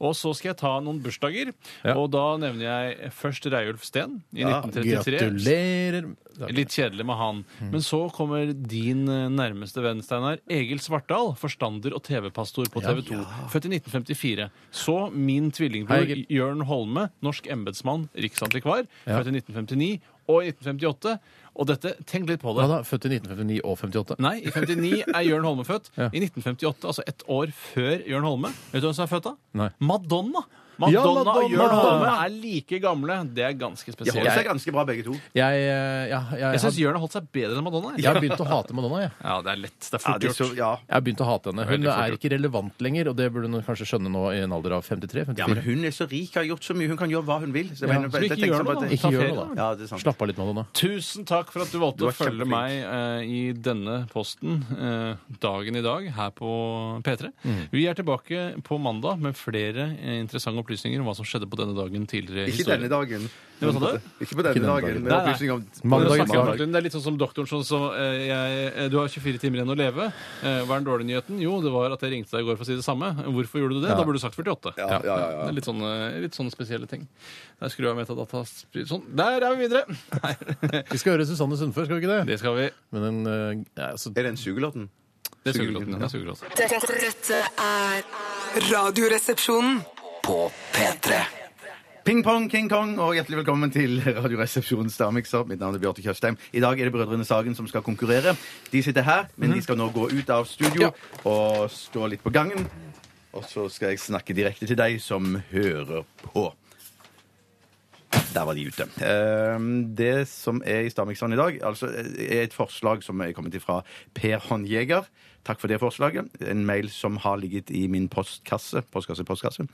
S2: Og så skal jeg ta noen bursdager,
S1: Ja.
S2: og da nevner jeg først Reiulf Steen i
S3: Ja,
S2: 1933.
S1: Gratulerer.
S2: Litt kjedelig med han.
S1: Mm.
S2: Men så kommer din eh, nærmeste venn, Steinar. Egil Svartdal, forstander og TV-pastor på TV 2. Født i 1954. Så min
S1: Hei,
S2: tvillingbror
S1: Egil.
S2: Jørn Holme, norsk embetsmann, riksantikvar. Født i 1959 og i 1958. Og dette, tenk litt på
S1: Hva
S2: det.
S1: da? Født i 1959 og 58.
S2: Nei, i 59 er Jørn Holme født.
S1: Ja.
S2: I 1958, altså ett år før Jørn Holme. Vet du hvem som er født da?
S1: Nei.
S2: Madonna!
S1: Ja,
S2: Madonna,
S1: Madonna!
S2: og Jørn Holme er like gamle. Det er ganske
S3: De holder
S2: spesielt.
S3: seg ganske bra, begge to.
S1: Jeg, eh, ja, jeg,
S2: Jeg
S1: jeg,
S2: syns
S1: har-
S2: Jørn har holdt seg bedre enn Madonna. jeg.
S1: jeg har begynt å hate Madonna, jeg.
S2: Ja, det er lett. Det er
S3: Ja,
S2: fort
S3: det er
S2: gjort.
S3: så, ja.
S1: Jeg har begynt å hate henne. Hun
S2: Veldig fort
S1: er ikke relevant lenger, og det burde hun kanskje skjønne nå i en alder av 53-54.
S3: ja, men hun er så rik, har gjort så mye. Hun kan gjøre hva hun vil.
S1: Ja,
S3: Så jeg mener,
S2: så
S3: jeg
S2: ikke
S3: tenker
S2: gjør
S3: sånn
S2: noe,
S3: på at-
S2: da. Ta
S1: Ikke gjør
S2: ferie,
S1: noe, da.
S3: Ja, det er sant.
S1: Slapp av litt, Madonna.
S2: Tusen takk for at du valgte
S3: Du
S2: å
S3: var
S2: følge
S3: kjempeflink.
S2: meg eh, i denne posten eh, dagen i dag her på P3.
S3: Mm.
S2: Vi er tilbake på mandag med flere eh, interessante opplysninger om hva som skjedde på denne dagen tidligere i
S3: Ikke denne
S2: historien.
S3: dagen.
S2: Ja, hva sa du?
S3: Ikke på denne
S1: denne
S3: dagen.
S1: dagen.
S3: Med
S2: Nei, sånn nei.
S3: opplysning om
S1: Mandag
S2: Dere
S1: i
S2: snakker om
S1: dag.
S2: doktoren. Det er litt sånn som doktoren som så, eh, jeg, eh, Du har 24 timer igjen å leve. Eh, hva er den dårlige nyheten? Jo, det var at jeg ringte deg i går for å si det samme. Hvorfor gjorde du det? Da burde du sagt 48.
S3: ja, ja, ja.
S2: Det er litt sånne, litt sånne spesielle ting. Der skrur jeg av metadata. Sånn. Der er vi videre! Nei,
S1: Vi skal høre Susanne Sundfør, skal vi ikke det?
S2: det skal vi.
S1: Men den, eh, ja, altså,
S3: Er det en sugelåten?
S2: Det er sugelåten. ja, det er sugelåten.
S7: Dette, dette er Radioresepsjonen.
S6: På P3.
S3: Ping pong, King Kong, og hjertelig velkommen til Radioresepsjonens Damikser. Mitt navn er Bjarte Tjøstheim. I dag er det Brødrene Sagen som skal konkurrere. De sitter her, men
S2: Mhm.
S3: de skal nå gå ut av studio og stå litt på gangen. Og så skal jeg snakke direkte til deg som hører på. Der var de ute. Ehm, Det som er i Stamikseren i dag, altså, er et forslag som er kommet ifra Per Håndjeger. Takk for det forslaget. En mail som har ligget i min postkasse, postkasse, postkasse,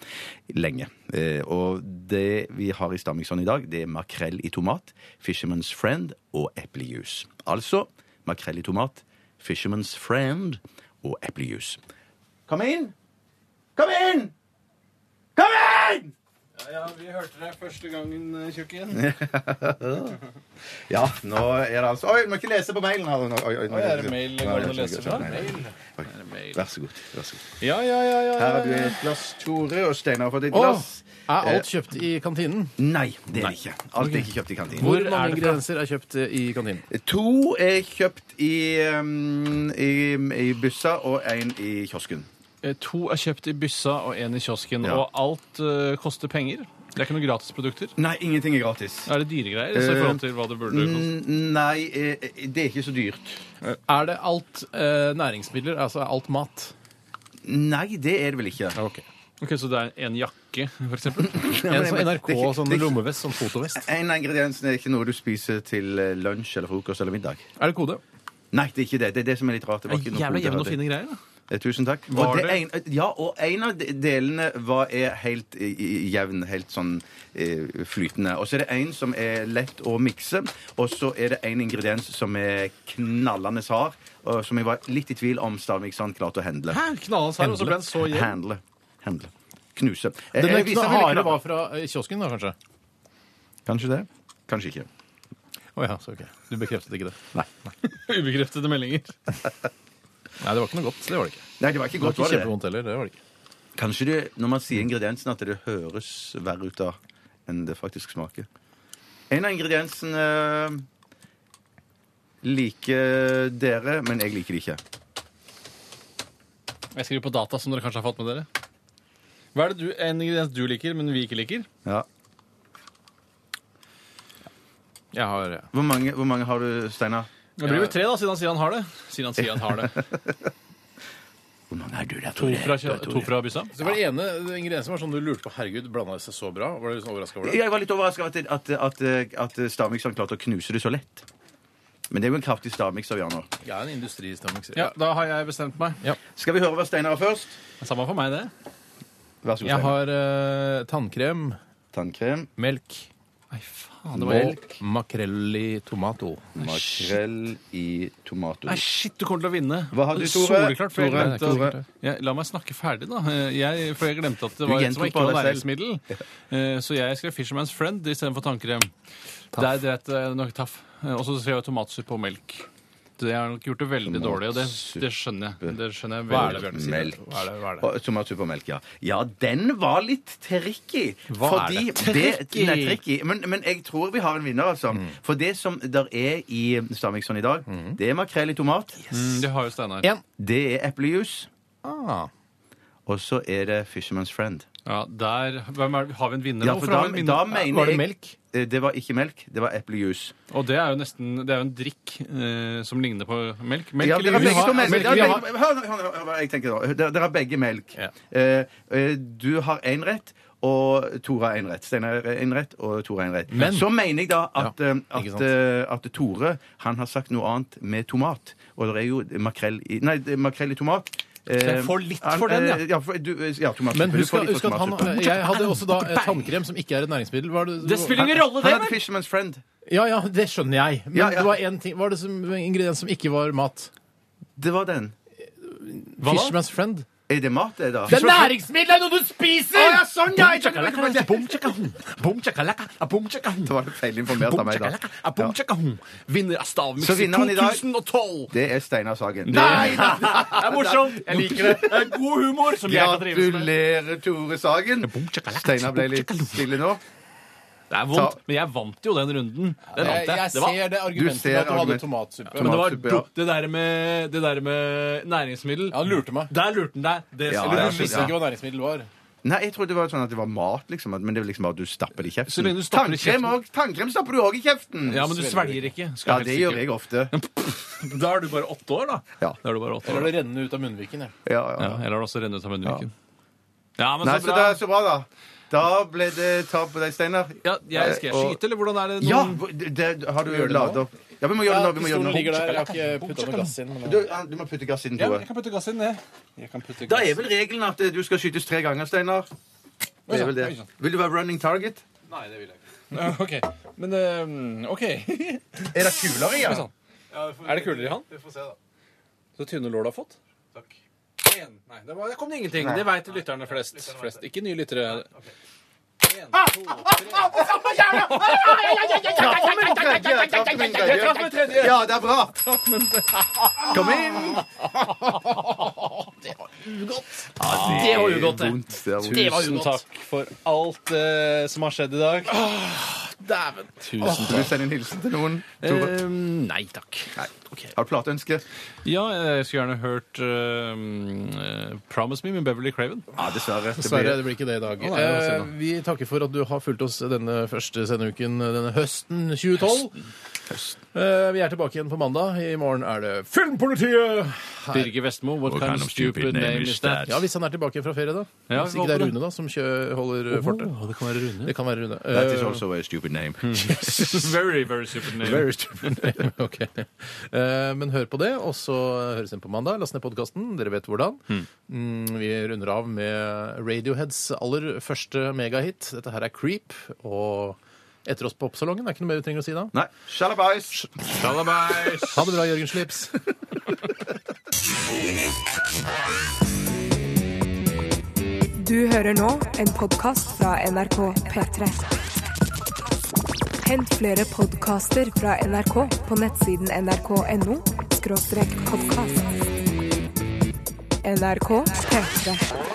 S3: lenge. Eh, Og det vi har i Stamikseren i dag, det er makrell i tomat, Fisherman's Friend og eplejus. Altså makrell i tomat, Fisherman's Friend og eplejus. Kom inn! Kom inn! Kom inn!
S2: Ja, vi hørte deg første gangen, eh, tjukken.
S3: Ja, nå er det altså Oi, du må ikke lese på mailen her. Nå, oi, oi, nå,
S2: Oi, er det mail?
S3: Nei,
S2: Går det
S3: jeg
S2: an å
S3: skjønner,
S2: lese fra?
S3: jeg skjønner. Oi,
S2: mail?
S3: Vær så god. vær så god.
S2: Ja, ja, ja. ja,
S3: Her
S2: ja,
S3: har du
S2: ja.
S3: et glass, Tore, og Steinar har fått et
S1: Åh,
S3: glass.
S1: er
S3: eh,
S1: alt kjøpt i kantinen?
S3: Nei, det er det ikke. Alt er ikke kjøpt i kantinen.
S1: Hvor
S2: er det
S1: mange
S2: fra?
S1: ingredienser er kjøpt eh, i kantinen?
S3: To er kjøpt i, um, i, i byssa, og én i kiosken.
S2: Eh, To er kjøpt i byssa og én i kiosken.
S3: Ja.
S2: Og alt eh, koster penger. Det er ikke noen gratisprodukter.
S3: Nei, ingenting er gratis.
S2: Er det dyre greier så i forhold til hva det burde koste?
S3: Mm, Nei, eh, det er ikke så dyrt.
S1: Er det alt eh, næringsmidler? Altså er alt mat?
S3: Nei, det er det vel ikke.
S1: Ok.
S2: Ok, Så det er en jakke, for eksempel?
S1: En
S3: men-
S1: sånn
S3: men-
S1: NRK
S3: det er ikke-
S1: sånn
S3: det er ikke-
S1: lommevest, sånn fotovest.
S3: En av ingrediensene er ikke noe du spiser til eh, lunsj eller frokost eller middag.
S1: Er det kode?
S3: Nei, det er ikke det. Det er det som er litt rart. Det var ikke noe
S2: Jævla
S3: kode
S2: jevne og
S3: her.
S2: fine greier, da.
S3: Eh, Tusen takk.
S2: Var
S3: Og det
S2: det?
S3: en, ja, og en av de- delene var, er helt eh, jevn, helt sånn eh, flytende. Og så er det en som er lett å mikse, og så er det en ingrediens som er knallende hard, og som jeg var litt i tvil om stavmikseren klarte å handle.
S2: Hæ? Knallende her, og så ble den så jevn.
S3: Handle. Handle. Knuse. Eh,
S1: Den
S3: jeg
S1: ekte
S3: viser vel
S1: harde
S3: knapp-
S1: var fra eh, kiosken, da kanskje?
S3: Kanskje det. Kanskje ikke.
S1: Å ja, så ok. Du bekreftet ikke det.
S3: Nei.
S2: Ubekreftede meldinger.
S1: Nei, det var ikke noe godt. Det var det ikke.
S3: Nei, det var ikke
S1: Det var ikke
S3: godt, var det det?
S1: kjempevondt heller. Det var det ikke.
S3: Kanskje det, når man sier ingrediensen, at det høres verre ut da enn det faktisk smaker. En av ingrediensene eh, liker dere, men jeg liker det ikke.
S2: Jeg skriver på data, som dere kanskje har fått med dere. Hva er det du, en ingrediens du liker, men vi ikke liker?
S3: Ja.
S1: Jeg har, ja.
S3: Hvor, mange, hvor mange har du, Steinar?
S2: Det blir jo tre, da, siden han sier han har det. Siden han sier han har det.
S3: Hvor mange er du der,
S2: To
S3: Tore?
S2: fra, kjø- to fra byssa.
S1: Så det var det ene ingrediensen var sånn du lurte på Herregud, blanda det seg så bra? Var du liksom overraska over det?
S3: Jeg var litt overraska over at, at, at, at stavmikseren klarte å knuse det så lett. Men det er jo en kraftig stavmikser vi har nå.
S1: Jeg er en industristemming.
S2: Ja, da har jeg bestemt meg.
S3: Skal vi høre hva Steinar har først?
S2: Samme for meg, det.
S3: Vær så god.
S1: Jeg
S3: Steinar.
S1: har eh, tannkrem,
S3: Tannkrem,
S1: melk,
S2: Nei, faen, det var elg.
S1: og makrell i tomato.
S3: makrell i
S2: Nei,
S3: tomatos.
S2: shit, du kommer til å vinne.
S3: Hva har du, Tore?
S2: Soleklart, for jeg
S3: Tore,
S2: glemte
S3: Tore.
S2: at- Ja, la meg snakke ferdig, da. Jeg, for jeg glemte at det
S3: Du
S2: var et som
S3: gjentok
S2: ikke var
S3: bare deg selv.
S2: næringsmiddel. Eh, Så jeg skrev Fisherman's Friend istedenfor tannkrem. Der dreit jeg nok taff. Eh, Og så skrev jeg tomatsuppe og melk. Så Jeg har nok gjort det veldig dårlig, og det, det skjønner jeg. Det skjønner jeg
S3: Hva er
S2: veldig
S3: det?
S2: Bjørn sier.
S3: Melk.
S2: Hva er det? Hva er det?
S3: Og Tomatsuppe og melk, ja. Ja, den var litt tricky.
S2: Hva er det? Tricky?
S3: nei, tricky. Men, men jeg tror vi har en vinner, altså.
S2: Mm.
S3: For det som der er i Stamviksson i dag, det er makrell i tomat,
S2: Mm, Det har jo Steinar.
S1: En.
S3: det er eplejus,
S1: Ah.
S3: og så er det Fisherman's Friend.
S2: Ja, der hvem er, Har vi en vinner
S3: Ja,
S2: nå?
S3: for
S2: For har
S3: da,
S2: vi en vinner?
S3: da mener
S1: Var det
S3: jeg-
S1: melk?
S3: Eh, Det var ikke melk, det var eplejus.
S2: Og det er jo nesten Det er jo en drikk eh, som ligner på melk. Melk
S3: Ja, dere har
S2: jus?
S3: begge to melk.
S2: Melk,
S3: Dere har
S2: vi har-
S3: begge- Hør, hør, hør, hør hva jeg tenker da. Dere- Dere har begge melk. Eh, eh, Du har én rett. Og Tore har én rett. Steinar har én rett, og Tore har én rett.
S1: Men-
S3: så mener jeg da at,
S1: Ja,
S3: eh,
S1: ikke
S3: at,
S1: sant.
S3: eh, at Tore han har sagt noe annet med tomat. Og det er jo makrell i Nei, det er makrell i tomat. Eh,
S2: jeg får litt for den, ja.
S3: eh, for, du, eh, ja tomat,
S1: Men
S3: du
S1: husk,
S3: får litt for
S1: husk at han,
S3: tomatsuppe.
S1: jeg hadde også da eh, tannkrem som ikke er et næringsmiddel. Hva er det,
S2: Det spiller ingen rolle,
S3: Han
S2: det!
S3: hadde
S2: vel?
S3: Fisherman's Friend.
S1: Ja, ja, det skjønner jeg. Men
S3: Ja, ja.
S1: det var en ting, hva er det som ingrediens som ikke var mat?
S3: Det var den.
S2: Hva da?
S1: Fishman's friend.
S3: Er det mat, det, da?
S1: Det er næringsmiddel! Det er noe du spiser!
S3: Å, ja, sånn, ja, jeg skjønner hva du Det
S2: Det
S3: var feilinformert av meg, da. Ja.
S2: Vinner av
S3: Så
S2: Stavmiksen
S3: vinner han i dag.
S2: 2012!
S3: Det er Steinar Sagen.
S2: Nei! Det er morsomt!
S1: Jeg liker det.
S2: Det er god humor som jeg kan trives med.
S3: Gratulerer, Tore Sagen. Steinar ble litt stille nå.
S2: Det er vondt, men jeg vant jo den runden. Den
S1: Jeg,
S2: vant jeg.
S1: jeg
S2: Det var,
S1: ser det
S3: Du
S1: argumentet
S3: ser
S1: med at du hadde
S3: argument-
S1: tomatsuppe.
S3: Tomat-
S2: men det var
S3: Matsuppe, ja.
S2: dumt, det der med, det der med næringsmiddel.
S1: Ja, han lurte meg.
S2: Der lurte han deg. Det,
S3: Ja, ja,
S2: eller
S1: Du
S2: du
S3: jeg
S2: visste
S1: visste
S3: skjønner.
S2: ikke.
S1: ikke hva næringsmiddel var.
S3: Nei, jeg trodde det var sånn at det var mat, liksom. at- Men det er liksom bare at du stapper det i kjeften.
S2: Så lenge du stapper det i
S3: Tannkrem
S2: kjeften.
S3: også- Tannkrem stapper du òg i kjeften!
S2: Ja, men du svelger ikke. skal
S3: Ja,
S2: jeg
S3: det
S2: helt
S3: gjør
S2: sikkert.
S3: jeg ofte.
S2: Da er du bare åtte år, da.
S3: Ja.
S2: Da er du bare åtte
S1: Eller
S2: år.
S1: det rennende ut av munnviken. jeg.
S3: Ja,
S2: Ja,
S3: ja.
S2: eller har det også rennet ut av munnviken. Ja, men
S3: Nei,
S2: så
S3: så
S2: bra.
S3: det er så bra, da. Da ble det tap på deg, Steinar.
S2: Ja, jeg, skal jeg
S3: Og-
S2: skyte, eller hvordan er det?
S3: Ja! Det, det, har du
S1: Gjør det
S3: ladet
S1: nå?
S3: opp? Ja, vi må gjøre det nå. Vi må gjøre
S1: Pistolen
S3: det nå.
S1: ligger der. Jeg har ikke putta noe gass inn. Men...
S3: Du, ja, du må putte gass inn, Tore.
S2: kan putte gass inn, det. Jeg kan putte
S3: Da er vel regelen at eh, du skal skytes tre ganger, Steinar. Det er vel det. Vil du være running target?
S2: Nei, det vil jeg ikke. OK. Men eh, OK.
S3: Er det kulere, ja?
S2: Er det kulere i han? Vi får se, da. Så tynne lår du har fått? Takk. En. Nei, det var, der kom det ingenting. Det veit lytterne flest. flest. Ikke nye lyttere. En, to, tre. Jeg traff med tredje.
S3: Ja, det er bra! Kom inn!
S2: Det var ugodt, det.
S3: Vondt, det er vondt.
S2: Tusen takk for alt eh, som har skjedd i dag. Dæven. Tusen
S3: Vil du sende en hilsen til noen? Tore?
S2: Eh, nei takk.
S3: Har du plateønske?
S2: Ja, jeg skulle gjerne hørt eh, eh, 'Promise Me' med Beverly Craven.
S3: Ja, dessverre. Det
S1: Dessverre,
S3: blir-
S1: det blir ikke det i dag.
S2: Å, nei, det var synd,
S1: Eh, vi takker for at du har fulgt oss denne første sendeuken denne høsten 2012. Eh, vi er tilbake igjen på mandag. I morgen er det Filmpolitiet!
S2: Birger Vestmo, 'What, kind, of stupid, name is that?'
S1: Ja, Hvis han er tilbake fra ferie, da.
S2: Ja,
S1: hvis
S2: vi
S1: ikke det er
S2: håper det.
S1: Rune da, som kjø holder eh, fortet.
S2: Åh, det kan være Rune.
S1: Det kan være Rune.
S3: That is
S1: Eh,
S3: also a stupid name.
S2: Very, very stupid name.
S1: Very stupid. ok. Eh, men hør på det, og så høres inn på mandag. Last ned podkasten. Dere vet hvordan.
S2: Hmm.
S1: Mm, vi runder av med Radioheads aller første megahit. Dette her er Creep. Og etter oss på Oppsalongen. Det er ikke noe mer vi trenger å si da.
S3: Nei, shalabais!
S2: Shalabais.
S1: Ha det bra, Jørgen Slips.
S5: Du hører nå en podkast fra NRK P3. Hent flere podkaster fra NRK på nettsiden nrk.no podkast. NRK P3.